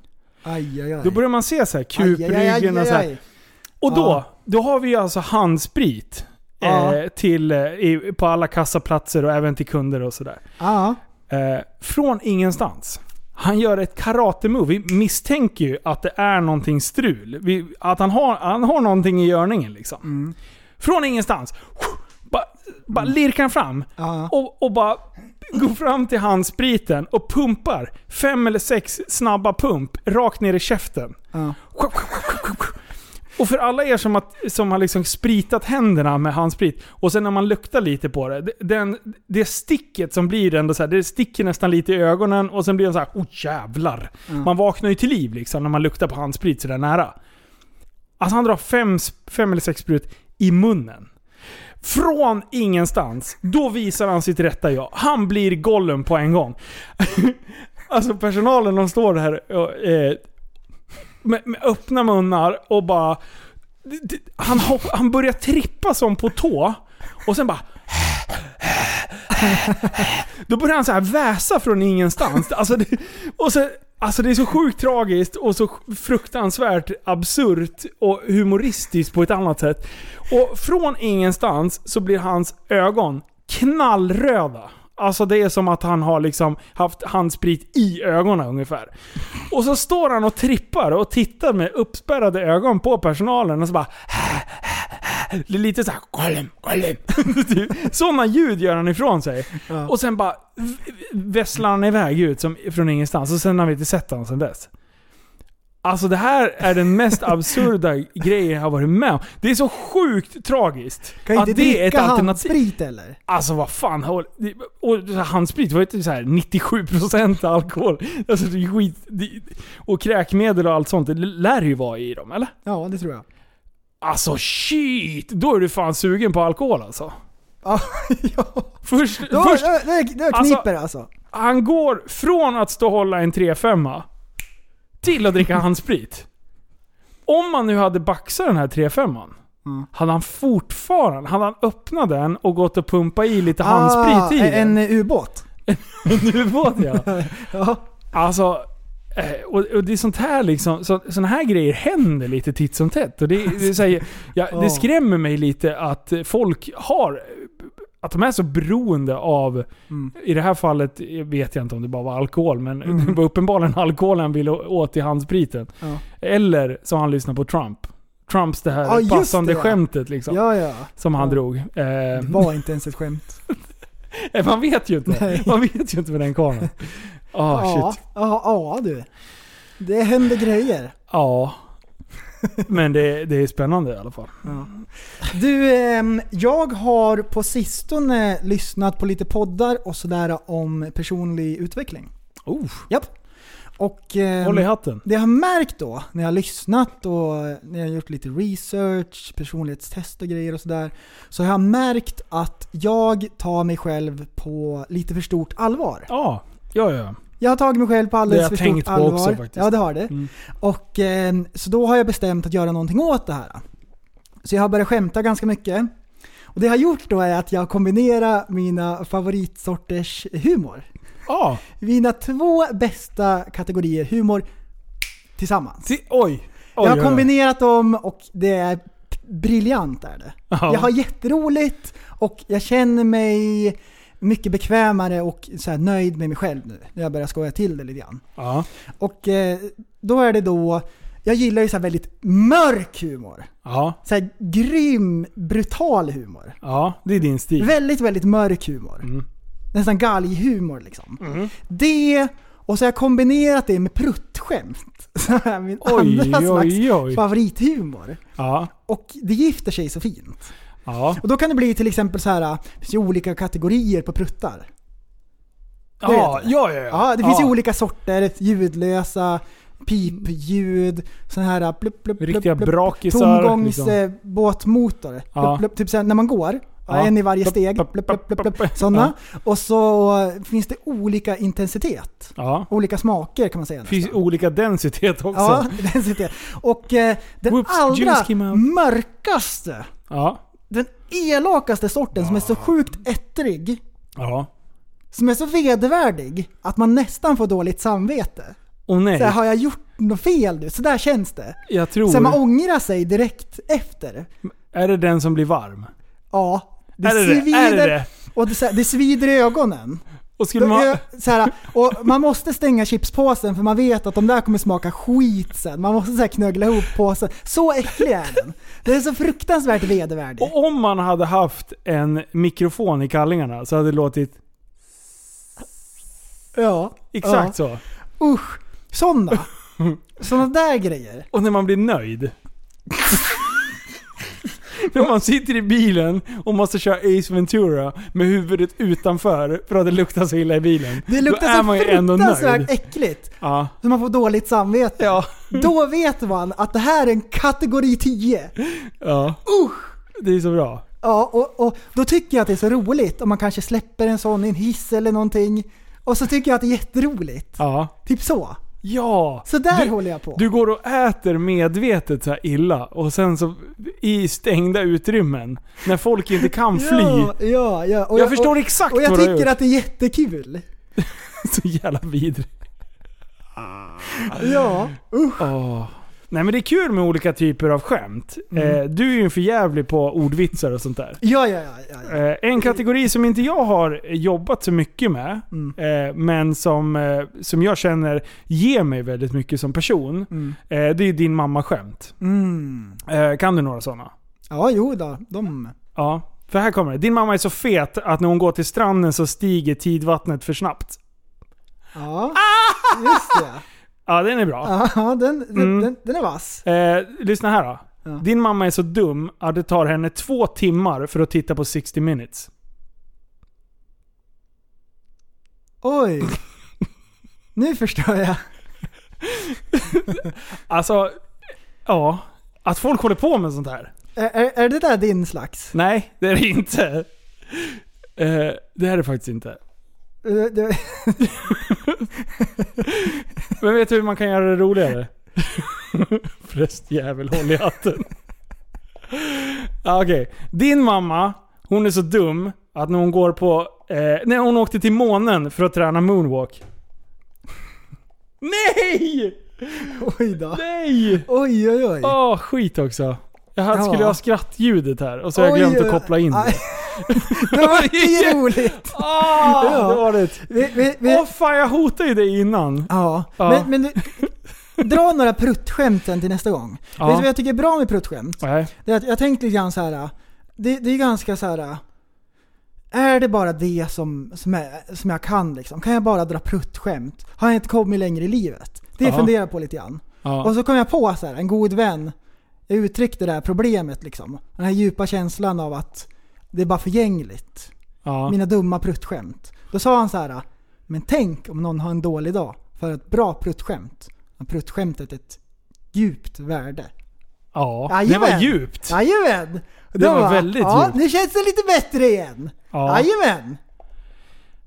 S6: Aj, aj, aj.
S4: Då börjar man se så här kupryggen och så här. Och då,
S6: Ja.
S4: då har vi ju alltså handsprit. Eh,
S6: Ja.
S4: till, eh, i, på alla kassaplatser och även till kunder och sådär.
S6: Ja.
S4: Eh, från ingenstans. Han gör ett karate-move. Vi misstänker ju att det är någonting strul. Vi, att han har, han har någonting i görningen liksom.
S6: Mm.
S4: Från ingenstans. Bara bara lirkar han fram.
S6: Ja.
S4: Och, och bara går fram till handspriten och pumpar fem eller sex snabba pump rakt ner i käften.
S6: Ja.
S4: Och för alla er som har, som har liksom spritat händerna med handsprit och sen när man luktar lite på det. det- Den, det sticket som blir ändå så här, det sticker nästan lite i ögonen och sen blir det så här, oh jävlar. Man vaknar ju till liv liksom när man luktar på handsprit sådär nära. Alltså han drar fem, sp- fem eller sex sprut i munnen. Från ingenstans. Då visar han sitt rätta jag. Han blir Gollum på en gång. (laughs) alltså personalen de står här och, eh, med, med öppna munnar och bara... d- d- Han, hopp, han börjar trippa som på tå och sen bara... Då börjar han så här väsa från ingenstans. Alltså det, och så, alltså det är så sjukt tragiskt och så fruktansvärt absurt och humoristiskt på ett annat sätt. Och från ingenstans så blir hans ögon knallröda. Alltså det är som att han har liksom haft handsprit i ögonen ungefär. Och så står han och trippar och tittar med uppspärrade ögon på personalen och så bara... Det är lite såhär Gollum, Gollum. (laughs) Typ. Sådana ljud gör han ifrån sig. Och sen bara v- vässlar han iväg ut som, från ingenstans och sen har vi inte sett honom sen dess. Alltså det här är den
S6: (laughs)
S4: mest absurda grejen jag har varit med om. Det är så sjukt tragiskt.
S6: Kan inte
S4: att det är ett
S6: dricka
S4: alternativ.
S6: handsprit eller?
S4: Alltså vad fan. håll- det- Och så här, handsprit var ju inte så här 97% alkohol. Alltså det är skit. det- Och kräkmedel och allt sånt. Det lär ju vara i dem, eller?
S6: Ja, det tror jag. (laughs)
S4: Alltså shit! Då är du fan sugen på alkohol alltså.
S6: Ja, ja.
S4: Först,
S6: Då,
S4: först
S6: då, då, då
S4: Alltså-
S6: kniper det alltså.
S4: han går från att stå och hålla en 3-5 till att dricka handsprit. Om man nu hade baxat den här 3-5
S6: Mm.
S4: Hade han fortfarande, hade han öppnat den och gått och pumpat i lite handsprit i
S6: Ah, en
S4: den?
S6: eh, ubåt.
S4: Nu var det ja.
S6: (laughs) Ja.
S4: Alltså, eh, och, och det är sånt här liksom, så, såna här grejer händer lite titt som tätt. Och det, det, säger, ja, det
S6: (laughs) Ja.
S4: skrämmer mig lite att folk har, att de är så beroende av,
S6: Mm.
S4: i det här fallet vet jag inte om det bara var alkohol, men det var (laughs) uppenbarligen alkohol han ville åt i handspriten.
S6: Ja.
S4: Eller så har han lyssnat på Trump. Trumps det här
S6: Ja, just
S4: passande
S6: det, ja.
S4: skämtet liksom,
S6: ja, ja.
S4: som han
S6: Ja.
S4: drog.
S6: Det
S4: Eh,
S6: var inte ens ett skämt.
S4: (laughs) man vet ju inte.
S6: Nej.
S4: Man vet ju inte med den karln. Ah,
S6: ja,
S4: shit.
S6: ja, ja du. Det händer grejer.
S4: Ja. Men det, det är spännande i alla fall.
S6: Du, ehm, jag har på sistone lyssnat på lite poddar och sådär om personlig utveckling.
S4: Oh,
S6: Japp. Och ehm,
S4: håll i hatten.
S6: det jag har märkt då, när jag har lyssnat och eh, när jag har gjort lite research, personlighetstest och grejer och sådär. Så har jag märkt att jag tar mig själv på lite för stort allvar.
S4: Ja, ja, ja.
S6: Jag har tagit mig själv på
S4: Det
S6: alldeles
S4: har
S6: för
S4: jag
S6: stort
S4: tänkt på
S6: allvar.
S4: också faktiskt.
S6: Ja, det har det.
S4: Mm.
S6: Och, eh, så då har jag bestämt att göra någonting åt det här. Så jag har börjat skämta ganska mycket. Och det jag har gjort då är att jag kombinerar mina favoritsorters humor.
S4: ja.
S6: Mina två bästa kategorier humor tillsammans.
S4: Ti- oj. oj.
S6: jag har
S4: oj,
S6: kombinerat dem och det är p- briljant är det.
S4: oj. Ja.
S6: Jag har jätteroligt och jag känner mig mycket bekvämare och så här nöjd med mig själv nu. När jag börjar skoja till det lite grann.
S4: Ja.
S6: Och eh, då är det då, jag gillar ju så här väldigt mörk humor.
S4: ja.
S6: Så här grym, brutal humor.
S4: Ja, det är din stil.
S6: Väldigt, väldigt mörk humor.
S4: Mm.
S6: Nästan galghumor liksom.
S4: Mhm.
S6: Det, och så har jag kombinerat det med pruttskämt. (laughs) Så här, min
S4: Oj,
S6: andra slags
S4: oj, oj.
S6: favorithumor.
S4: Ja.
S6: Och det gifter sig så fint.
S4: Ja.
S6: Och då kan det bli till exempel så här, äh, det finns ju olika kategorier på pruttar. Det
S4: Ja,
S6: vet jag.
S4: ja, ja, ja.
S6: Ja, det finns ju olika sorter, ljudlösa, pipljud, sån här äh, plupp, plupp,
S4: Riktiga
S6: plupp, plupp,
S4: brakisar. liksom.
S6: tomgångsbåtmotor.
S4: Ja.
S6: Plupp, plupp, typ såhär, när man går,
S4: Ja.
S6: en i varje
S4: Plupp,
S6: steg,
S4: plupp,
S6: plupp, plupp,
S4: plupp,
S6: plupp,
S4: plupp.
S6: plupp, sådana. Och så finns det olika intensitet,
S4: Ja.
S6: olika smaker kan man säga.
S4: Det finns
S6: nästan.
S4: olika densitet också.
S6: Ja, (laughs) densitet. Och eh, den
S4: Whoops, juice came
S6: allra
S4: out.
S6: mörkaste,
S4: Ja.
S6: den elakaste sorten som är så sjukt ettrig,
S4: Ja.
S6: som är så vedervärdig att man nästan får dåligt samvete.
S4: Och nej,
S6: Så här, har jag gjort något fel nu? Så där känns det.
S4: jag tror...
S6: Så här, man ångrar sig direkt efter.
S4: Är det den som blir varm?
S6: Ja, det
S4: är det
S6: svider.
S4: det? Är det det?
S6: Och det, så här, det svider i ögonen.
S4: Och skulle
S6: De,
S4: man...
S6: eh, så här, och man måste stänga chipspåsen för man vet att de där kommer smaka skit sen. Man måste så här knögla ihop påsen. Så äcklig är den. Den är så fruktansvärt vedervärdig.
S4: Och om man hade haft en mikrofon i kallingarna så hade det låtit
S6: Ja,
S4: exakt så.
S6: Ja. Usch. Sådana. Sådana där grejer.
S4: Och när man blir nöjd. När man sitter i bilen och måste köra Ace Ventura med huvudet utanför för att det luktar så illa i bilen.
S6: Det
S4: Då
S6: luktar
S4: är man
S6: så
S4: ju ändå
S6: fruktansvärt
S4: nöjd.
S6: äckligt.
S4: Ja.
S6: Så man får dåligt samvete.
S4: Ja.
S6: Då vet man att det här är en kategori 10.
S4: ja. Det är så bra.
S6: Ja, och, och då tycker jag att det är så roligt om man kanske släpper en sån i en hiss eller någonting. Och så tycker jag att det är jätteroligt.
S4: Ja.
S6: Typ så.
S4: Ja!
S6: Så där
S4: du,
S6: håller jag på.
S4: Du går och äter medvetet så här illa och sen så i stängda utrymmen när folk inte kan fly.
S6: Ja, ja, ja. Och
S4: jag, förstår exakt
S6: Och, och jag
S4: vad du har
S6: tycker
S4: gjort.
S6: att det är jättekul.
S4: (laughs) Så jävla vidrig.
S6: Ja. Usch.
S4: Åh. Nej men det är kul med olika typer av skämt.
S6: Mm.
S4: Eh, du är ju en förjävlig på ordvitsar och sånt där.
S6: Ja, ja, ja. ja, ja.
S4: Eh, en kategori som inte jag har jobbat så mycket med,
S6: Mm.
S4: eh, men som, eh, som jag känner ger mig väldigt mycket som person,
S6: Mm.
S4: eh, det är din mamma-skämt.
S6: Mm.
S4: Eh, kan du några sådana?
S6: Ja, jo då. De...
S4: Ja, för här kommer det. Din mamma är så fet att när hon går till stranden så stiger tidvattnet för snabbt.
S6: Ja. Just det.
S4: Ja, den är bra.
S6: Ja, den, den,
S4: Ah! Mm.
S6: den, den är vass.
S4: Eh, lyssna här då.
S6: Ja.
S4: Din mamma är så dum att det tar henne två timmar för att titta på 60 minutes.
S6: Oj. Nu förstår jag.
S4: Alltså, ja. Att folk håller på med sånt här.
S6: Är, är, är det där din slags?
S4: Nej, det är det inte. Eh, det är det faktiskt inte.
S6: Eh, det- (laughs)
S4: Men vet du hur man kan (laughs) göra det roligare? Prästjävel, håll i hatten. Ja, Okej. Din mamma, hon är så dum att när hon går på... Eh, nej, hon åkte till månen för att träna moonwalk. Nej!
S6: Oj då.
S4: Nej!
S6: Oj, oj, oj.
S4: Åh, skit också. Jag hade,
S6: Ja.
S4: skulle ha skrattljudet här och så har jag
S6: Oj,
S4: glömt
S6: oj,
S4: att koppla in det. (laughs)
S6: aj. Det var ju roligt.
S4: Ah,
S6: Ja.
S4: det var det.
S6: Vi, vi, vi,
S4: Åh fan, jag hotade ju dig innan.
S6: Ja,
S4: Ja.
S6: men, men du- dra några pruttskämt sen till nästa gång.
S4: Ja.
S6: Vet du vad jag tycker är bra med pruttskämt?
S4: Nej.
S6: Det är att jag tänkte lite grann så här. Det, det är ganska så här. Är det bara det som, som, är, som jag kan liksom? Kan jag bara dra pruttskämt? Har jag inte kommit längre i livet? Det
S4: Ja.
S6: funderar jag på lite grann.
S4: Ja.
S6: Och så kom jag på så här, en god vän jag uttryckte det här problemet liksom. Den här djupa känslan av att det är bara förgängligt
S4: Ja.
S6: mina dumma pruttskämt. Då sa han så här. Men tänk om någon har en dålig dag för ett bra pruttskämt. Men Pruttskämtet är ett djupt värde.
S4: ja. Det var
S6: Jajamän.
S4: djupt.
S6: Jajamän! Och
S4: Det
S6: då
S4: var
S6: bara,
S4: väldigt
S6: Ja,
S4: djupt.
S6: nu känns det lite bättre igen.
S4: Ja.
S6: Jajamän!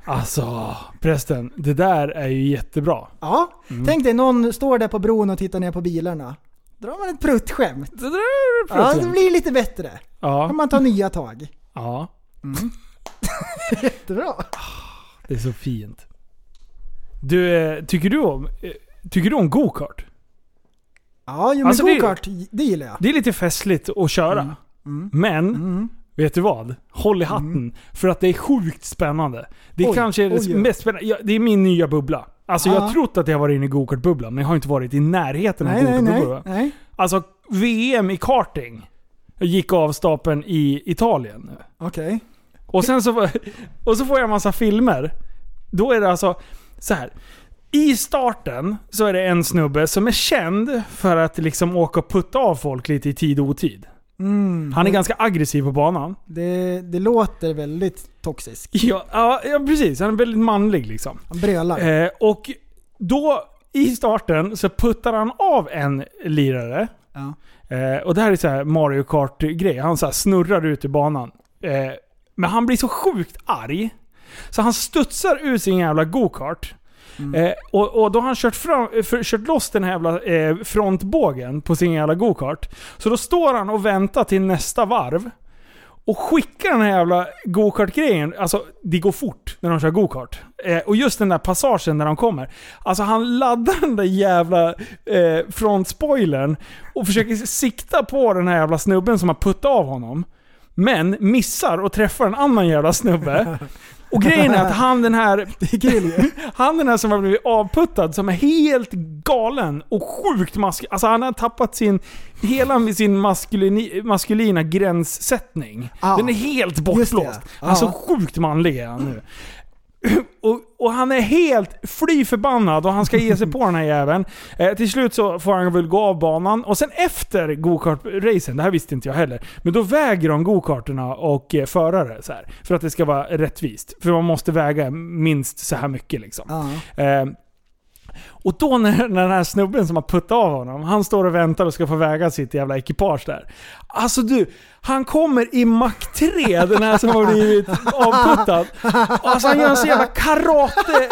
S4: Alltså, prästen. Det där är ju jättebra.
S6: Ja.
S4: Mm.
S6: Tänk dig någon står där på bron och tittar ner på bilarna. Drar man ett pruttskämt.
S4: Det där är Alltså,
S6: Ja, det
S4: prästen.
S6: blir lite bättre. Då kan
S4: Ja.
S6: man ta nya tag.
S4: ja.
S6: Det är bra.
S4: Det är så fint. Du, eh, tycker du om, eh, tycker du om go-kart?
S6: Ja, jo, men
S4: Alltså, det-
S6: go-kart, det... gillar jag.
S4: Det är lite festligt att köra.
S6: Mm.
S4: Men, vet du vad? Håll i hatten. För att det är sjukt spännande. Det är
S6: Oj,
S4: kanske det
S6: oj, oj.
S4: mest spännande. Ja, det är min nya bubbla. Alltså jag
S6: Ah.
S4: har trott att jag har varit inne i gokartbubblan, men jag har inte varit i närheten av
S6: Nej, nej,
S4: gokartbubblan.
S6: nej. nej.
S4: Alltså VM i karting gick av stapeln i Italien nu.
S6: Okej.
S4: Och sen så, och så får (laughs) jag massa filmer. Då är det alltså så här. I starten så är det en snubbe som är känd för att liksom åka och putta av folk lite i tid och otid.
S6: Mm.
S4: Han är ganska aggressiv på banan.
S6: Det, det låter väldigt toxiskt.
S4: Ja, ja, ja precis. Han är väldigt manlig liksom.
S6: Han brölar.
S4: Eh, och då i starten så puttar han av en lirare.
S6: Ja.
S4: Eh, och det här är så här Mario Kart-grej. Han så här snurrar ut i banan. Eh, men han blir så sjukt arg. Så han studsar ur sin jävla go-kart. Eh, och, och då har han kört, fram, eh, för, kört loss den här jävla eh, frontbågen på sin jävla go-kart. Så då står han och väntar till nästa varv. Och skickar den här jävla go-kart-grejen. Alltså, det går fort när de kör go-kart. Eh, och just den där passagen när de kommer. Alltså han laddar den där jävla eh, frontspoilern och försöker sikta på den här jävla snubben som har puttat av honom. Men missar och träffar en annan jävla snubbe. Och grejen är att han den
S6: (laughs)
S4: här... han den här som har blivit avputtad, som är helt galen och sjukt maskulin. Alltså han har tappat sin... Hela sin maskulini, maskulina gränssättning.
S6: Ja.
S4: Den är helt bortblåst.
S6: Ja.
S4: Han är så sjukt manlig är han nu. Och, och han är helt fly förbannad och han ska ge sig på den här jäveln. Eh, till slut så får han väl gå av banan och sen efter gokart-racen, det här visste inte jag heller, men då väger de gokarterna och eh, förare så här, För att det ska vara rättvist. För man måste väga minst så här mycket liksom.
S6: Ja.
S4: Eh, och då när, när den här snubben som har puttat av honom, han står och väntar och ska få väga sitt jävla ekipage där. Alltså du, han kommer i Mac 3, den här som har blivit avputtad. Alltså han gör en så jävla karate...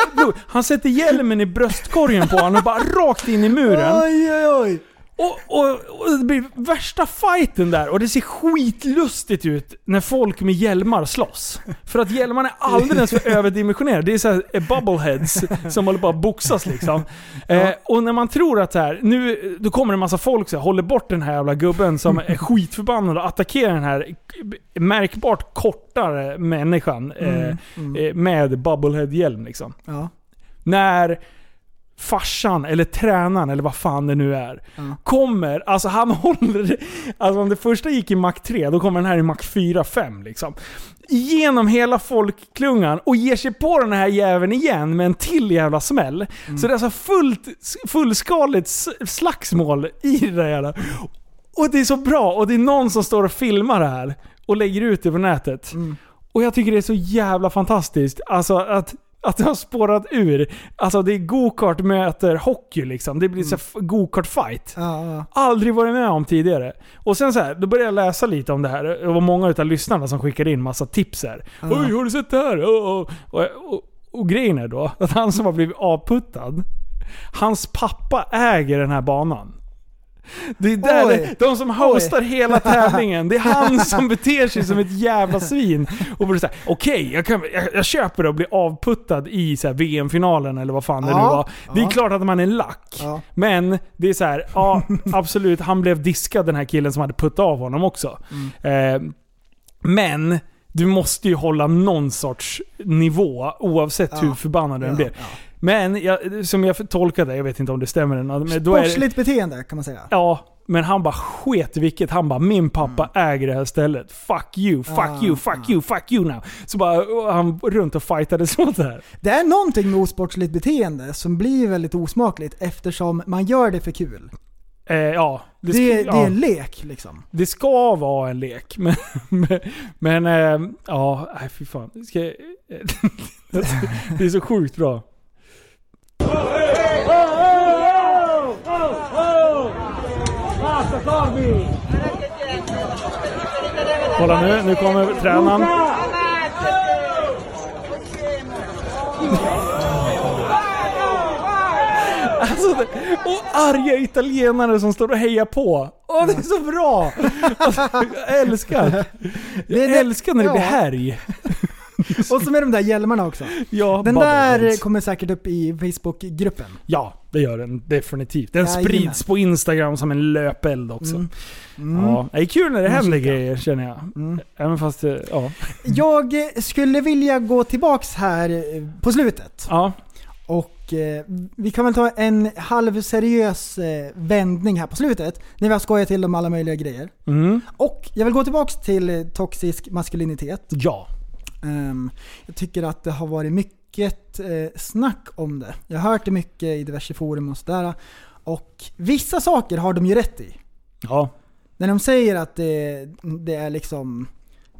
S4: Han sätter hjälmen i bröstkorgen på honom och bara rakt in i muren.
S6: Oj, oj, oj.
S4: Och, och, och det blir värsta fighten där och det ser skitlustigt ut när folk med hjälmar slåss. För att hjälmarna är alldeles för överdimensionerade. Det är såhär eh, bubbleheads som håller på att boxas liksom. Eh, och när man tror att så här, nu då kommer det en massa folk som håller bort den här jävla gubben som är skitförbannad och attackerar den här k- märkbart kortare människan eh, eh, med bubblehead-hjälm liksom
S6: Ja.
S4: när farsan eller tränaren eller vad fan det nu är kommer. Alltså han (laughs) håller... Alltså om det första gick i Mac 3, då kommer den här i Mac 4, 5 liksom. Genom hela folkklungan och ger sig på den här jäveln igen med en till jävla smäll. Så det är alltså fullt, fullskaligt s- slagsmål i det där jävla... Och det är så bra och det är någon som står och filmar det här och lägger ut det på nätet. Och jag tycker det är så jävla fantastiskt. Alltså att, att det har spårat ur. Alltså det är go-kart möter hockey liksom. Det blir så här f- go-kart fight.
S6: Ja, ja.
S4: Aldrig varit med om tidigare. Och sen så här, då började jag läsa lite om det här. Det var många utav lyssnarna som skickade in massa tips här. Oj, har du sett det här? Oh, oh. Och, och, och grejen är då att han som har blivit avputtad, hans pappa äger den här banan. Det är där
S6: Oj.
S4: det, de som hostar hela tävlingen, det är
S6: (laughs)
S4: han som beter sig som ett jävla svin. Och blir såhär, okej, jag, kan- jag, jag köper att bli avputtad i så här VM-finalen eller vad fan det
S6: Ja,
S4: nu var. Det är
S6: ja.
S4: klart att man är lack.
S6: Ja.
S4: Men det är så här, ja
S6: (laughs)
S4: absolut, han blev diskad den här killen som hade puttat av honom också.
S6: Mm.
S4: Eh, men du måste ju hålla någon sorts nivå oavsett hur förbannad den blir. Men jag, som jag tolkade, jag vet inte om det stämmer. eller något, Men då är det,
S6: Sportsligt beteende kan man säga.
S4: ja, men han bara sket i vilket. Han bara min pappa äger det här stället. Fuck you, fuck
S6: Mm. Ah,
S4: you, fuck you, fuck you now. Så bara och han runt och (laughs) fightades mot det här.
S6: Det är någonting med osportsligt beteende som blir väldigt osmakligt eftersom man gör det för kul.
S4: Eh, ja, det,
S6: Det, det,
S4: sk-
S6: är
S4: ja.
S6: en
S4: (laughs)
S6: lek liksom.
S4: Det ska vara en lek, (laughs) men... men- Men, eh, ja, nej fy fan. Ska, jag- (laughs) det är så sjukt bra. Kolla nu, nu kommer tränaren. (laughs) Alltså, det- och arga italienare som står och hejar på. Åh, det är så bra! Alltså, jag älskar. Jag
S6: det-
S4: älskar när det blir
S6: ja.
S4: härj.
S6: Och så med de där hjälmarna också.
S4: Ja,
S6: Den
S4: bubble
S6: där
S4: heads.
S6: kommer säkert upp i Facebookgruppen.
S4: Ja, det gör den definitivt. Den
S6: Jajamän.
S4: sprids på Instagram som en löpeld också.
S6: Mm.
S4: Ja, det är kul när det händer grejer känner jag. Även fast det- ja.
S6: Jag eh, skulle vilja gå tillbaks här eh, på slutet.
S4: ja.
S6: Och eh, vi kan väl ta en halvseriös eh, vändning här på slutet. När vi har skojat till dem alla möjliga grejer.
S4: Mm.
S6: Och jag vill gå tillbaks till eh, toxisk maskulinitet.
S4: Ja.
S6: Ehm, jag tycker att det har varit mycket eh, snack om det. Jag har hört det mycket i diverse forum och sådär. Och vissa saker har de ju rätt i.
S4: Ja.
S6: När de säger att det, det är liksom,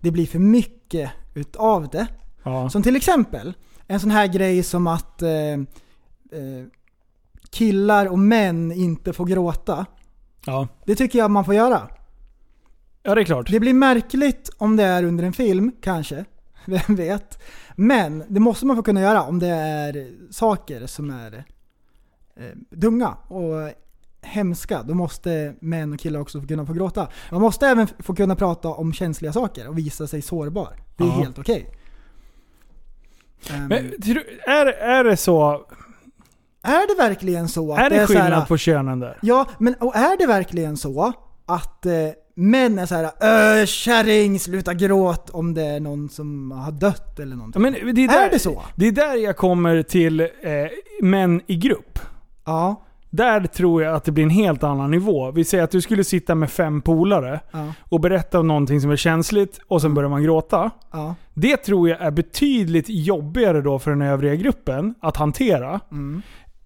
S6: det blir för mycket utav det.
S4: Ja.
S6: Som till exempel en sån här grej som att eh, eh, killar och män inte får gråta.
S4: ja.
S6: Det tycker jag man får göra.
S4: Ja, det är klart.
S6: Det blir märkligt om det är under en film, kanske. (laughs) Vem vet? Men det måste man få kunna göra om det är saker som är eh, dumma och hemska. Då måste män och killar också få kunna få gråta. Man måste även få kunna prata om känsliga saker och visa sig sårbar. Det är
S4: Ja.
S6: helt okej. Ehm,
S4: Men, tror du- är, är det så?
S6: är det verkligen så att
S4: Är det
S6: så här-
S4: skillnad på könen där?
S6: Ja, men och är det verkligen så att eh, män är så här "Öh, kärring, sluta gråt om det är någon som har dött eller
S4: Ja,
S6: någonting?
S4: Men det är, där,
S6: Är det så?
S4: Det är där jag kommer till eh, män i grupp.
S6: Ja.
S4: Där tror jag att det blir en helt annan nivå. Vi säger att du skulle sitta med fem polare
S6: Ja.
S4: och berätta om någonting som är känsligt och sen börjar man gråta.
S6: ja.
S4: Det tror jag är betydligt jobbigare då för den övriga gruppen att hantera.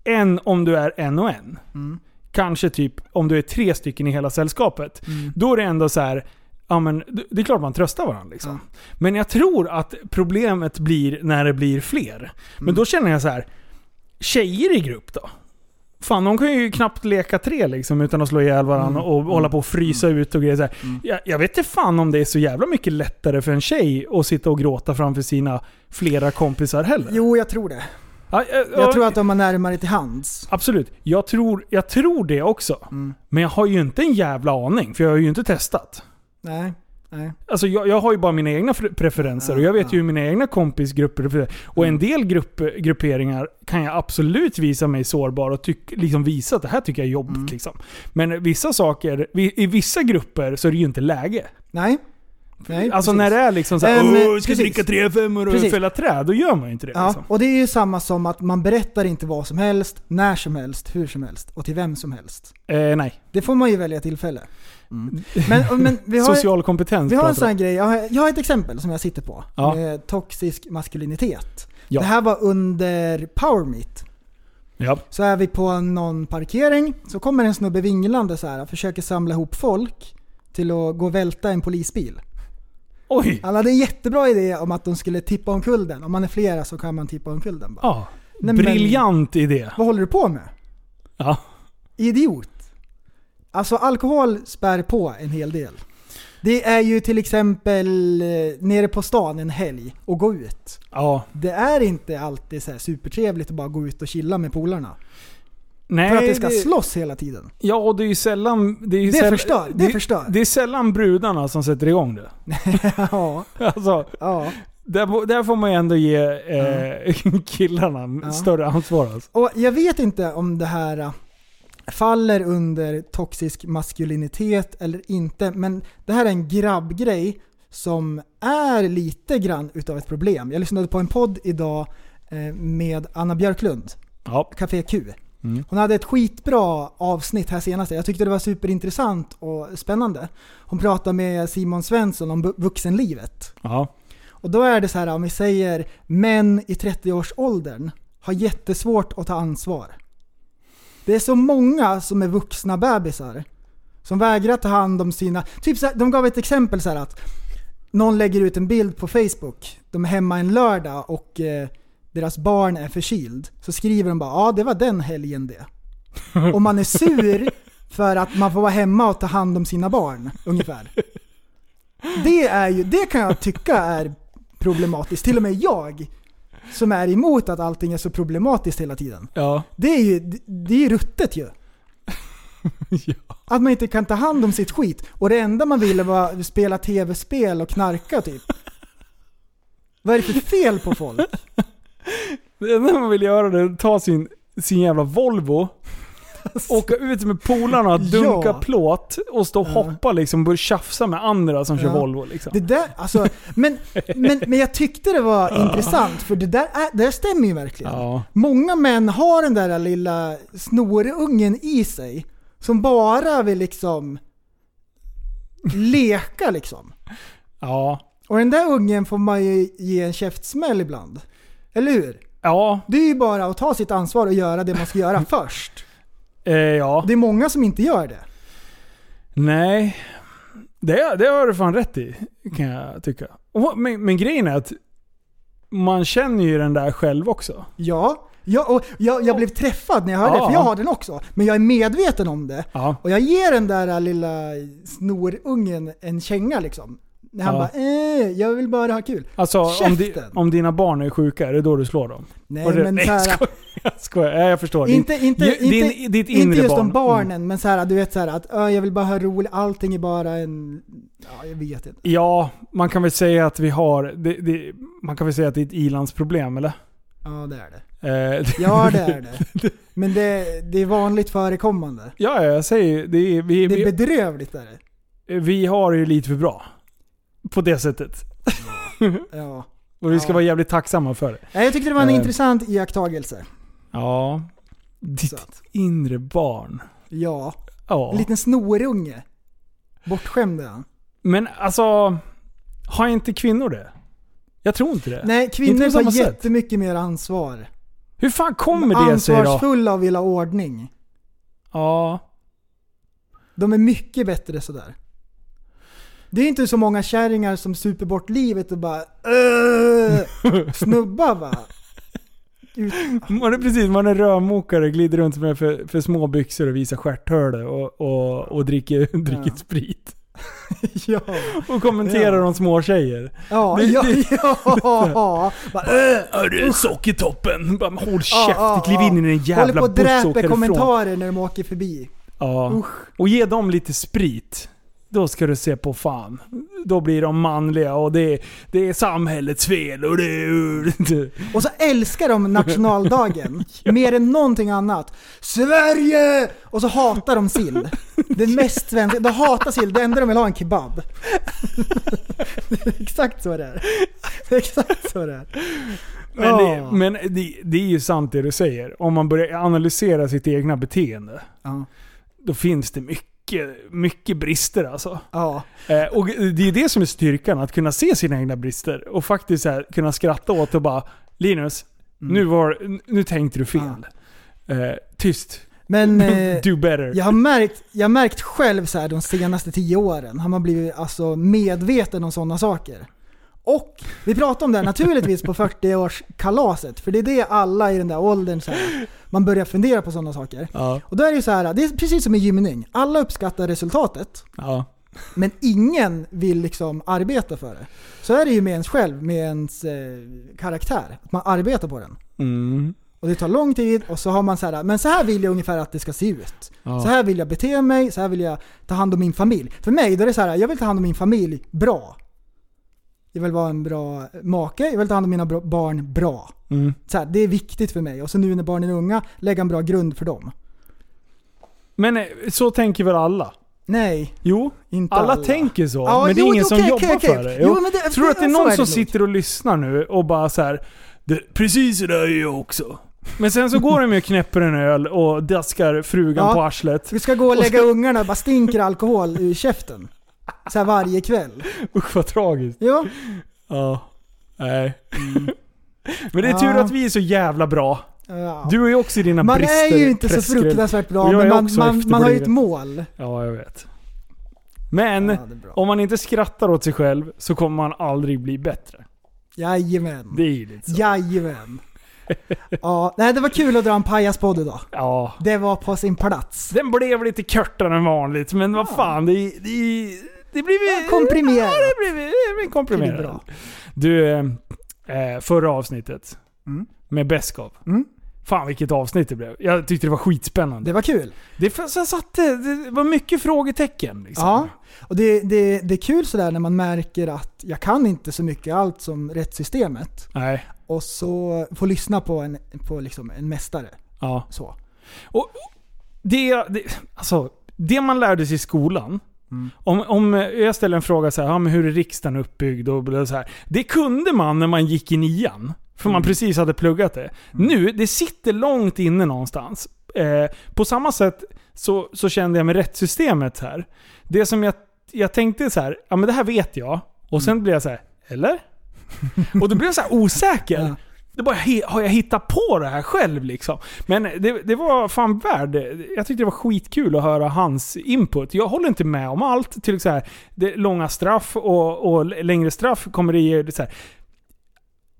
S4: Än om du är en och en.
S6: Mm.
S4: Kanske typ om du är tre stycken i hela sällskapet.
S6: Mm.
S4: Då är det ändå så här. Ja, men det är klart man tröstar varandra. Liksom. Men jag tror att problemet blir när det blir fler.
S6: Mm.
S4: Men då känner jag så här. Tjejer i grupp då? Fan, de kan ju knappt leka tre liksom utan att slå ihjäl varandra
S6: Mm.
S4: och hålla på och frysa ut och grejer. Så här. Jag, jag vet inte fan om det är så jävla mycket lättare för en tjej att sitta och gråta framför sina flera kompisar heller.
S6: Jo, jag tror det.
S4: Ja, ja, ja,
S6: Jag tror att de har närmare till hands.
S4: Absolut. Jag tror, jag tror det också.
S6: Mm.
S4: Men jag har ju inte en jävla aning, för jag har ju inte testat.
S6: Nej. Nej.
S4: Alltså jag, jag har ju bara mina egna fre- preferenser och jag vet ju hur mina egna kompisgrupper prefererar. Och
S6: Mm.
S4: en del grupp, grupperingar kan jag absolut visa mig sårbar och tyck, liksom visa att det här tycker jag är jobbigt.
S6: Mm.
S4: Liksom. Men vissa saker, vi- i vissa grupper så är det ju inte läge.
S6: Nej. Nej
S4: alltså
S6: precis.
S4: när det är liksom såhär
S6: Men,
S4: Åh, jag ska
S6: precis.
S4: dricka tre femmor och
S6: Precis.
S4: fälla träd, då gör man ju inte det.
S6: Ja,
S4: Liksom.
S6: och det är ju samma som att man berättar inte vad som helst, när som helst, hur som helst och till vem som helst.
S4: Eh, nej.
S6: Det får man ju välja tillfälle. Mm. Men, men
S4: (laughs)
S6: vi har,
S4: Mm. Social kompetens
S6: Vi har en
S4: pratar
S6: sån
S4: vi
S6: här
S4: om.
S6: grej, jag har, jag har ett exempel som jag sitter på.
S4: Ja.
S6: Med toxisk maskulinitet.
S4: Ja.
S6: Det här var under Power Meet.
S4: Ja.
S6: Så är vi på någon parkering, så kommer en snubbe vinglande så här och försöker samla ihop folk till att gå och välta en polisbil.
S4: Oj!
S6: Han hade en jättebra idé om att de skulle tippa omkull den. Om man är flera så kan man tippa omkull den. Bara,
S4: Ja.
S6: Nej, men-
S4: Ah, Briljant idé.
S6: Vad håller du på med?
S4: Ja.
S6: Idiot. Alltså alkohol spär på en hel del. Det är ju till exempel eh, nere på stan en helg och gå ut.
S4: ja.
S6: det är inte alltid så här supertrevligt att bara gå ut och chilla med polarna.
S4: Nej,
S6: För att det ska
S4: det-
S6: slåss hela tiden.
S4: Ja, och det är ju sällan... Det, är ju
S6: Det
S4: säll-
S6: förstör, det förstör.
S4: Det är sällan brudarna som sätter igång det.
S6: (laughs) Ja,
S4: Alltså,
S6: ja.
S4: där, där får man ju ändå ge eh, (laughs) killarna
S6: Ja.
S4: större ansvar alltså.
S6: Och jag vet inte om det här äh, faller under toxisk maskulinitet eller inte, men det här är en grabbgrej som är lite grann utav ett problem. Jag lyssnade på en podd idag eh, med Anna Björklund,
S4: Ja.
S6: Café Q.
S4: Mm.
S6: Hon hade ett skitbra avsnitt här senaste. Jag tyckte det var superintressant och spännande. Hon pratade med Simon Svensson om bu- vuxenlivet.
S4: ja.
S6: Och då är det så här om vi säger män i 30-årsåldern har jättesvårt att ta ansvar. Det är så många som är vuxna bebisar som vägrar ta hand om sina... Typ så här, de gav ett exempel så här att någon lägger ut en bild på Facebook. De är hemma en lördag och eh, deras barn är förkyld. Så skriver de bara ja det var den helgen det. Och man är sur för att man får vara hemma och ta hand om sina barn, ungefär. Det, är ju, det kan jag tycka är problematiskt. Till och med jag som är emot att allting är så problematiskt hela tiden.
S4: Ja.
S6: Det är ju det- det är ju ruttet ju.
S4: Ja.
S6: Att man inte kan ta hand om sitt skit. Och det enda man ville var spela tv-spel och knarka typ. Vad är det för fel på folk?
S4: Det enda man vill göra det är att ta sin, sin jävla
S6: (laughs)
S4: Volvo, åka ut med polarna och dunka
S6: Ja.
S4: plåt och stå och hoppa liksom och börja tjafsa med andra som kör
S6: Ja.
S4: Volvo. Liksom.
S6: Det där, alltså, men, men, men jag tyckte det var intressant för det där, är, det där stämmer ju verkligen.
S4: Ja.
S6: Många män har den där lilla snorungen i sig som bara vill liksom leka liksom.
S4: Ja.
S6: Och den där ungen får man ju ge en käftsmäll ibland. Eller hur?
S4: Ja.
S6: Det är ju bara att ta sitt ansvar och göra det man
S4: (laughs)
S6: ska göra först.
S4: Eh, ja.
S6: Det är många som inte gör det.
S4: Nej. Det, det har du fan rätt i, kan jag tycka. Och, men, men grejen är att man känner ju den där själv också.
S6: Ja, jag, och jag, jag blev träffad när jag hörde det,
S4: Ja.
S6: för jag har den också. Men jag är medveten om det.
S4: Ja.
S6: Och jag ger den där lilla snorungen en känga liksom. När han
S4: Ja.
S6: bara eh, jag vill bara ha kul.
S4: Alltså om, di,
S6: Käften.
S4: om dina barn är sjuka, är det då du slår dem?
S6: Nej
S4: Och det,
S6: men
S4: nej,
S6: såhär,
S4: skojar, jag skojar. Nej, jag förstår.
S6: inte, inte,
S4: ju-
S6: inte,
S4: din, Mm. ditt inre
S6: inte just
S4: barn.
S6: om barnen, men såhär, du vet såhär att "Ö, jag vill bara ha roligt, allting är bara en... Ja, jag vet inte.
S4: Ja, man kan väl säga att vi har... Det, det, man kan väl säga att det är ett ilandsproblem, eller?
S6: Ja, det är det.
S4: Eh, det- (laughs)
S6: Ja, det är det. Men det, det är vanligt förekommande.
S4: ja, jag säger ju, det. är- Vi,
S6: Det är
S4: vi,
S6: bedrövligt är det.
S4: vi har det ju lite för bra. På det sättet.
S6: Ja.
S4: Och vi ska
S6: Ja.
S4: vara jävligt tacksamma för det.
S6: Nej, Jag tyckte det var en
S4: Eh.
S6: intressant iakttagelse.
S4: Ja. Ditt
S6: Så att,
S4: inre barn.
S6: ja,
S4: Ja.
S6: en liten snorunge. Bortskämd är han.
S4: Men alltså, har inte kvinnor det? Jag tror inte det.
S6: Nej,
S4: Inte
S6: kvinnor
S4: på samma
S6: tar
S4: sätt.
S6: jättemycket mer ansvar.
S4: Hur fan kommer det sig då?
S6: Ansvarsfulla och vill ha ordning.
S4: Ja.
S6: De är mycket bättre sådär. Det är inte så många kärringar som super bort livet och bara "Åh!"
S4: (laughs)
S6: Snubbar va? Ut,
S4: Man är precis, man är rörmokare, glider runt med för, för små byxor och visar stjärthålor och, och, och dricker, (laughs) dricker sprit.
S6: ja.
S4: Och kommenterar
S6: Ja.
S4: om små tjejer.
S6: Ja,
S4: Det-
S6: ja,
S4: det-
S6: (laughs)
S4: (laughs)
S6: ja. Bara, "Åh!"
S4: Hörru, sockertoppen! Bara, Håll
S6: Ja, ja,
S4: käften, kliv
S6: ja.
S4: in i den
S6: Håller på
S4: jävla
S6: och
S4: bussen och åker
S6: dräper
S4: ifrån.
S6: kommentarer när de åker förbi.
S4: Ja. Och ge dem lite sprit. Då ska du se på fan. Då blir de manliga och det är, det är samhällets fel och det är...
S6: Och så älskar de nationaldagen mer än någonting annat. Sverige! Och så hatar de sill. Det mest svenska. De hatar sill. Det enda de vill ha är en kebab. (laughs) Det är Exakt så det är. Det är Exakt så det är.
S4: (laughs) Men,
S6: Ja.
S4: det, men det, det är ju sant det du säger. Om man börjar analysera sitt egna beteende,
S6: Ja.
S4: då finns det mycket, mycket brister alltså.
S6: Ja.
S4: Eh, och det är ju det som är styrkan, att kunna se sina egna brister och faktiskt så här, kunna skratta åt och bara Linus,
S6: Mm.
S4: nu, var, nu tänkte du fel. Eh, tyst.
S6: Men eh,
S4: Do better.
S6: jag har märkt, jag har märkt själv så här de senaste tio åren har man blivit alltså medveten om sådana saker. Och vi pratade om det här naturligtvis på 40-årskalaset, för det är det alla i den där åldern så här, man börjar fundera på sådana saker.
S4: Ja,
S6: Och då är det ju så här, det är precis som i gymning. Alla uppskattar resultatet,
S4: ja.
S6: men ingen vill liksom arbeta för det. Så är det ju med ens själv, med ens eh, karaktär. Att man arbetar på den.
S4: Mm.
S6: Och Och det tar lång tid och så har man så här, men så här vill jag ungefär att det ska se ut.
S4: Ja.
S6: Så här vill jag bete mig, så här vill jag ta hand om min familj. För mig då är det så här, jag vill ta hand om min familj bra. Jag vill vara en bra make, jag vill ta hand om mina bra- barn bra.
S4: Mm.
S6: Så här, det är viktigt för mig. Och så nu när barnen är unga, lägga en bra grund för dem.
S4: Men eh, så tänker väl alla?
S6: Nej,
S4: Jo,
S6: inte
S4: alla,
S6: alla.
S4: tänker så.
S6: Ja,
S4: men det är
S6: jo,
S4: ingen
S6: jo,
S4: som
S6: okej,
S4: jobbar
S6: okej,
S4: för
S6: okej.
S4: det.
S6: Jo,
S4: Jo,
S6: men det-
S4: Tror du att det är
S6: så
S4: någon
S6: är det
S4: som
S6: nog.
S4: sitter och lyssnar nu och bara så här. Det, precis det där är jag också. Men sen så går de ju och knäpper en öl och daskar frugan
S6: Ja.
S4: på arslet.
S6: vi ska gå och lägga ungarna och bara stinker alkohol ur käften. Så här varje kväll.
S4: Usch vad tragiskt.
S6: Ja,
S4: Ja. Nej. (laughs) Men det är tur
S6: Mm. Ja.
S4: att vi är så jävla bra.
S6: ja.
S4: Du är ju också i dina
S6: Man
S4: brister.
S6: är ju inte så
S4: träskruv.
S6: fruktansvärt
S4: Och
S6: bra,
S4: jag
S6: men
S4: är
S6: man,
S4: också
S6: man, man har ju ett
S4: efterbliven.
S6: mål.
S4: Ja, jag vet. Men
S6: Ja, det är bra.
S4: om man inte skrattar åt sig själv så kommer man aldrig bli bättre.
S6: Jajamän.
S4: Det är ju lite så.
S6: Jajamän. Ja, nej, det var kul att dra en pajaspodd idag.
S4: Ja.
S6: Det var på sin plats.
S4: Den blev lite kortare än vanligt, men vad fan. Det, det, det blev ju...
S6: Komprimerat.
S4: Ja, det blev, det blev komprimerat.
S6: Det blir bra.
S4: Du, eh, förra avsnittet med Beskov.
S6: Mm.
S4: Fan vilket avsnitt det blev. Jag tyckte det var skitspännande.
S6: Det var kul.
S4: Det, det, så satt det, det var mycket frågetecken. Liksom.
S6: Ja, och det, det, det är kul sådär när man märker att jag kan inte så mycket allt som rättssystemet.
S4: Nej.
S6: Och så få lyssna på en, på liksom en mästare.
S4: Ja.
S6: Så.
S4: Och det, det, alltså, det man lärde sig i skolan. Om, om jag ställer en fråga så här, ja, men hur är riksdagen uppbyggd? Och bla- så här, det kunde man när man gick i nian. För man precis hade pluggat det. Nu, det sitter långt inne någonstans. Eh, på samma sätt så, så kände jag med rättssystemet här. Det som jag, jag tänkte så här, ja men det här vet jag. Och sen blev jag så här, eller? (laughs) Och då blev jag så här osäker.
S6: Ja.
S4: Det bara, he- har jag hittat på det här själv liksom? Men det, det var fan värd Jag tyckte det var skitkul att höra hans input. Jag håller inte med om allt. Till exempel så här, det, långa straff och, och längre straff kommer det ge. Så här.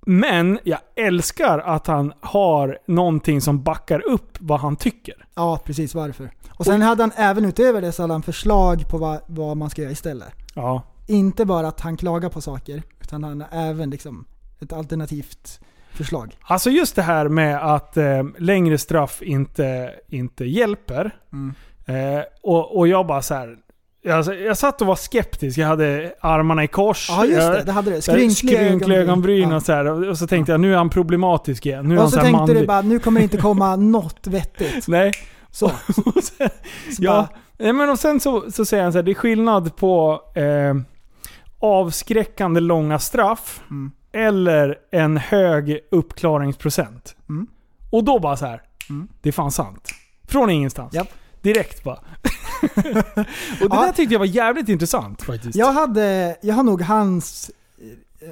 S4: Men jag älskar att han har någonting som backar upp vad han tycker.
S6: Ja, precis varför. Och sen hade han även utöver det så hade han förslag på vad, vad man ska göra istället.
S4: Ja.
S6: Inte bara att han klagar på saker, utan han har även liksom ett alternativt förslag.
S4: Alltså just det här med att eh, längre straff inte, inte hjälper.
S6: Mm.
S4: Eh, och, och jag bara så här. Jag, jag satt och var skeptisk. Jag hade armarna i kors.
S6: Ja just det,
S4: Jag-
S6: det hade du.
S4: så här,
S6: Skrynkliga
S4: skrynkliga ögonbryn och
S6: Ja.
S4: så här. Och och så tänkte jag, nu är han problematisk igen. Nu är han
S6: Och
S4: så
S6: så
S4: här
S6: tänkte
S4: manlig.
S6: du bara, nu kommer det inte komma (laughs) något vettigt.
S4: Nej. (laughs)
S6: Så.
S4: Och sen, ja. Nej, men och sen så, så säger han så här, det är skillnad på eh, avskräckande långa straff
S6: Mm.
S4: eller en hög uppklaringsprocent.
S6: Mm.
S4: Och då bara så här,
S6: Mm.
S4: det är fan sant. Från ingenstans.
S6: Japp.
S4: Direkt bara. (laughs) och det
S6: Ja.
S4: där tyckte jag var jävligt intressant faktiskt.
S6: Jag, hade, jag har nog hans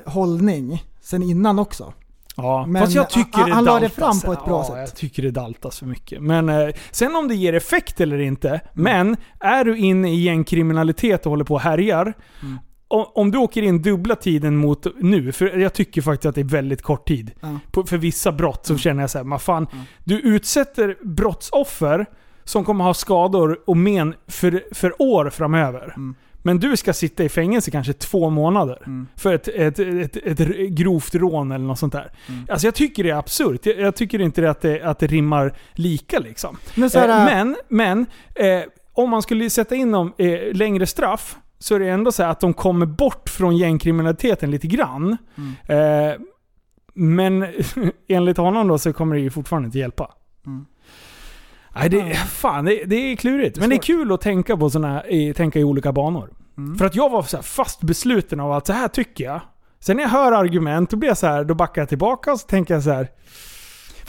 S6: eh, hållning sen innan också.
S4: Ja,
S6: Men
S4: fast jag tycker
S6: han-
S4: det
S6: han la det
S4: daltas.
S6: fram på ett bra
S4: ja,
S6: sätt.
S4: jag tycker det daltas för mycket. Men eh, sen om det ger effekt eller
S6: Mm.
S4: inte. Men är du inne i en kriminalitet och håller på och härjar.
S6: Mm.
S4: o- Om du åker in dubbla tiden mot nu, för jag tycker faktiskt att det är väldigt kort tid.
S6: Ja. Mm.
S4: På, för vissa brott så känner jag så här, "Ma fan, du utsätter brottsoffer som kommer ha skador och men för, för år framöver.
S6: Mm.
S4: Men du ska sitta i fängelse kanske två månader för ett, ett, ett, ett, r- grovt rån eller något sånt där. Alltså jag tycker det är absurt. Jag, jag tycker inte att det, att det rimmar lika liksom.
S6: Men så här, äh,
S4: eh, men men eh, om man skulle sätta in dem eh, längre straff så är det ändå så här att de kommer bort från gängkriminaliteten lite grann.
S6: Mm.
S4: Eh, men (laughs) enligt honom då så kommer det ju fortfarande inte hjälpa.
S6: Mm.
S4: Nej, det, fan, det, det är klurigt. Men det är kul att tänka, på såna, i, tänka i olika banor.
S6: Mm.
S4: För att jag var så här fast besluten av att så här tycker jag. Sen när jag hör argument, då blir jag så här, då backar jag tillbaka och så tänker jag så här. Fan,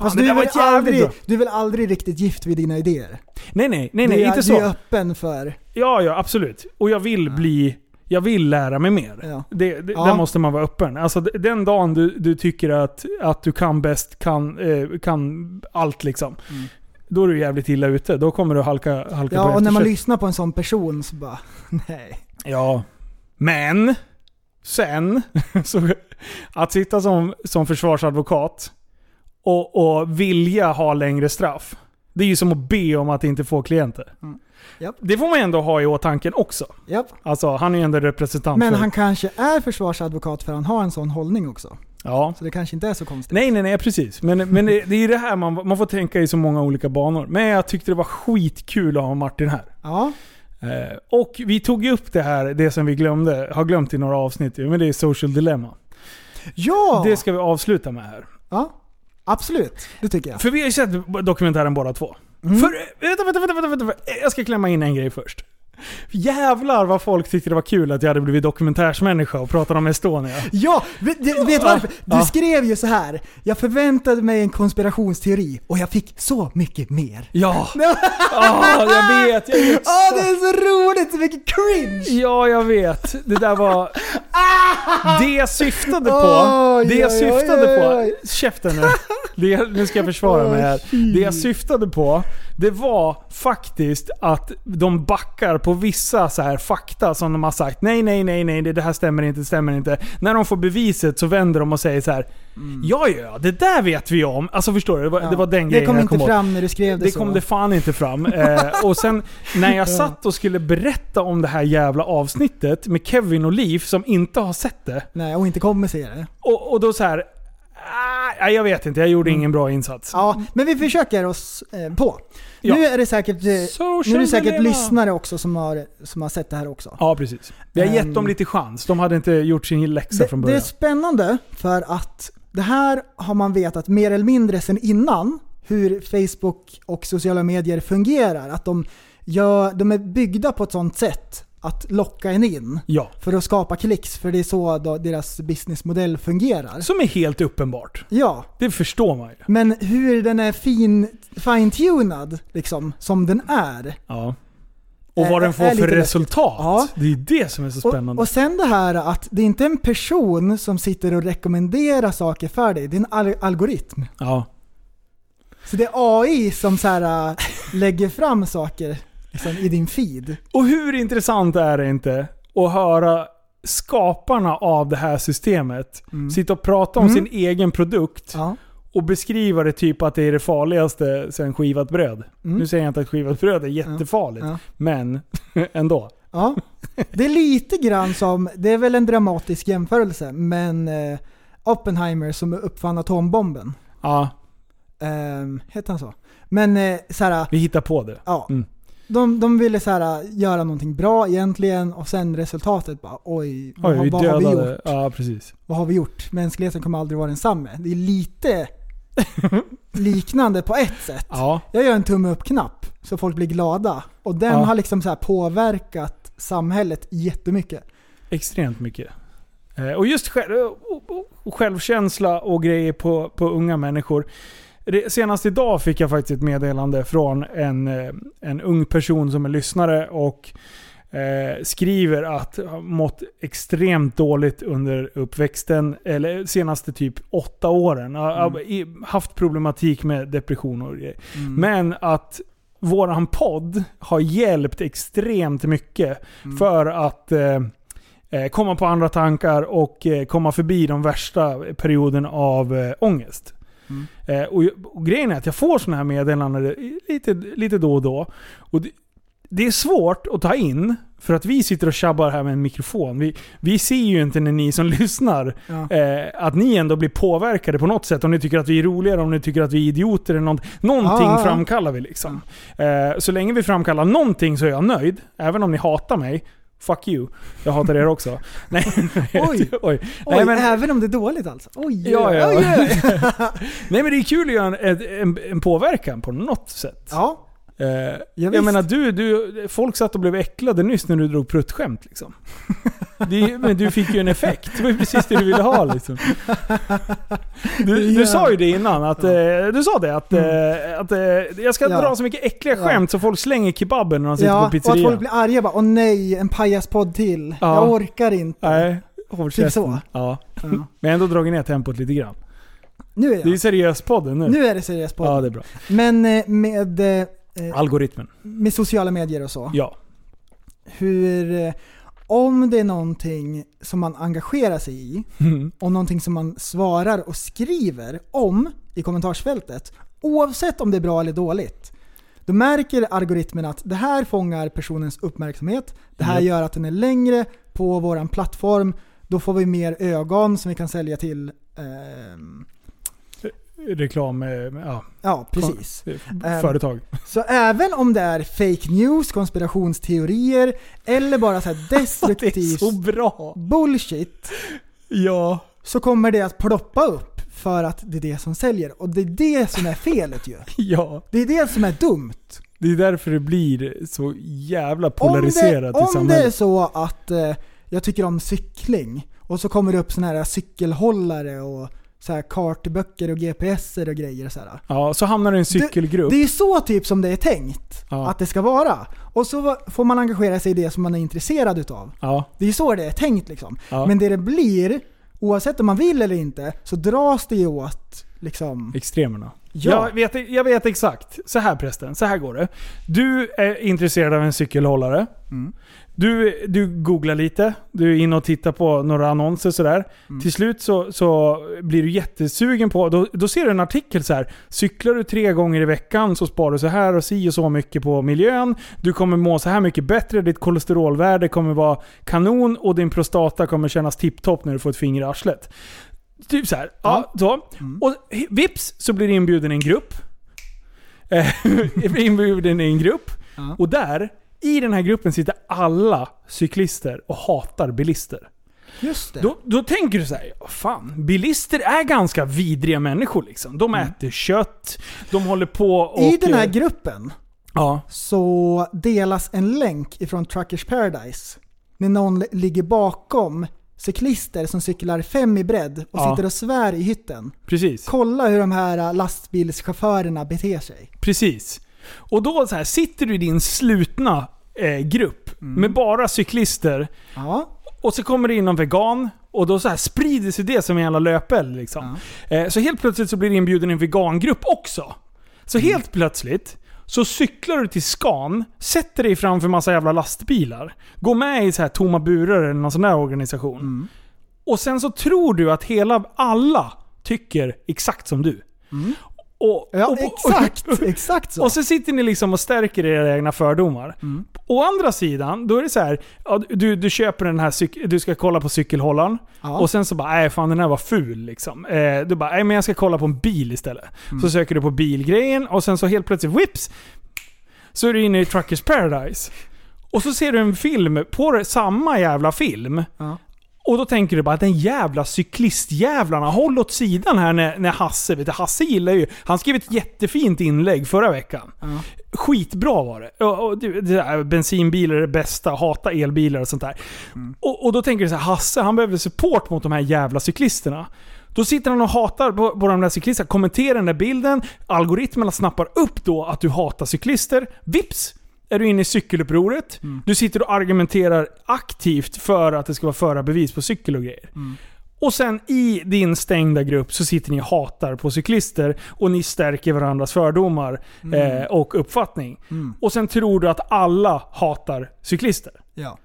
S6: fast
S4: det
S6: du,
S4: där
S6: är
S4: var
S6: väl
S4: ett jävligt
S6: aldrig,
S4: bra.
S6: du är väl aldrig riktigt gift vid dina idéer?
S4: Nej, nej, nej, nej
S6: du är,
S4: inte
S6: Du är
S4: så.
S6: öppen för...
S4: Ja, ja, absolut. Och jag vill bli... Jag vill lära mig mer.
S6: Ja.
S4: Det, det,
S6: Ja.
S4: Där måste man vara öppen. Alltså, d- den dagen du, du tycker att, att du kan bäst, kan, eh, kan allt liksom. Då är du jävligt illa ute. Då kommer du halka, halka på
S6: Mm. Ja, och när man
S4: efterkälken.
S6: lyssnar på en sån person så bara, (laughs) nej.
S4: Ja. Men, sen, (laughs) så, att sitta som, som försvarsadvokat och, och vilja ha längre straff. Det är ju som att be om att inte få klienter.
S6: Mm. Japp.
S4: Det får man ändå ha i åtanke också.
S6: Japp.
S4: Alltså, han är ju ändå representant
S6: Men
S4: för...
S6: han kanske är försvarsadvokat för han har en sån hållning också.
S4: Ja.
S6: Så det kanske inte är så konstigt.
S4: Nej, nej, nej, precis. Men, men det, det är det här man, man får tänka i så många olika banor. Men jag tyckte det var skitkul att ha Martin här.
S6: Ja,
S4: Eh, och vi tog ju upp det här, det som vi glömde, har glömt i några avsnitt ju, men det är Social Dilemma.
S6: ja.
S4: Det ska vi avsluta med här.
S6: ja. absolut. Det tycker jag.
S4: För vi har ju sett dokumentären båda två. För, vänta, vänta, vänta, vänta, vänta. Jag ska klämma in en grej först. Jävlar vad folk tyckte det var kul att jag hade blivit dokumentärsmänniska och pratade om Estonia.
S6: Ja, vet du vet varför? Du
S4: Ja.
S6: skrev ju så här. Jag förväntade mig en konspirationsteori och jag fick så mycket mer.
S4: (laughs) Ja! Ah, jag vet! Jag vet.
S6: Åh, det är så roligt! Så mycket cringe!
S4: Ja, jag vet. Det där
S6: (laughs)
S4: var... Det jag syftade på...
S6: Oj,
S4: det jag
S6: oj,
S4: syftade
S6: oj,
S4: på...
S6: oj.
S4: Käften nu. Det, jag- nu ska jag försvara mig här. Det
S6: Mm.
S4: jag syftade på, det var faktiskt att de backar på vissa så här fakta som de har sagt. Nej, nej, nej, nej, det det här stämmer inte, det stämmer inte. När de får beviset så vänder de och säger så här. Ja, ja, ja, det där vet vi om. Alltså förstår du? Det var, det var den
S6: Mm. det
S4: grejen
S6: kom
S4: jag
S6: inte
S4: kom åt.
S6: fram när du skrev det,
S4: Det
S6: så.
S4: kom det fan inte fram. Eh, och sen när
S6: (laughs)
S4: jag satt och skulle berätta om det här jävla avsnittet med Kevin och Liv som inte har sett det.
S6: Nej, och inte kommer se det.
S4: Och, och då så här. Ah, jag vet inte, jag gjorde ingen bra insats.
S6: Mm. Ja, men vi försöker oss eh, på.
S4: Ja.
S6: Nu är det säkert, eh, nu är
S4: Social
S6: det säkert
S4: dilemma.
S6: lyssnare också som har, som har sett det här också.
S4: Ja, precis. Vi har gett
S6: Ehm.
S4: dem lite chans. De hade inte gjort sin läxa
S6: Det,
S4: från
S6: det är
S4: början.
S6: spännande för att det här har man vetat mer eller mindre sedan innan hur Facebook och sociala medier fungerar. Att de, gör, de är byggda på ett sånt sätt att locka en in
S4: Ja.
S6: för att skapa klicks, för det är så då deras businessmodell fungerar.
S4: Som är helt uppenbart.
S6: Ja,
S4: Det förstår man ju.
S6: men hur den är fin, fine-tunad liksom, som den är.
S4: Ja. Och
S6: Ä-
S4: vad
S6: ä-
S4: den får
S6: är lite
S4: för
S6: läskigt.
S4: resultat.
S6: Ja.
S4: Det är det som är så
S6: Och,
S4: spännande.
S6: och sen det här att det är inte en person som sitter och rekommenderar saker för dig, det är en al- algoritm.
S4: ja.
S6: Så det är AI som så här, äh, lägger fram saker liksom, i din feed.
S4: Och hur intressant är det inte att höra skaparna av det här systemet Mm. sitta och prata om sin egen produkt
S6: Mm. Ja.
S4: och beskriva det typ att det är det farligaste sen skivat bröd. Nu säger jag inte att skivat bröd är jättefarligt,
S6: Mm. Ja.
S4: men (laughs) ändå.
S6: ja. Det är lite grann som, det är väl en dramatisk jämförelse, men eh, Oppenheimer som uppfann atombomben.
S4: Ja,
S6: Eh, heter han så? Men eh, så här,
S4: vi hittar på det.
S6: ja.
S4: Mm.
S6: De, de ville så här, äh, göra någonting bra egentligen och sen resultatet bara oj, vad,
S4: Oj, vi
S6: vad, har vi gjort?
S4: dödade... Ja, precis.
S6: vad har vi gjort? Mänskligheten kommer aldrig vara densamme. Det är lite (laughs) liknande på ett sätt.
S4: Ja,
S6: Jag gör en tumme upp-knapp så folk blir glada. Och den
S4: Ja.
S6: har liksom så här påverkat samhället jättemycket.
S4: extremt mycket. Eh, Och just själv, och- och självkänsla och grejer på, på unga människor. Det- Senast idag fick jag faktiskt ett meddelande från en, eh, en ung person som är lyssnare och eh, skriver att har mått extremt dåligt under uppväxten, eller senaste typ åtta åren. Har- har i- Haft problematik med depression och grejer. Men att våran podd har hjälpt extremt mycket för att eh, eh, komma på andra tankar och eh, komma förbi de värsta perioderna av eh, ångest.
S6: Mm.
S4: Eh, och, och grejen är att jag får sådana här meddelanden lite, lite då och då. Och det, det är svårt att ta in, för att vi sitter och tjabbar här med en mikrofon. Vi, vi ser ju inte när ni som (laughs) lyssnar
S6: Ja.
S4: eh, att ni ändå blir påverkade på något sätt. Om ni tycker att vi är roligare, om ni tycker att vi är idioter eller något. Någonting
S6: Ja, ja, ja.
S4: framkallar vi liksom. Eh, så länge vi framkallar någonting så är jag nöjd. Även om ni hatar mig. Fuck you. Jag hatar er
S6: (laughs)
S4: också. Nej,
S6: Oj.
S4: (laughs) oj.
S6: Oj,
S4: Nej, men,
S6: även om det är dåligt alltså. Oj,
S4: Ja, ja.
S6: oj, oj.
S4: (laughs) nej men det är kul att göra en, ett- en, en påverkan på något sätt.
S6: ja.
S4: Eh, jag
S6: visst.
S4: menar du, du, folk satt och blev äcklade nyss när du drog pruttskämt liksom. Det, är ju- men du fick ju en effekt. Det var ju precis det du ville ha liksom. Du, du sa ju det innan, att, eh, du sa det att, eh, att eh, jag ska
S6: Mm. Ja.
S4: dra så mycket äckliga
S6: Ja.
S4: skämt så folk slänger kebaben när de sitter
S6: ja
S4: på
S6: och att folk
S4: pizzerian.
S6: blir arga bara. Åh nej, en pajaspodd till.
S4: Ja.
S6: Jag orkar inte.
S4: Nej, håll
S6: Typ så.
S4: käften. Ja.
S6: Ja.
S4: Men ändå dragit ner tempot lite grann.
S6: Nu är
S4: Det är ju
S6: jag.
S4: seriöspodden nu.
S6: Nu är det seriös podd.
S4: Ja, det är bra.
S6: Men eh, med, eh,
S4: Algoritmen.
S6: med sociala medier och så.
S4: Ja.
S6: Hur, eh, om det är någonting som man engagerar sig i,
S4: Mm.
S6: och någonting som man svarar och skriver om i kommentarsfältet, oavsett om det är bra eller dåligt, då märker algoritmen att det här fångar personens uppmärksamhet, det här
S4: Japp.
S6: gör att den är längre på vår plattform, då får vi mer ögon som vi kan sälja till Ehm,
S4: Reklam, eh, ja,
S6: ja, precis.
S4: (laughs)
S6: Ehm,
S4: eh, företag.
S6: Så även om det är fake news, konspirationsteorier eller
S4: (laughs)
S6: bara så här
S4: Det är
S6: destruktiv
S4: så bra!
S6: bullshit
S4: Ja.
S6: så kommer det att ploppa upp för att det är det som säljer. Och det är det som är felet ju.
S4: Ja.
S6: Det är det som är dumt.
S4: Det är därför det blir så jävla polariserat
S6: om det,
S4: i
S6: Om det är
S4: samhället.
S6: så att eh, jag tycker om cykling och så kommer det upp såna här cykelhållare och så här kartböcker och GPSer och grejer så här.
S4: Ja, så hamnar du i en cykelgrupp.
S6: Det är så typ som det är tänkt
S4: Ja.
S6: att det ska vara. Och så va- får man engagera sig i det som man är intresserad utav.
S4: ja.
S6: Det är så det är tänkt liksom.
S4: Ja.
S6: Men det det blir, oavsett om man vill eller inte, så dras det ju åt liksom...
S4: Extremerna.
S6: Ja.
S4: Jag, vet, jag vet exakt. Så här prästen, så här går det. Du är intresserad av en cykelhållare. Du, du googlar lite, du är inne och tittar på några annonser sådär. Till slut så, så blir du jättesugen på, då, då ser du en artikel så här. Cyklar du tre gånger i veckan så sparar du så här och si och så mycket på miljön. Du kommer må så här mycket bättre, ditt kolesterolvärde kommer vara kanon och din prostata kommer kännas tipptopp när du får ett finger i arslet. Typ så här. Ja, så.
S6: Mm.
S4: Och vips så blir du inbjuden i en grupp. (laughs) Eh, blir inbjuden i en grupp.
S6: Ja.
S4: Och där, i den här gruppen sitter alla cyklister och hatar bilister.
S6: Just det.
S4: Då, då tänker du så här, "Ja, fan, bilister är ganska vidriga människor liksom. De äter kött, de håller på och...
S6: Mm. I den här
S4: eh,
S6: gruppen
S4: Ja.
S6: så delas en länk ifrån Truckers Paradise. När någon l- ligger bakom cyklister som cyklar fem i bredd och
S4: Ja.
S6: sitter och svär i hytten.
S4: Precis.
S6: Kolla hur de här ä, lastbilschaufförerna beter sig.
S4: Precis. Och då så här, sitter du i din slutna eh, grupp
S6: Mm.
S4: med bara cyklister
S6: Ja,
S4: Och så kommer det in någon vegan och då så här sprider sig det som en jävla löpeld. Liksom. Eh, Så helt plötsligt så blir du inbjuden i en vegangrupp också. Så
S6: Mm.
S4: helt plötsligt så cyklar du till Skan, sätter dig framför massa jävla lastbilar, går med i så här tomma burar eller någon sån där organisation.
S6: Mm.
S4: Och sen så tror du att hela, alla tycker exakt som du. Och,
S6: Mm. ja
S4: och- (laughs)
S6: exakt, exakt så.
S4: och så sitter ni liksom och stärker era egna fördomar. Å andra sidan, då är det så här, ja, du, du köper den här, cyk- du ska kolla på cykelhållaren.
S6: Ja.
S4: Och sen så bara, nej fan den här var ful liksom. Eh, du bara, nej men jag ska kolla på en bil istället.
S6: Mm.
S4: Så söker du på bilgrejen och sen så helt plötsligt, whips! Så är du inne i Truckers Paradise. Och så ser du en film på det, samma jävla film.
S6: Ja.
S4: Och då tänker du bara att den jävla cyklistjävlarna, håll åt sidan här när, när Hasse, vet du, Hasse gillar ju, han skrev ett jättefint inlägg förra veckan. Skitbra var det. Och, och, du- det där, bensinbilar är det bästa, hata elbilar och sånt där. Och, och då tänker du så här, Hasse han behöver support mot de här jävla cyklisterna. Då sitter han och hatar på, på de där cyklisterna, kommenterar den där bilden, algoritmerna snappar upp då att du hatar cyklister. Vips! Är du inne i cykelupproret. Du sitter och argumenterar aktivt för att det ska vara förarbevis på cykel och grejer. Och sen i din stängda grupp så sitter ni och hatar på cyklister och ni stärker varandras fördomar
S6: Mm.
S4: eh, och uppfattning. Och sen tror du att alla hatar cyklister.
S6: ja.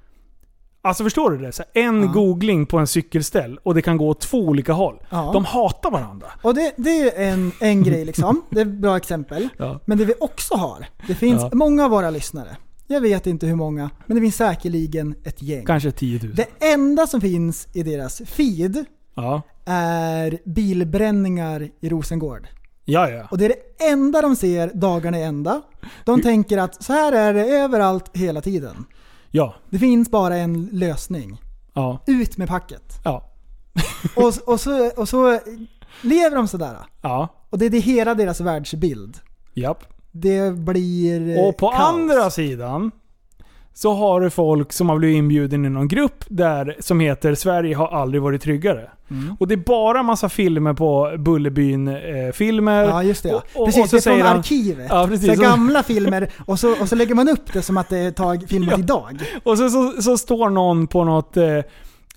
S4: Alltså förstår du det? Så här, en googling på en cykelställ och det kan gå åt två olika håll.
S6: Ja.
S4: De hatar varandra.
S6: och det, det är ju en, en grej liksom. Det är ett bra exempel.
S4: (laughs) Ja.
S6: Men det vi också har, det finns
S4: Ja.
S6: många av våra lyssnare. Jag vet inte hur många, men det finns säkerligen ett gäng.
S4: Kanske 10 000.
S6: Det enda som finns i deras feed
S4: Ja.
S6: är bilbränningar i Rosengård.
S4: Ja, ja.
S6: Och det är det enda de ser dagarna i ända. De tänker att så här är det överallt hela tiden.
S4: Ja.
S6: Det finns bara en lösning.
S4: Ja.
S6: Ut med packet.
S4: Ja.
S6: Och, och, så, och så lever de sådär.
S4: Ja.
S6: Och det är det hela deras världsbild.
S4: Japp.
S6: Det blir eh,
S4: Och på
S6: kaos.
S4: andra sidan så har du folk som har blivit inbjuden i någon grupp där, som heter “Sverige har aldrig varit tryggare”.
S6: Mm.
S4: Och det är bara massa filmer på Bullerbyn-filmer.
S6: Ja just det ja.
S4: Och, och,
S6: Precis,
S4: och så
S6: det är
S4: säger
S6: från
S4: han,
S6: arkivet.
S4: Ja, precis.
S6: så här gamla filmer och så, och så lägger man upp det som att det är tag, filmat
S4: Ja.
S6: idag.
S4: Och så, så, så står någon på något eh,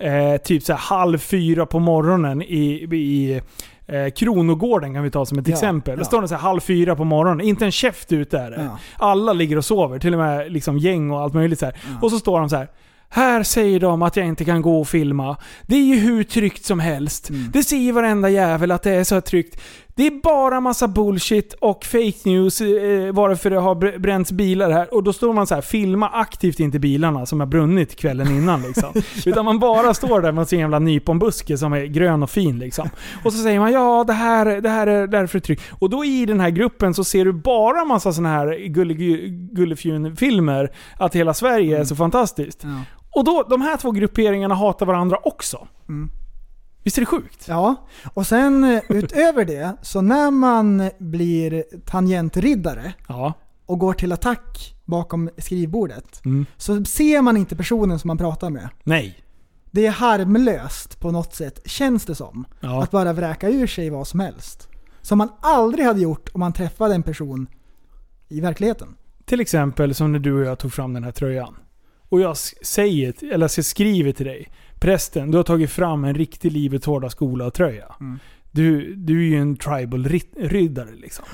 S4: eh, typ så här halv fyra på morgonen i, i eh, Kronogården kan vi ta som ett
S6: Ja,
S4: exempel. Då
S6: ja.
S4: står det så här halv fyra på morgonen, inte en käft ute är det.
S6: Ja.
S4: Alla ligger och sover, till och med liksom gäng och allt möjligt. Så här. Och så står de så här. Här säger de att jag inte kan gå
S6: Mm.
S4: och filma. Det är ju hur tryggt som helst. Det säger varenda jävel att det är så här tryggt. Det är bara massa bullshit och fake news eh, varför det har br- bränts bilar här. Och då står man så här, filma aktivt inte bilarna som har brunnit kvällen innan liksom. Utan man bara står där med sin jävla nyponbuske som är grön och fin liksom. Och så säger man ja, det här, det här är därför tryck. Och då i den här gruppen så ser du bara massa sådana här gulle- gullefjun-filmer. Att hela Sverige är så fantastiskt. Och då, de här två grupperingarna hatar varandra också. Visst är det sjukt?
S6: Ja, och sen eh, utöver det, så när man blir tangentriddare
S4: Ja.
S6: och går till attack bakom skrivbordet
S4: Mm.
S6: så ser man inte personen som man pratar med.
S4: Nej.
S6: Det är harmlöst på något sätt, känns det som.
S4: Ja.
S6: Att bara vräka ur sig vad som helst. Som man aldrig hade gjort om man träffade en person i verkligheten.
S4: Till exempel som när du och jag tog fram den här tröjan. Och jag s- säger, t- eller jag skriver till dig. Prästen, du har tagit fram en riktig livets hårda skola-tröja.
S6: Mm.
S4: Du, du är ju en tribal-riddare liksom.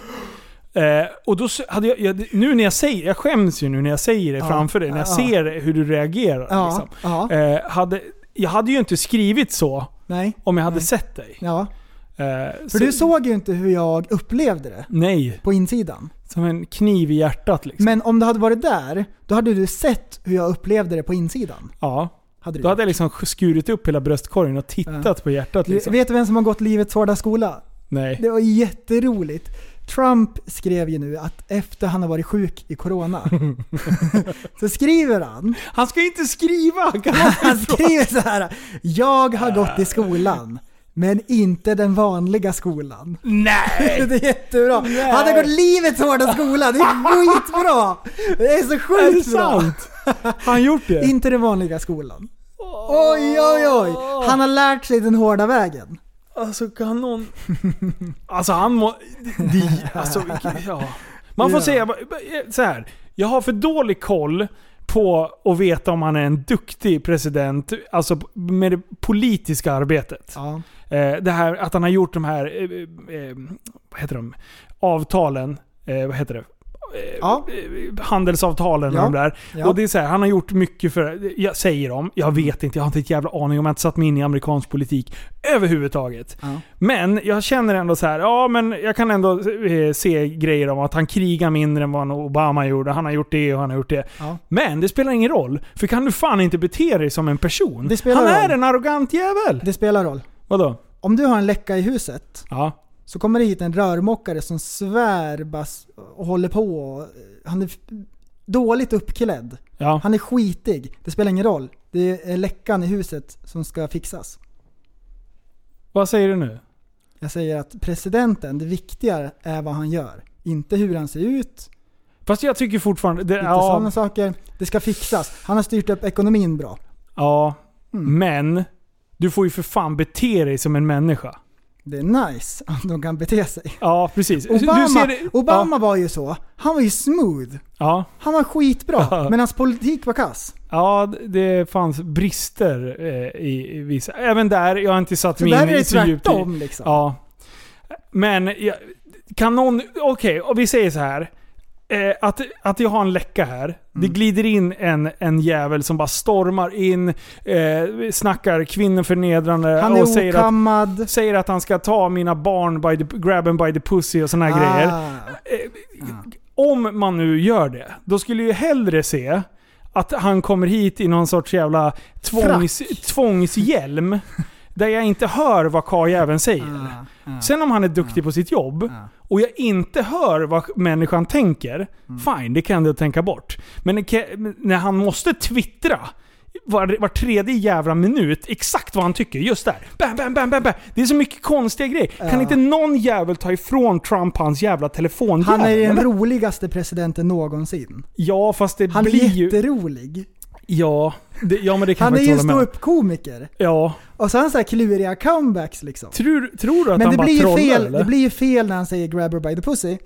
S4: Eh, och då s- hade jag, jag, nu när jag säger, jag skäms ju nu när jag säger det
S6: Ja.
S4: framför dig. När jag
S6: Ja.
S4: ser hur du reagerar.
S6: Ja,
S4: liksom.
S6: ja.
S4: eh, hade, jag hade ju inte skrivit så
S6: Nej.
S4: om jag hade sett dig.
S6: Ja.
S4: Eh,
S6: För du såg ju inte hur jag upplevde det
S4: Nej,
S6: på insidan.
S4: som en kniv i hjärtat liksom.
S6: Men om du hade varit där, då hade du sett hur jag upplevde det på insidan.
S4: ja.
S6: Hade du.
S4: Då hade jag liksom skurit upp hela bröstkorgen och tittat på hjärtat
S6: Du-
S4: liksom.
S6: Vet du vem som har gått livets hårda skola?
S4: Nej.
S6: Det var jätteroligt. Trump skrev ju nu att efter han har varit sjuk i (laughs) corona så skriver han
S4: Han ska ju inte skriva! Kan
S6: (laughs) Han skriver så här. Jag har gått i skolan. Men inte den vanliga skolan. Nej! (laughs) Det är jättebra. Han har gått livets hårda skola. Det är skitbra! Det är så
S4: är det
S6: sjukt bra.
S4: sant? Har han gjort det?
S6: Inte den vanliga skolan. Oj, oj, oj. Han har lärt sig den hårda vägen.
S4: Alltså kan någon... Alltså han må... De, alltså, ja. Man får
S6: Ja.
S4: säga så här. Jag har för dålig koll på att veta om han är en duktig president, alltså med det politiska arbetet.
S6: Ja.
S4: Eh, det här att han har gjort de här, eh, eh, vad heter de, avtalen, eh, vad heter det? Eh,
S6: Ja.
S4: eh, Handelsavtalen och
S6: Ja.
S4: de där.
S6: Ja. Mm.
S4: Och det är så här, han har gjort mycket för, jag säger dem, jag vet inte, jag har inte ett jävla aning om, jag har inte satt mig in i amerikansk politik överhuvudtaget.
S6: Ja.
S4: Men jag känner ändå så här, ja men jag kan ändå eh, se grejer om att han krigar mindre än vad Obama gjorde, han har gjort det och han har gjort det.
S6: Ja.
S4: Men det spelar ingen roll, för kan du fan inte bete dig som en person?
S6: Det spelar
S4: han är
S6: roll.
S4: en arrogant jävel!
S6: Det spelar roll.
S4: Vadå?
S6: Om du har en läcka i huset
S4: Ja.
S6: så kommer det hit en rörmokare som svär bas- och håller på. och- Han är f- dåligt uppklädd.
S4: Ja.
S6: Han är skitig. Det spelar ingen roll. Det är läckan i huset som ska fixas.
S4: Vad säger du nu?
S6: Jag säger att presidenten, det viktiga är vad han gör. Inte hur han ser ut,
S4: Fast jag tycker fortfarande... Det,
S6: inte
S4: ja,
S6: sådana saker. Det ska fixas. Han har styrt upp ekonomin bra.
S4: ja,
S6: Mm.
S4: men du får ju för fan bete dig som en människa.
S6: Det är nice att de kan bete sig.
S4: Ja, precis.
S6: Obama,
S4: du ser det,
S6: Obama var ju så. Han var ju smooth.
S4: Ja,
S6: Han var skitbra,
S4: Ja.
S6: men hans politik var kass.
S4: ja, ja, det fanns brister eh, i, i vissa... Även där, jag har inte satt
S6: Så
S4: mig
S6: där
S4: in
S6: är det
S4: i så djupt i...
S6: tvärtom liksom.
S4: Ja. Men jag, kan någon... Okej, och vi säger så här. Eh, att, att jag har en läcka här. Det
S6: Mm.
S4: glider in en, en jävel som bara stormar in, eh, snackar kvinnoförnedrande
S6: Han
S4: och
S6: är
S4: säger att
S6: okammad.
S4: säger att han ska ta mina barn, by the, grab 'em by the pussy och såna här grejer.
S6: Ah,
S4: Om man nu gör det, då skulle jag ju hellre se att han kommer hit i någon sorts jävla tvångs, tvångshjälm. Där jag inte hör vad karljäveln säger. Sen om han är duktig på sitt jobb och jag inte hör vad människan tänker, fine, det kan jag ändå tänka bort. Men det kan- när han måste twittra var, var tredje jävla minut exakt vad han tycker just där. Bam, bam, bam, bam, bam. Det är så mycket konstiga grejer. Kan inte någon jävel ta ifrån Trump hans jävla telefon?
S6: han är den
S4: Jävlar.
S6: roligaste presidenten någonsin.
S4: Ja, fast det
S6: Han är
S4: blir ju...
S6: jätterolig.
S4: Ja, det, ja, men det kan
S6: Han
S4: man
S6: är ju
S4: inte
S6: en
S4: hålla med om.
S6: ståuppkomiker.
S4: Ja.
S6: Och så har han så här kluriga comebacks liksom.
S4: Tror, tror du Typ att
S6: Men
S4: han
S6: det
S4: bara
S6: blir, ju
S4: trollar
S6: fel,
S4: eller?
S6: det blir ju fel när han säger “grab her by the pussy”.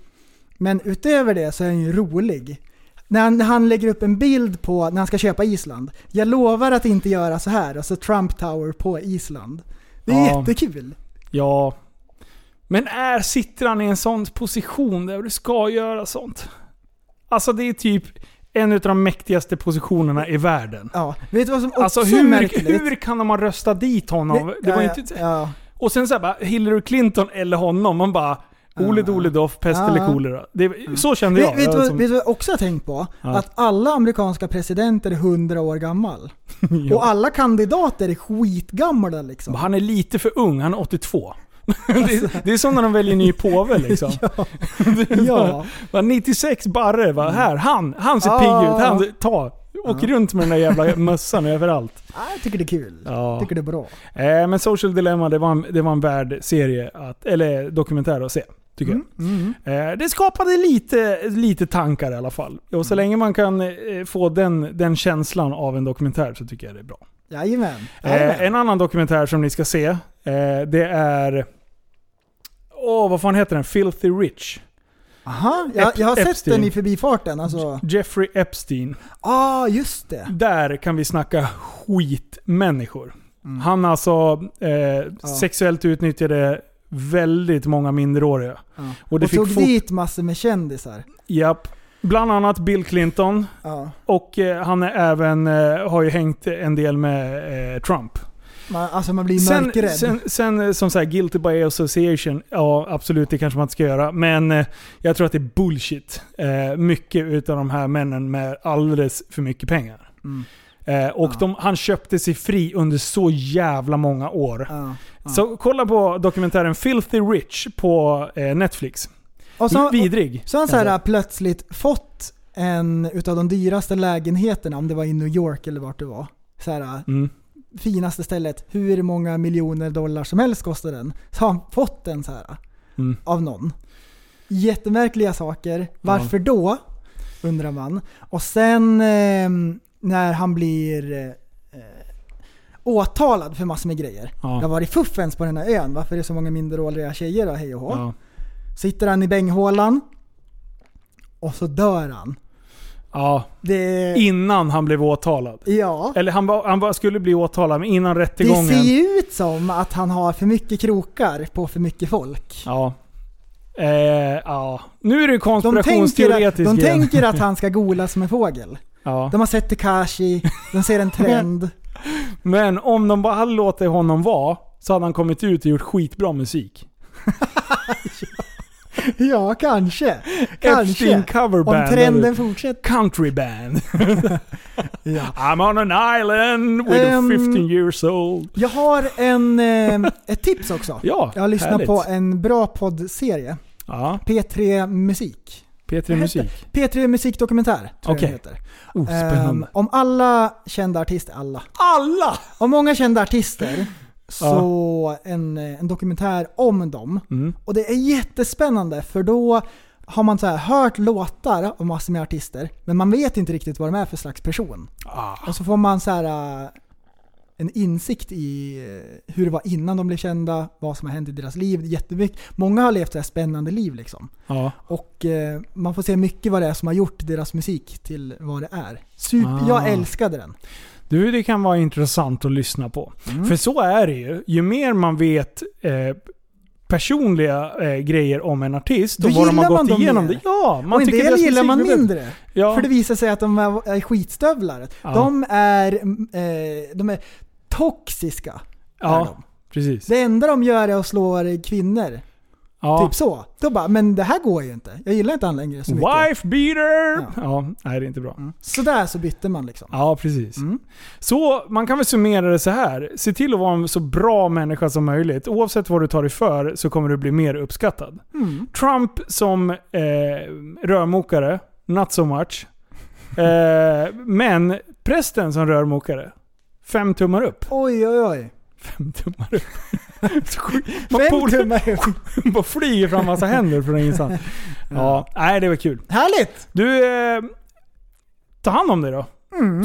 S6: Men utöver det så är han ju rolig. När han, när han lägger upp en bild på när han ska köpa Island. “Jag lovar att inte göra så här” och så Trump Tower på Island. Det är
S4: Ja.
S6: jättekul.
S4: Ja. Men är sitter han i en sån position där du ska göra sånt? Alltså det är typ en av de mäktigaste positionerna i världen.
S6: Ja. Vet du vad som också
S4: Alltså
S6: är
S4: hur,
S6: märkligt?
S4: hur kan de ha röstat dit honom? Det var
S6: ja,
S4: inte...
S6: ja, ja.
S4: Och sen såhär bara, Hillary Clinton eller honom. Man bara, Ole dole doff, pest
S6: Ja.
S4: eller kolera. Det, så kände jag.
S6: Vet, vet, du
S4: jag
S6: vad-
S4: som-
S6: vet du vad jag också har tänkt på?
S4: Ja.
S6: Att alla amerikanska presidenter är 100
S4: (laughs)
S6: år gammal. Och alla kandidater är skitgamla liksom.
S4: Han är lite för ung, han är 82. (laughs) det, det är som när de väljer ny påve
S6: (laughs)
S4: liksom.
S6: (laughs)
S4: (laughs)
S6: Ja. Mm.
S4: Va, 96 barre, va? här, han, han ser
S6: Ah.
S4: pigg ut, han, ta. Åk runt med den där
S6: (laughs)
S4: jävla mössan överallt.
S6: Ja, Jag tycker det är kul.
S4: Ja.
S6: Jag tycker det är bra.
S4: Eh, men Social Dilemma, det var en, det var en värd serie, att, eller dokumentär att se. Tycker jag.
S6: Mm.
S4: Eh, det skapade lite, lite tankar i alla fall. Och
S6: Mm.
S4: så länge man kan eh, få den, den känslan av en dokumentär så tycker jag det är bra.
S6: Jajamän.
S4: Eh,
S6: Jajamän.
S4: en annan dokumentär som ni ska se, eh, det är... Åh, vad fan heter den? Filthy Rich.
S6: Aha, jag, jag har
S4: Ep-
S6: sett
S4: Epstein.
S6: den i förbifarten. Alltså.
S4: Jeffrey Epstein.
S6: Ah, just det.
S4: Där kan vi snacka skitmänniskor.
S6: Mm.
S4: Han alltså eh, sexuellt utnyttjade väldigt många minderåriga. Och
S6: Och,
S4: det
S6: tog
S4: fick fort...
S6: dit massor med kändisar.
S4: Japp. Bland annat Bill Clinton.
S6: Ja.
S4: Och eh, han är även, eh, har ju hängt en del med eh, Trump.
S6: Man, alltså man blir
S4: Sen,
S6: mörkrädd.
S4: sen, sen eh, som sagt, guilty by association, ja absolut det kanske man inte ska göra. Men eh, jag tror att det är bullshit. Eh, mycket utav de här männen med alldeles för mycket pengar.
S6: Mm.
S4: Eh, och de, han köpte sig fri under så jävla många år.
S6: ja.
S4: Så kolla på dokumentären Filthy Rich på eh, Netflix.
S6: Och så,
S4: Vidrig.
S6: så har han så
S4: kan
S6: här
S4: jag
S6: plötsligt fått en utav de dyraste lägenheterna, om det var i New York eller vart det var. Så här,
S4: säga. Mm.
S6: finaste stället, hur många miljoner dollar som helst kostar den. Så har han fått den så här
S4: Mm.
S6: av någon. Jättemärkliga saker. Varför då? Undrar man. Och sen eh, när han blir eh, åtalad för massor med grejer.
S4: Ja.
S6: Det har varit fuffens på den här ön. Varför är det så många minderåriga tjejer och hej och hå?
S4: Ja.
S6: Sitter han i bänghålan. Och så dör han.
S4: Ja.
S6: Det...
S4: Innan han blev åtalad.
S6: ja.
S4: Eller han, var, han var, skulle bli åtalad, men innan rättegången.
S6: Det ser ju ut som att han har för mycket krokar på för mycket folk.
S4: Ja. Eh, ja. Nu är det
S6: De tänker, att,
S4: konspirationsteoretiskt
S6: de
S4: igen.
S6: tänker att han ska gola som en fågel.
S4: ja.
S6: De har sett Tekashi, de ser
S4: (laughs)
S6: en trend.
S4: Men om de bara hade låtit honom vara så hade han kommit ut och gjort skitbra musik.
S6: Ja, kanske.
S4: Epstein
S6: Kanske.
S4: coverband.
S6: Om trenden fortsätter.
S4: Countryband.
S6: (laughs) Ja.
S4: (laughs) I'm on an island with
S6: Ehm,
S4: a 15 years old.
S6: Jag har en, eh, ett tips också.
S4: Ja,
S6: Jag har lyssnat
S4: härligt.
S6: på en bra poddserie.
S4: Ja,
S6: P3 Musik.
S4: P3 Musik.
S6: P3 Musikdokumentär, tror jag
S4: Okej.
S6: den heter.
S4: Oh, spännande.
S6: Ehm, om alla kända artister, alla.
S4: alla!
S6: Om många kända artister så en, eh, en dokumentär om dem.
S4: Mm.
S6: Och det är jättespännande för då har man så här hört låtar av massor med artister men man vet inte riktigt vad de är för slags person.
S4: Ah,
S6: Och så får man så här äh, en insikt i eh, hur det var innan de blev kända, vad som har hänt i deras liv. Det är Jättemycket. Många har levt så här spännande liv liksom.
S4: Ja.
S6: Och eh, man får se mycket vad det är som har gjort deras musik till vad det är. Super,
S4: Ah.
S6: Jag älskade den.
S4: Du, det kan vara intressant att lyssna på.
S6: Mm.
S4: För så är det ju. Ju mer man vet eh, personliga eh, grejer om en artist
S6: Då
S4: och vad de har
S6: gillar man
S4: gått
S6: dem
S4: igenom.
S6: mer.
S4: Det. Ja, man
S6: och en
S4: tycker
S6: del
S4: deras
S6: gillar
S4: musik
S6: man
S4: blir bättre.
S6: mindre.
S4: Ja.
S6: För det visar sig att de är är skitstövlar.
S4: Ja.
S6: De, är, mm, eh, de är toxiska. är
S4: ja,
S6: de.
S4: precis.
S6: Det enda de gör är att slå kvinnor.
S4: ja.
S6: Typ så. Då bara, men det här går ju inte. Jag gillar inte han längre så mycket.
S4: Wife beater! Ja.
S6: Ja. Mm.
S4: nej det är inte bra.
S6: Sådär så bytte man liksom.
S4: Ja, precis. Så man kan väl summera det så här. Se till att vara en så bra människa som möjligt. Oavsett vad du tar dig för så kommer du bli mer uppskattad. Trump som eh, rörmokare, not so much. Eh, men prästen som rörmokare, fem tummar upp.
S6: Oj, oj, oj.
S4: Fem tummar upp. Så sjukt. (laughs) Man
S6: Fem
S4: pol- (laughs)
S6: tummar upp.
S4: bara flyger fram massa händer från (laughs) ingenstans. Ja, nej det var kul.
S6: Härligt!
S4: Du, eh, ta hand om dig då.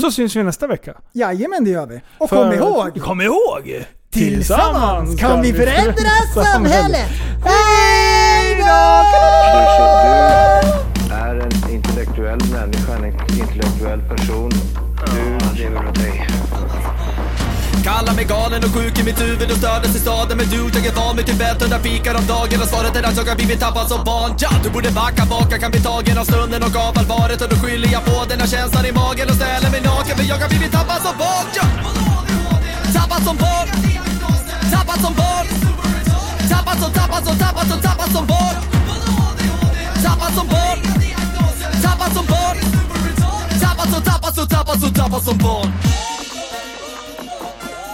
S4: Så syns vi nästa vecka.
S6: Jajamän, det gör vi. Och
S4: För-
S6: kom ihåg!
S4: Kom ihåg!
S6: Tillsammans kan vi förändra samhället! Hej
S3: Du,
S6: då!
S3: du är en intellektuell människa, en intellektuell person. Du lever av dig.
S1: Kallar mig galen och sjuk i mitt huvud och stördes i staden Men du, jag är van vid Tibet och där fikar om dagen Och svaret är att jag har blivit tappad som barn ja! Du borde backa bak, jag kan bli tagen av stunden och av allvaret Och då skyller jag på den här känslan i magen och ställer mig naken För jag har blivit tappad som barn ja! Tappad som barn Tappad som barn Tappad som, tappad som, tappad som, tappad som barn Tappad som barn Tappad som barn Tappad som, tappad som, tappad som, tappad som barn